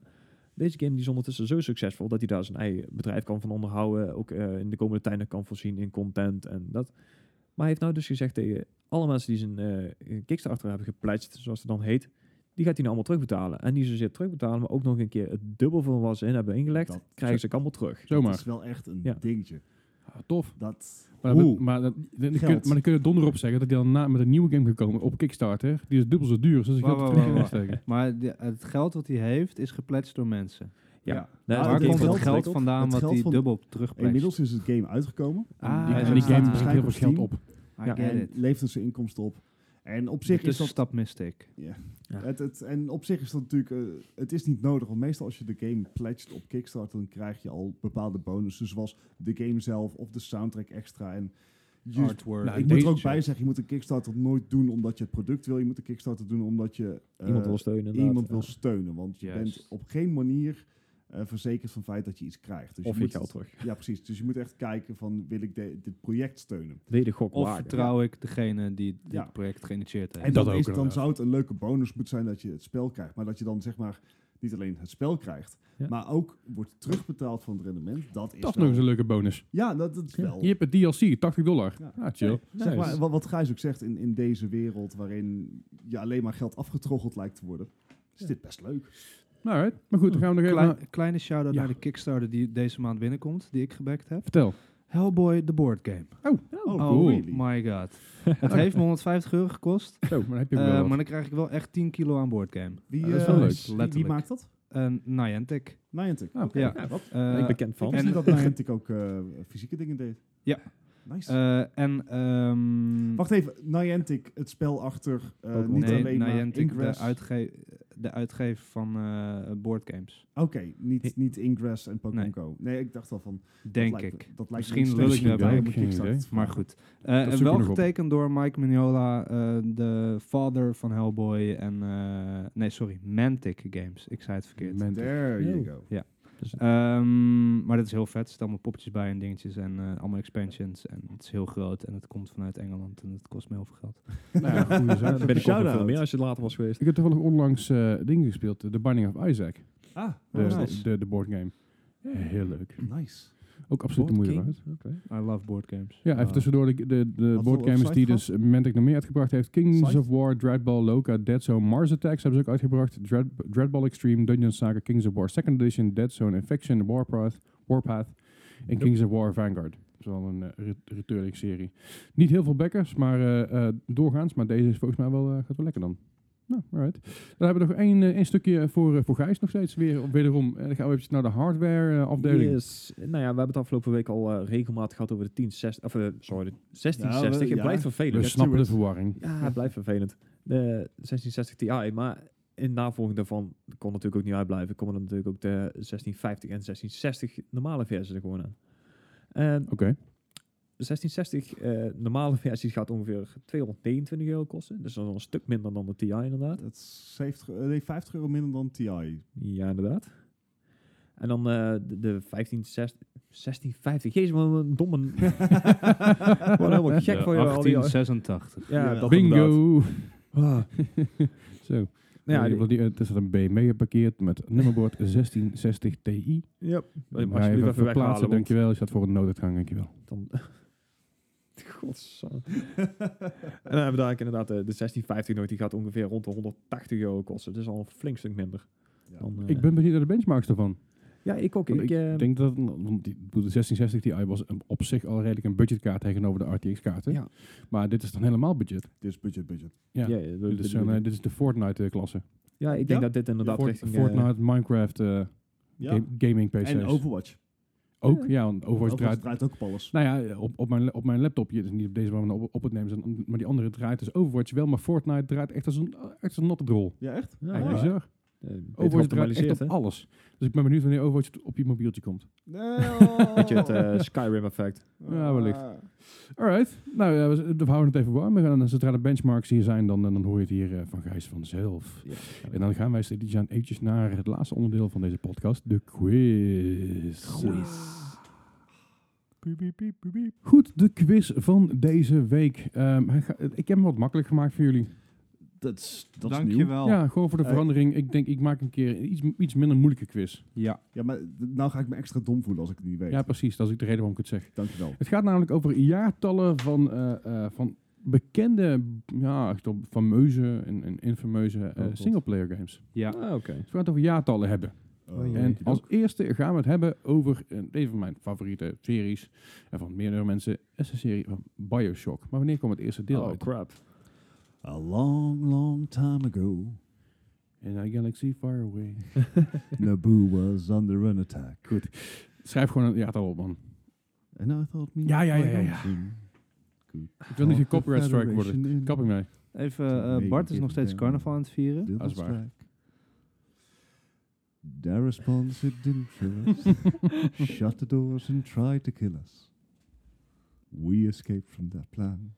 deze game die is ondertussen zo succesvol dat hij daar zijn eigen bedrijf kan van onderhouden, ook eh, in de komende tijd nog kan voorzien in content en dat. Maar hij heeft nou dus gezegd tegen alle mensen die zijn eh, Kickstarter hebben gepledged, zoals het dan heet, die gaat hij nou allemaal terugbetalen. En niet zozeer terugbetalen, maar ook nog een keer het dubbel van wat ze in hebben ingelegd, Dat- krijgen ze ook allemaal terug. Dat Zomaar. is wel echt een Ja. dingetje. Ah, tof. Dat... Maar, dan- Hoe? maar, dan- dan- dan kun, maar Geld. dan kun je donder op zeggen dat hij dan na met een nieuwe game gekomen op Kickstarter. Die is dubbel zo duur, dus dat is Wauw, geld dat wauw, we wauw, wegsteken. Maar de- het geld wat hij heeft is gepletst door mensen. Ja. Daar is Ah, de Waar game komt van het geld geld ontwikkeld. vandaan Het wat geld hij van- dubbel terugpletst? Inmiddels is het game uitgekomen. Ah, En Ja, die ja, game ja. brengt heel veel geld op. I Ja, get en it. levert dus zijn inkomsten op. En op De zich is dat tussenstap miste ik. Het, het, en op zich is dat natuurlijk, eh, het is niet nodig, want meestal als je de game pledged op Kickstarter, dan krijg je al bepaalde bonussen, zoals de game zelf of de soundtrack extra. En je, Artwork. Nou, ik moet er deze ook shit. bij zeggen, je moet een Kickstarter nooit doen omdat je het product wil, je moet een Kickstarter doen omdat je eh, Iemand wil steunen. inderdaad. iemand wil Ja. steunen, want je Juist. bent op geen manier eh, verzekerd van het feit dat je iets krijgt. Dus Of je je moet geld terug. Ja, precies. Dus je moet echt kijken van, wil ik de- dit project steunen? Wil je de gok Of wagen? vertrouw ik degene die dit Ja. project geïnitieerd heeft? En Dat dan, ook is, dan inderdaad. zou het een leuke bonus moeten zijn dat je het spel krijgt. Maar dat je dan zeg maar niet alleen het spel krijgt, Ja. maar ook wordt terugbetaald van het rendement. Dat is, Dat is nog wel- eens een leuke bonus. Ja, dat, dat is wel. Je hebt het DLC, 80 dollar. Ja. Ah, chill. Zeg Nice. maar, wat, wat Gijs ook zegt, in, in deze wereld waarin je alleen maar geld afgetroggeld lijkt te worden, is dit best leuk. Alright. Maar goed, dan gaan we nog even... Klein- naar- kleine shout-out Ja. naar de Kickstarter die deze maand binnenkomt, die ik gebackt heb. Vertel. Hellboy, the board game. Oh, really? my god. Het heeft me 150 euro gekost, Zo, maar dan heb je eh, wel wat. Ehm, maar dan krijg ik wel echt 10 kilo aan dus board game. Wie, Ah, dat is eh, wel leuk. wie- Wie, Letterlijk. maakt dat? Eh, Niantic. Niantic. Ah, oké. Ja. wat? Ik Eh, Ben ik bekend van. wist en- niet dat Niantic ook eh, fysieke dingen deed. Ja. Nice. eh, en ehm, Wacht even, Niantic, het spel achter, eh, Pokémon. niet nee, alleen Niantic, maar Ingress. de, uitge de uitgever van eh board games. Oké, niet, niet Ingress en Pokémon Nee. Go. Nee, ik dacht al van... Denk dat ik. Lijkt, dat lijkt Misschien lul ik me me bij bij, om een geen Kickstarter idee. te Maar vragen. goed. Eh, en zoeken we wel nog op. getekend door Mike Mignola, eh, de vader van Hellboy en... eh, nee, sorry, Mantic Games. Ik zei het verkeerd. Moment. There you Ja. go. Ehm, maar dat is heel vet. Er zitten allemaal poppetjes bij en dingetjes en eh, allemaal expansions. En het is heel groot en het komt vanuit Engeland en het kost me heel veel geld. Nou ja, goeie Ja, zaak. dan ben ik ook nog Shout-out. veel meer als je later was geweest. Ik heb toevallig onlangs eh dingen gespeeld, eh, The Binding of Isaac. Ah, De, Dus oh, de, de, de boardgame. Heel leuk. Nice. Ook absoluut de moeite waard. I love board games. Ja, even Ah. tussendoor. De, de, de voor boardgames die website dus eh, Mantic nog meer uitgebracht heeft. Kings Site? of War, Dreadball, Loka, Dead Zone, Mars Attacks hebben ze ook uitgebracht. Dread, Dreadball Extreme, Dungeon Saga, Kings of War 2nd Edition, Dead Zone Infection, Warpath, Warpath en Kings of War Vanguard. Dat is wel een eh, re- returning serie. Niet heel veel backers, maar eh, eh, doorgaans. Maar deze is volgens mij wel, eh, gaat wel lekker dan. Nou, alright. Dan hebben we nog één, eh, één stukje voor, eh, voor Gijs nog steeds. Weer, wederom. En dan gaan we even naar de hardware eh, afdeling. Yes. Nou ja, we hebben het afgelopen week al eh, regelmatig gehad over de 1060, of eh, sorry, de 1660. Ja, we- het ja. blijft We vervelend. snappen de verwarring. Ja, het blijft vervelend. De 1660 Ti, maar in navolging daarvan kon natuurlijk ook niet uitblijven. Komen er natuurlijk ook de 1650 en 1660 normale versie er gewoon aan. En Oké. 1660 eh, normale versie gaat ongeveer 229 euro kosten. Dus dat is al een stuk minder dan de Ti inderdaad. Dat is 70, eh, nee, 50 euro minder dan TI. Ja, inderdaad. En dan eh, de, de 15, 16, 16, 50. Jezus, wat een domme... Wat helemaal gek De voor jou. al die- 1886. Ja, Ja. dat inderdaad. Bingo! Ah, Zo. nou ja, Ja, die- die, eh, er staat een BMW geparkeerd met nummerbord 1660 Ti. ja. Als Maar alsjeblieft even weghalen, verplaatsen, want dankjewel. Je staat voor een nooduitgang, dankjewel. dan... Godsamme. en dan hebben we daar inderdaad eh, de 1650 nog. Die gaat ongeveer rond de 180 euro kosten. Dus al een flink stuk minder. Ja. Dan, eh, Ik ben benieuwd naar de benchmarks daarvan. Ja, ik ook. Want Ik, Ik, eh, denk dat want die, ik bedoel, de 1660 Ti was een- op zich al redelijk een budgetkaart tegenover de RTX-kaarten. Ja. Maar dit is dan helemaal budget. Dit is Dus budget, budget. ja, Ja. ja, Dit dat- dat is, zo'n, bedoel eh, ik. dit is de Fortnite-klasse. ja, ik denk Ja? dat dit inderdaad richting... eh, Fortnite, Minecraft, eh, Ja. ga- gaming PC's. En Overwatch. Ook, ja, want Overwatch Overwatch draait, draait... ook op alles. Nou ja, op, op, mijn, op mijn laptopje, dus niet op deze waar we op, op het nemen, zijn, maar die andere draait dus Overwatch wel, maar Fortnite draait echt als een, echt als een natte drol. Ja, echt? Ja, Eigenlijk ja. bizar. Eh, beter Overwatch draait geoptimaliseerd, echt op hè? alles. Dus ik ben benieuwd wanneer Overwatch op je mobieltje komt. Nee. Weet je, het Ah. eh, Skyrim effect. Ja, wellicht. Ah. Alright. Nou, ja, we, we houden het even warm. En dan, zodra de benchmarks hier zijn, dan, eh, dan hoor je het hier eh, van Gijs vanzelf. En dan gaan wij, Stedjan, eventjes naar het laatste onderdeel van deze podcast. De quiz. Goed, de quiz van deze week. Ehm, hij ga- ik heb hem wat makkelijk gemaakt voor jullie. Dat is, dat is nieuw. Oh. Dankjewel. Ja, gewoon voor de Eh. verandering. Ik denk, ik maak een keer iets, iets minder moeilijke quiz. Ja. Ja, maar d- nou ga ik me extra dom voelen als ik het niet weet. Ja, precies. Dat is ook de reden waarom ik het zeg. Dankjewel. Het gaat namelijk over jaartallen van, eh, eh, van bekende, ja, echt op fameuze en, en infameuze eh, Oh, God. singleplayer games. Ja. Ah, oké. Dus we gaan het over jaartallen hebben. Oh, Ja, en weet je als eerste gaan we het hebben over eh, een van mijn favoriete series en van meerdere mensen, is de serie van Bioshock. Maar wanneer kwam het eerste deel Oh, uit? crap. A long, long time ago, In a galaxy far away. Naboo was under an attack. Goed. Schrijf gewoon een jaartal op, man. And nou, I thought me... Ja, ja, ja, ja, ja. Ik Oh, wil niet een copyright strike worden. Kap ik mee. Even, eh, Maybe Bart is nog steeds then. carnaval aan het vieren. Dat Dat is is waar. waar. Their response, it didn't kill us. Shut the doors and tried to kill us. We escaped from that plan.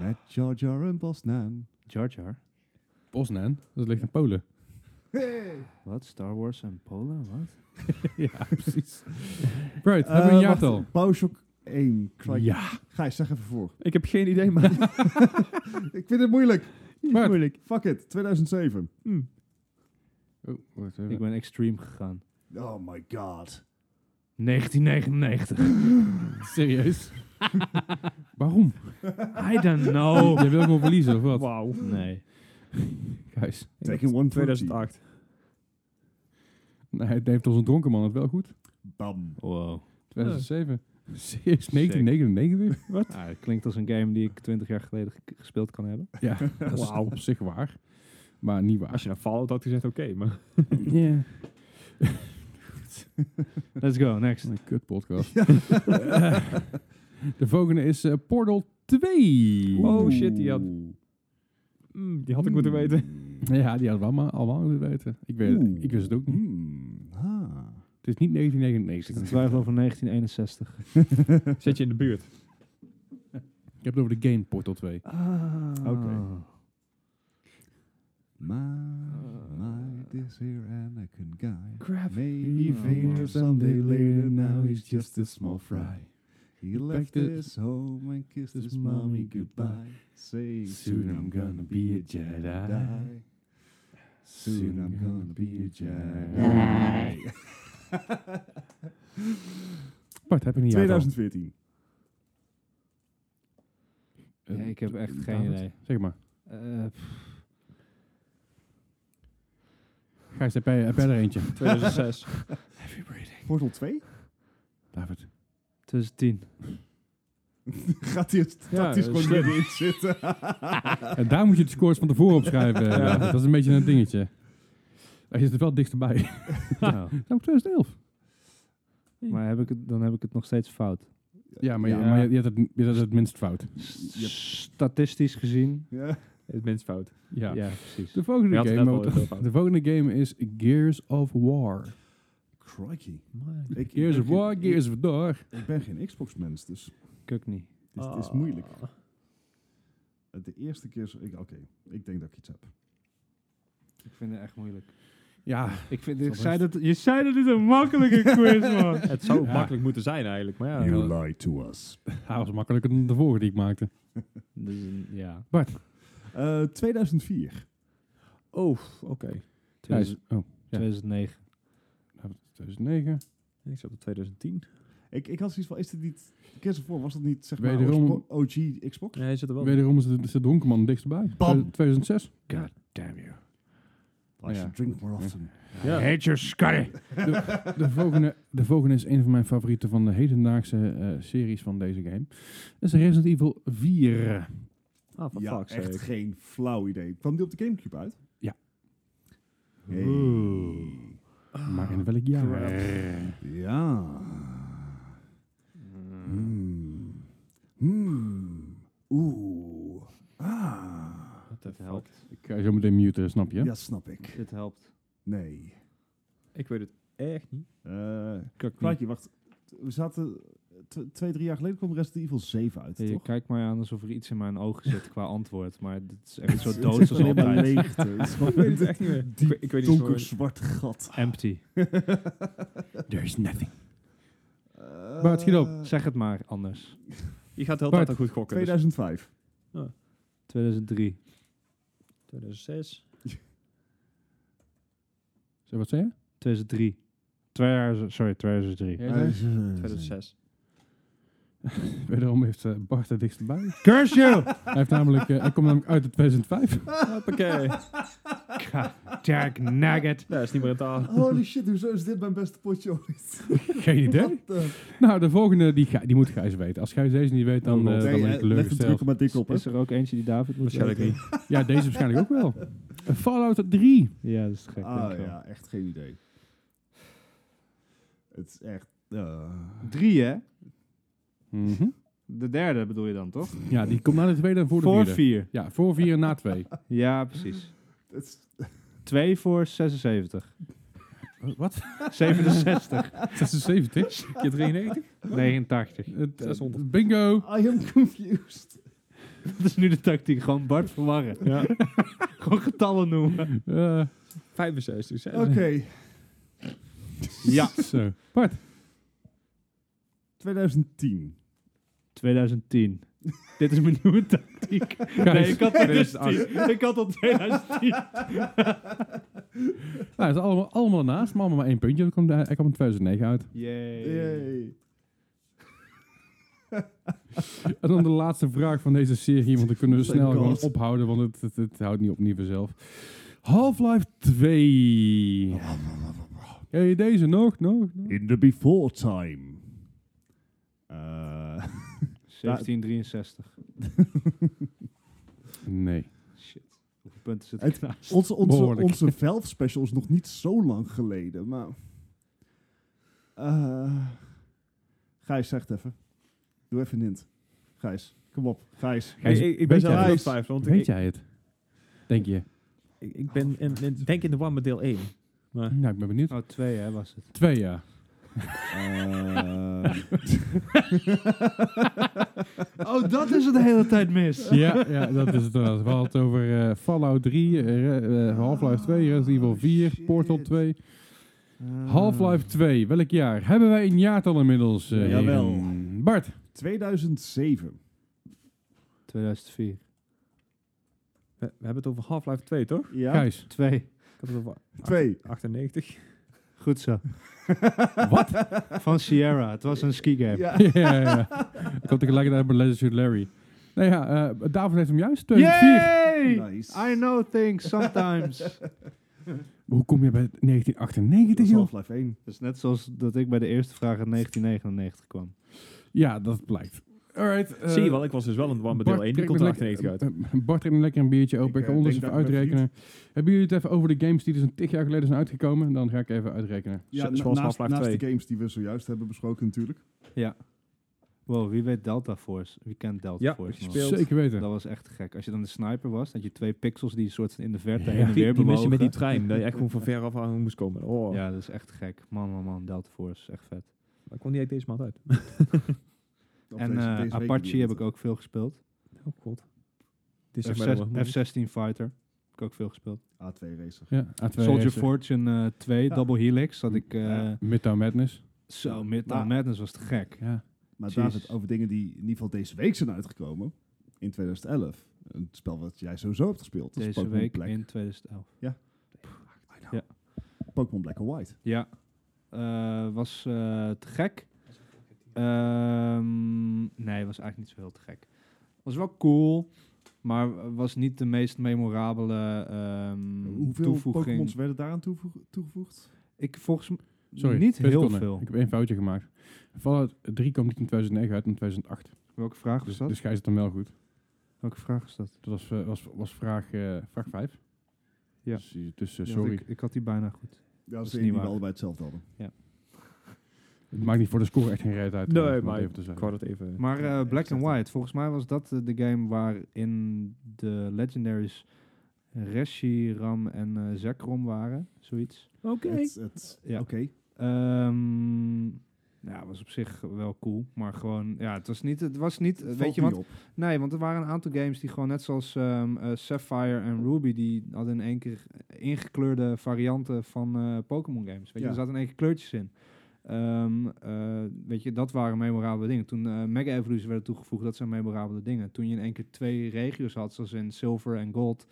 Met Jar Jar en Bos Nan. Jar Jar. Bosnan, dat ligt in Polen. Wat? Star Wars en Polen? Wat? ja, precies. Right, hebben we een Eh, wacht, jaartal? Bioshock 1. Cry- Ja. Gijs, zeg even voor. Ik heb geen idee, maar... Ik vind het moeilijk. Bart. moeilijk. Fuck it. 2007. Oh, wacht even. Ik ben extreme gegaan. Oh my god. 1999. Serieus? Waarom? I don't Oh. know. Je wil gewoon verliezen of wat? Wauw. Nee. Guys. Taking one 2008. Nee, het heeft ons een dronken man het wel goed. Bam. Wow. 2007. Serieus? 1999? Wat? Ah, het klinkt als een game die ik 20 jaar geleden ge- gespeeld kan hebben. Ja, dat is Wauw. op zich waar. Maar niet waar. Als je naar Fallout had gezegd, oké, maar... Ja. Let's go, next. Een kut podcast. De volgende is eh, Portal 2. Oh shit, die had... Mm, die had ik Hmm. moeten weten. Ja, die hadden we allemaal, allemaal moeten weten. Ik, weet, Oeh. ik wist het ook niet. Hmm. Ah. Het is niet Ik zit in 1999. twijfel over 1961. Zit je in de buurt. Ik heb het over de game Portal 2. Ah. Oké. My light is here and I can guide. Crap. Maybe Oh, fainter man. someday later, now he's just a small fry. He left to- his home and kissed his mommy goodbye. Say, soon I'm gonna be a Jedi. Soon I'm gonna be a Jedi. Bart, heb je een jaartal? 2014. Ja, ik heb echt geen David, idee. Eh, Zeg maar. Eh, pff, Gijs, heb jij, heb jij er eentje? 2006. Portal 2? David. 2010. Gaat hij het Ja, tactisch eh, gewoon slim. niet in zitten? En daar moet je de scores van tevoren op schrijven. eh, Ja. Dat is een beetje een dingetje. Hij zit er wel dichterbij. nou, Nou, 2011. maar heb ik het, dan heb ik het nog steeds fout. Ja, maar, Je, Ja. maar je, je had het, je had het minst fout. Statistisch gezien. ja. Het minst fout. Ja. Ja, precies. De volgende, Je had het game, net maar al heel fout. de volgende game is Gears of War. Crikey. Man. Ik, Gears ik of ben War, geen- Gears of War. Ik ben geen Xbox-mens, dus het Kuk niet. is, het Ah. Ah. is moeilijk. Het De eerste keer... zo- ik- Oké, ik denk dat ik iets heb. Ik vind het echt moeilijk. Ja, Ik vind, ik Zal zei best. dat, je zei dat dit een makkelijke quiz man. Het zou Ja. makkelijk moeten zijn eigenlijk, maar ja. You lied to us. hij was makkelijker dan de vorige die ik maakte. Dus, een- ja. Bart, Eh, 2004. Oh, oké. Thijs. Oh, 2009. 2009. Dus, Ik zat op 2010. Ik, ik had zoiets van, is dit niet... Kiss voor was dat niet, zeg maar, Wederom- oorspo- OG Xbox? Nee, hij zit er wel. Wederom is de, is de Donkerman dichtstbij. Bam. 2006. Damn you. I should drink more often. Ja. Hate your sky. De, de, volgende, de volgende is een van mijn favorieten van de hedendaagse eh, series van deze game. Dat is Resident Evil 4. Ah, van Ja, fuck's echt sake. geen flauw idee. Kwam die op de Gamecube uit? Ja. Hey. Maar in welk jaar? Ja. Hmm. Hmm. Oeh. Ah. What the Dit fuck? helpt. Ik eh, ga je zo meteen muten, snap je? Ja, snap ik. Dit helpt. Nee. Ik weet het echt niet. Eh Kwaadje, wacht. We zaten... tw- twee, drie jaar geleden kwam Resident Evil 7 uit, Je toch? kijkt mij aan alsof er iets in mijn ogen zit qua antwoord, maar dit is echt zo Het dood is als alleen maar altijd. leegte. Het is gewoon Ik weet het echt niet meer. Ik diep weet- ik weet niet donker eens zwart gat. Empty. There's nothing. Eh, Bart, schiet op. Zeg het maar anders. Je gaat heel Bart, tijd al goed Eh, gokken. dus. 2005. 2003. 2006. Zo, wat zei je? 2003. Twee jaar, sorry, 2003. Jij zei? Eh, 2006. Wederom heeft eh, Bart het dichtstbij. Curse you! Hij, heeft namelijk, eh, hij komt namelijk uit het 2005. Hoppakee. Jack Nugget. Daar is niet meer in taal. Holy shit, hoezo is dit mijn beste potje ooit? Geen idee. What the- Nou, de volgende, die, ga- die moet Gijs weten. Als Gijs deze niet weet, dan, eh, Nee, dan ben eh, ik leg de teleurgesteld. druk op mijn dik op, hè? Is er ook eentje die David moet Waarschijnlijk weten? niet. Ja, deze waarschijnlijk ook wel. Eh, Fallout 3. Ja, dat is te gek. Ah dankjewel. ja, echt geen idee. Het is echt... eh, Drie, hè? Mhm. De derde bedoel je dan, toch? Ja, die komt na de tweede en voor de voor vierde. vier. Ja, voor vier en na twee. Ja, precies. het is, Twee voor 76. Wat? 67. 76? Keer 93? 89. Het- eh, 600. Bingo. I am confused. Dat is nu de tactiek. Gewoon Bart verwarren. Ja. Gewoon getallen noemen. Eh, 65. zes. Oké, Ja. Zo. Bart. 2010. 2010. Dit is mijn nieuwe tactiek. Nee, Gijs. ik had al 2010. Ik had al 2010. Nou, het is allemaal, allemaal naast, maar allemaal maar één puntje. Hij kwam, hij kwam in 2009 uit. Yay. Yay. En dan de laatste vraag van deze serie, want dan kunnen we Oh snel my gewoon God. ophouden, want het, het, het houdt niet op niet vanzelf. Half-Life 2. Ken je deze nog? Nog? nog? In the before time. Eh 1763. Nee. Shit. Hoeveel punten zit Het- ik naast? onze, onze, Behoorlijk. onze Valve special is nog niet zo lang geleden, maar... Eh, Gijs, zeg het even. Doe even een hint. Gijs, kom op. Gijs. Hey, Gijs, ik, ik ben weet zo jij aan het? het twijfelen, want Weet ik, jij het? Denk je? ik, ik ben in, in- denk in de war met deel 1. Maar Nou, ik ben benieuwd. Oh, twee hè, was het. Twee jaar. Eh, Oh, dat is het de hele tijd mis. Ja, ja, dat is het. inderdaad. We hadden het over eh, Fallout 3, eh, eh, Half-Life 2, Resident Evil 4, shit. Portal 2. Eh, Half-Life 2, welk jaar? Hebben wij een jaartal inmiddels? eh, Jawel. heren? Bart, 2007. 2004. we, we hebben het over Half-Life 2, toch? Ja? Gijs. Twee. Ik had het over Twee. 98. Goed zo. Wat? Van Sierra. Het was een ski game. Ja. ja, ja, ja. Ik kwam tegelijkertijd bij Let's Shoot Larry. Nou ja, eh, David heeft hem juist. 2004. Yay! Nice. I know things sometimes. dat Hoe kom je bij 1998, is joh? Half-Life 1. is net zoals dat ik bij de eerste vraag in 1999 kwam. Ja, dat blijkt. Alright. eh, Zie je wel, ik was dus wel in de war met deel Bart 1. Die trekt komt een er lekker- 98 uit. eh, Bart trekt een lekker een biertje open. Ik, Ik, ga eh, ondertussen denk even dat ik mijn uitrekenen. Hebben jullie het even over de games die dus een tig jaar geleden zijn uitgekomen? Dan ga ik even uitrekenen. Ja, Zo- na- zoals naast, Half-Life 2. naast de games die we zojuist hebben besproken natuurlijk. Wow, wie weet Delta Force? Wie kent Delta Ja, Force? ik man? speel- Beeld. Zeker weten. Dat was echt te gek. Als je dan de sniper was, dat je twee pixels die soort van in de verte Ja. heen en Die, weer die missie bewogen. met die trein, dat je echt gewoon van ver af aan moest komen. Oh, Ja, dat is echt te gek. Man, man, man. Delta Force. Echt vet. dat kwam niet echt deze maand uit. Of en deze- eh, deze week Apache heb bedoeld. ik ook veel gespeeld. Oh god. Dit is echt maar F-16 Fighter. ik ook veel gespeeld. A2 racer. Ja, A2 Soldier Racer. Fortune eh, 2, Ja. Double Helix, had ik... eh, Ja, Midtown Madness. Zo, Midnight Maar- Madness was te gek. Ja. Maar Jeez. David, over dingen die in ieder geval deze week zijn uitgekomen. In 2011. Een spel wat jij sowieso hebt gespeeld. Dat is Deze Pokémon week Black. in 2011. I know. ja. Pokémon Black and White. Ja, Eh, was eh, te gek. Ehm, nee, was eigenlijk niet zo heel te gek. Was wel cool, maar was niet de meest memorabele ehm, Hoeveel toevoeging. Pokémons werden daaraan toevoeg- toegevoegd? Ik volgens m- Sorry, niet twee heel seconden. veel. Ik heb één foutje gemaakt. Fallout 3 kwam niet in 2009 uit, maar in 2008. Welke vraag was Dus, dat? dus gij zit hem wel goed. Welke vraag is dat? Dat was, eh, was, was vraag, eh vraag 5. Ja. Dus, eh, dus eh, Ja, sorry. Ik, ik had die bijna goed. Ja, dat is is één niet die we waar. allebei hetzelfde hadden. Het maakt niet voor de score echt geen reet uit. Nee, om het maar even te Ik zeggen. wou dat even... Maar eh, Ja, ik Black zeg and het. White, volgens mij was dat eh, de game waarin de legendaries Reshiram en eh, Zekrom waren, zoiets. Oké. Het- het- Ja. Oké. Ehm ja, was op zich wel cool, maar gewoon, ja, het was niet, het was niet, Het weet valt je niet wat? op. Nee, want er waren een aantal games die gewoon net zoals ehm, eh, Sapphire en Ruby, die hadden in één keer ingekleurde varianten van eh, Pokémon games. Weet je, Ja. er zaten in één keer kleurtjes in. Ehm, eh, weet je, dat waren memorabele dingen. Toen eh, Mega Evolution werden toegevoegd, dat zijn memorabele dingen. Toen je in één keer twee regio's had, zoals in Silver en Gold,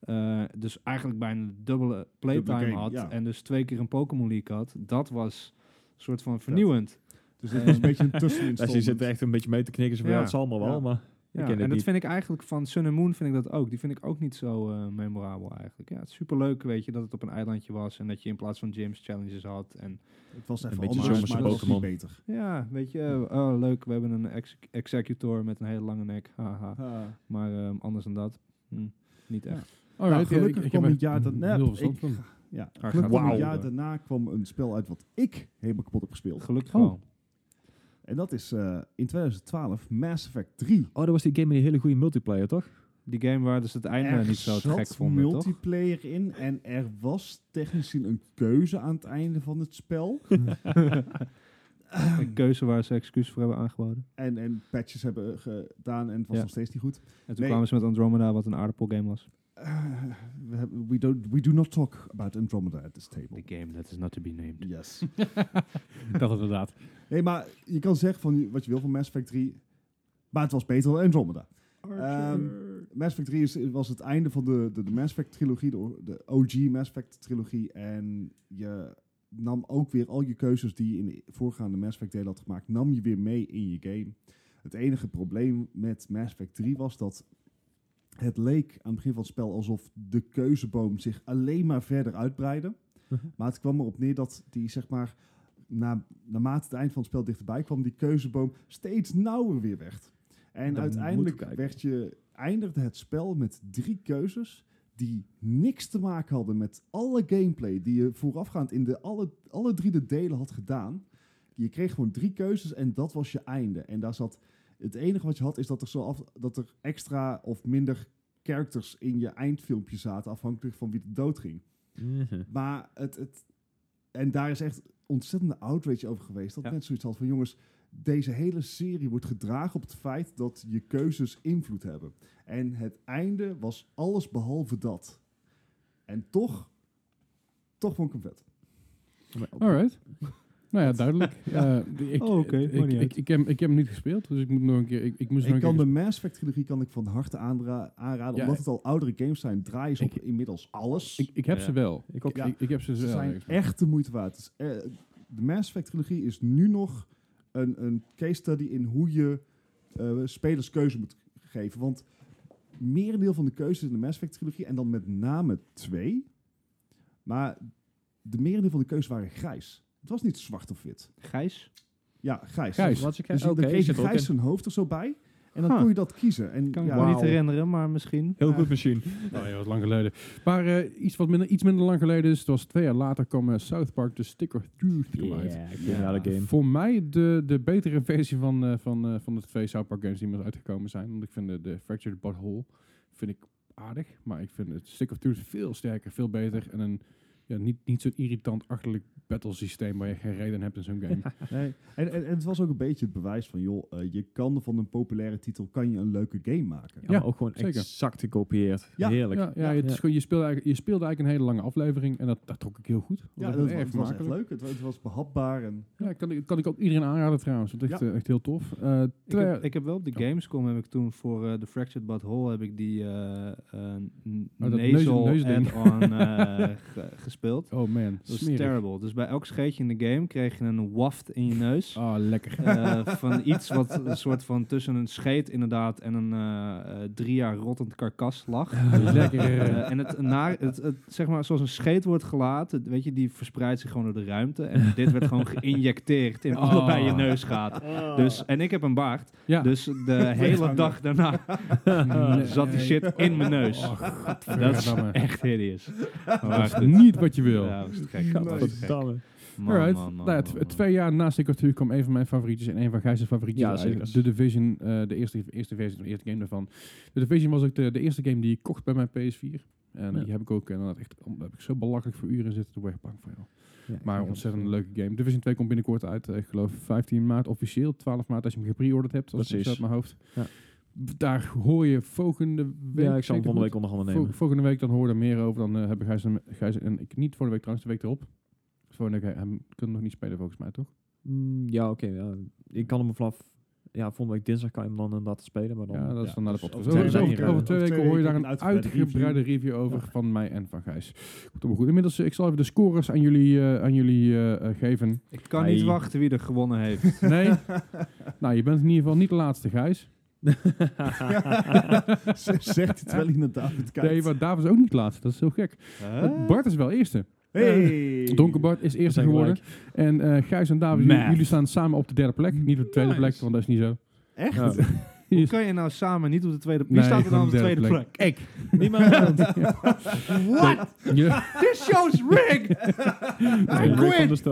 eh, dus eigenlijk bijna dubbele playtime game, had ja. en dus twee keer een Pokémon League had, dat was een soort van vernieuwend. Dus dit was een Eh, beetje een Als je zit er tusseninstallment. echt een beetje mee te knikken, zo van, Ja. ja, het zal maar wel, Ja. maar... Ja, Ik ken en het dat niet. vind ik eigenlijk van Sun and Moon vind ik dat ook. Die vind ik ook niet zo eh, memorabel eigenlijk. Ja, het is superleuk, weet je, dat het op een eilandje was en dat je in plaats van gyms challenges had. En Het was even beetje anders, zomerse maar dat was niet Pokémon. beter. ja, weet je, Hm. eh, oh, leuk, we hebben een ex- executor met een hele lange nek, haha. Maar ehm, anders dan dat, hm, niet echt. Alright, ja, gelukkig ik- ik kwam heb het er jaar dat- nee, nul ik- verstand van. Ja, Waar gelukkig gaat kwam het een jaar over? daarna kwam een spel uit wat ik helemaal kapot heb gespeeld. Gelukkig Oh. wel. En dat is eh, in 2012 Mass Effect 3. Oh, dat was die game met die hele goede multiplayer, toch? Die game waar dus het einde er niet zo te zat gek vonden, toch? multiplayer in en er was technisch gezien een keuze aan het einde van het spel. Een keuze waar ze excuus voor hebben aangeboden. En, en patches hebben gedaan en het was Ja. nog steeds niet goed. En toen Nee. kwamen ze met Andromeda, wat een aardappelgame was. Eh, we, hebben- we, don't, we do not talk about Andromeda at this table. game that is not to be named. Yes. Dat inderdaad. nee, maar je kan zeggen van wat je wil van Mass Effect 3, maar het was beter dan Andromeda. Ehm, Mass Effect 3 is, was het einde van de, de, de Mass Effect trilogie, de, o- de OG Mass Effect trilogie. En je nam ook weer al je keuzes die je in de voorgaande Mass Effect delen had gemaakt, nam je weer mee in je game. Het enige probleem met Mass Effect 3 was dat het leek aan het begin van het spel alsof de keuzeboom zich alleen maar verder uitbreidde. Mhm. Maar het kwam erop neer dat die, zeg maar, na, naarmate het eind van het spel dichterbij kwam, die keuzeboom steeds nauwer weer werd. En Dan moeten we uiteindelijk kijken. werd je, eindigde het spel met drie keuzes die niks te maken hadden met alle gameplay die je voorafgaand in de alle, alle drie de delen had gedaan. Je kreeg gewoon drie keuzes en dat was je einde. En daar zat het enige wat je had is dat er, zo af, dat er extra of minder characters in je eindfilmpje zaten, afhankelijk van wie de dood ging. Mhm. Maar het, het, en daar is echt ontzettende outrage over geweest. Dat Ja. mensen zoiets hadden van, jongens, deze hele serie wordt gedragen op het feit dat je keuzes invloed hebben. En het einde was alles behalve dat. En toch, toch vond ik hem vet. Alright. Nou ja, duidelijk. Eh, ik, Oh, oké, ik, maakt niet ik, uit. ik heb, ik heb hem niet gespeeld, dus ik moet nog een keer... Ik, ik moest nog Ik een kan keer de Mass Effect trilogie kan ik van harte aanra- aanraden, Ja, omdat het al oudere games zijn. Draaien ze op ik- inmiddels alles. Ik, ik heb Ja. ze wel. Ik ook. Ja. Ik, ik heb ze, Ze wel. zijn ergens. echt de moeite waard. Het is, eh, de Mass Effect trilogie is nu nog een, een case study in hoe je eh, spelers keuze moet geven. Want merendeel van de keuzes in de Mass Effect trilogie, en dan met name twee, maar de merendeel van de keuzes waren grijs. Het was niet zwart of wit. Gijs? Ja, grijs. Grijs. Wat ik Dus je- dan kreeg je grijs zijn hoofd er zo bij. En dan Huh. kon je dat kiezen. En Kan ja, ik me niet Wauw. herinneren, maar misschien. Heel goed machine. Nou ja, wat lang geleden. Maar eh, iets wat minder, iets minder lang geleden is, het was twee jaar later, kwam eh, South Park de Stick of Truth uit. Ja, geniale game. Voor mij de, de betere versie van, eh, van, eh, van de twee South Park games die maar uitgekomen zijn. Want ik vind de, de Fractured Butthole vind ik aardig. Maar ik vind het Stick of Truth veel sterker, veel beter. En een, ja, ja, niet, niet zo'n irritant achterlijk battlesysteem waar je geen reden aan hebt in zo'n game. Nee. En, en, en het was ook een beetje het bewijs van, joh, eh, je kan van een populaire titel kan je een leuke game maken. Ja, Ja, maar ook gewoon zeker. exact gekopieerd. Ja, Heerlijk. Ja, ja, het is Ja. gewoon, je, speelde eigenlijk, je speelde eigenlijk een hele lange aflevering en dat, dat trok ik heel goed. Dat Ja, was dat, erg was, het was echt vermakelijk. leuk. Het, wa- het was behapbaar. En, Ja, kan, ik- kan ik ook iedereen aanraden trouwens. Dat is echt, Ja. eh, echt heel tof. Eh, Ik twee- heb, ik heb wel op de Ja. Gamescom heb ik toen voor eh The Fractured But Whole heb ik die eh eh, n- Oh, dat nasal neus- neusding. add-on eh, ge- gespeeld. oh man, Dat was smerig. terrible. Dus bij elk scheetje in de game kreeg je een waft in je neus. Ah, lekker. eh, van iets wat een soort van tussen een scheet inderdaad en een eh, eh, drie jaar rottend karkas lag. lekker. Eh, en het, naar, het, het, zeg maar, zoals een scheet wordt gelaten, weet je, die verspreidt zich gewoon door de ruimte. En dit werd gewoon geïnjecteerd in Oh. allebei je neusgaten. Dus, en ik heb een baard. Ja. Dus de hele dag daarna Nee. zat die shit in mijn neus. Oh, dat is godverdamme. echt hideous. Maar Dat goed. is niet wat je wil. Ja, dat was te gek. Dat was te gek. Godverdamme. Man, Alright. man, man, nou, ja, man, tw- man. twee jaar na Secret 2 kwam een van mijn favorietjes en een van Gijs' favorietjes Ja, uit. zeker. The Division, eh, de eerste, eerste versie van de eerste game daarvan. The Division was ook de, de eerste game die ik kocht bij mijn PS4. En Ja. die heb ik ook inderdaad echt, daar heb ik zo belachelijk voor uren zitten te wegbank van. joh. Ja, Maar ik- eh, ontzettend leuke game. Division 2 komt binnenkort uit, eh, ik geloof 15 maart officieel, 12 maart als je hem gepreorderd hebt, als ik het zo Precies. uit mijn hoofd. Ja. B- Daar hoor je volgende week. Ja, ik zal hem zeker volgende goed? week onder handen Vol- nemen. volgende week dan hoor je er meer over. Dan eh, hebben Gijs en, Gijs en ik niet volgende week trouwens, de week erop. Volgende week, hij hem- kan nog niet spelen volgens mij, toch? Mm, Ja, oké. ja. Ik kan hem vanaf... Ja, volgende week dinsdag kan je hem dan inderdaad spelen. Maar dan, ja, dat is dan naar de dus podcast. over Over, twee over- weken- over twee over weken twee hoor je daar weken een een uitgebreide uitgebreide review over van mij en van Gijs. Goed, maar goed. Inmiddels, eh, ik zal even de scores aan jullie, eh, aan jullie eh, eh, geven. Ik kan niet Hey. wachten wie er gewonnen heeft. Nee? nou, je bent in ieder geval niet de laatste, Gijs. Z- Zegt hij terwijl hij naar David kijkt. Nee, maar David is ook niet de laatste. Dat is heel gek. Bart is wel eerste. hey. Donkerbart is We eerste zijn geworden. gelijk. En eh, Gijs en David, jullie, Math. jullie staan samen op de derde plek. Niet op de tweede Nice. plek, want dat is niet zo. Echt? Ja. Hoe kan je nou samen niet op de tweede plek? Wie Nee, staat er dan op de gewoon tweede derde plek? Ik. Niemand. What? This show's rigged! I quit!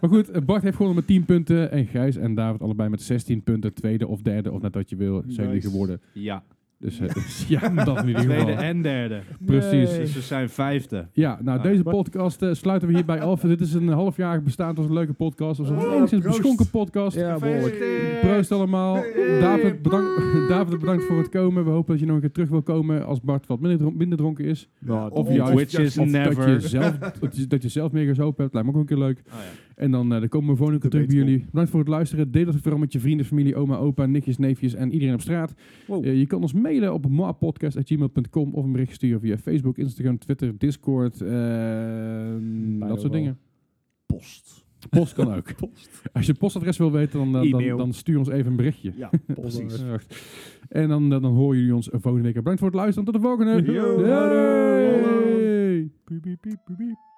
Maar goed, eh, Bart heeft gewonnen met 10 punten. En Gijs en David allebei met 16 punten. Tweede of derde, of net wat je wil, zijn jullie Nice. geworden. Ja, Dus eh, dus ja, dat in ieder tweede geval. en derde. Precies. Dus we zijn vijfde. Ja, nou, Ah, deze Bart. podcast eh, sluiten we hierbij af. Dit is een halfjarig bestaan. Het was een leuke podcast. Het was een Oh, enigszins proost. beschonken podcast. Ja, behoorlijk. Proost allemaal. Hey, David, bedankt, David, bedankt voor het komen. We hopen dat je nog een keer terug wil komen als Bart wat minder, dron- minder dronken is. Ja, Of of juist- Which is Of never. dat je zelf, dat je, dat je zelf meer gezopen hebt. Lijkt me ook een keer leuk. Oh ja. En dan, eh, dan komen we volgende keer terug bij Debatable. jullie. Bedankt voor het luisteren. Deel het vooral met je vrienden, familie, oma, opa, nichtjes, neefjes en iedereen op straat. Wow. Eh, je kan ons mailen op moapodcast.gmail.com of een bericht sturen via Facebook, Instagram, Twitter, Discord. eh, dat wel. soort dingen. Post. Post kan ook. Als je het postadres wil weten, dan, eh, dan, E-mail. dan stuur ons even een berichtje. Ja, Precies. Eh, En dan, dan, dan horen jullie ons volgende week. Bedankt voor het luisteren. Tot de volgende. Yo. Doei. Hallo. Piep, piep, piep, piep, piep.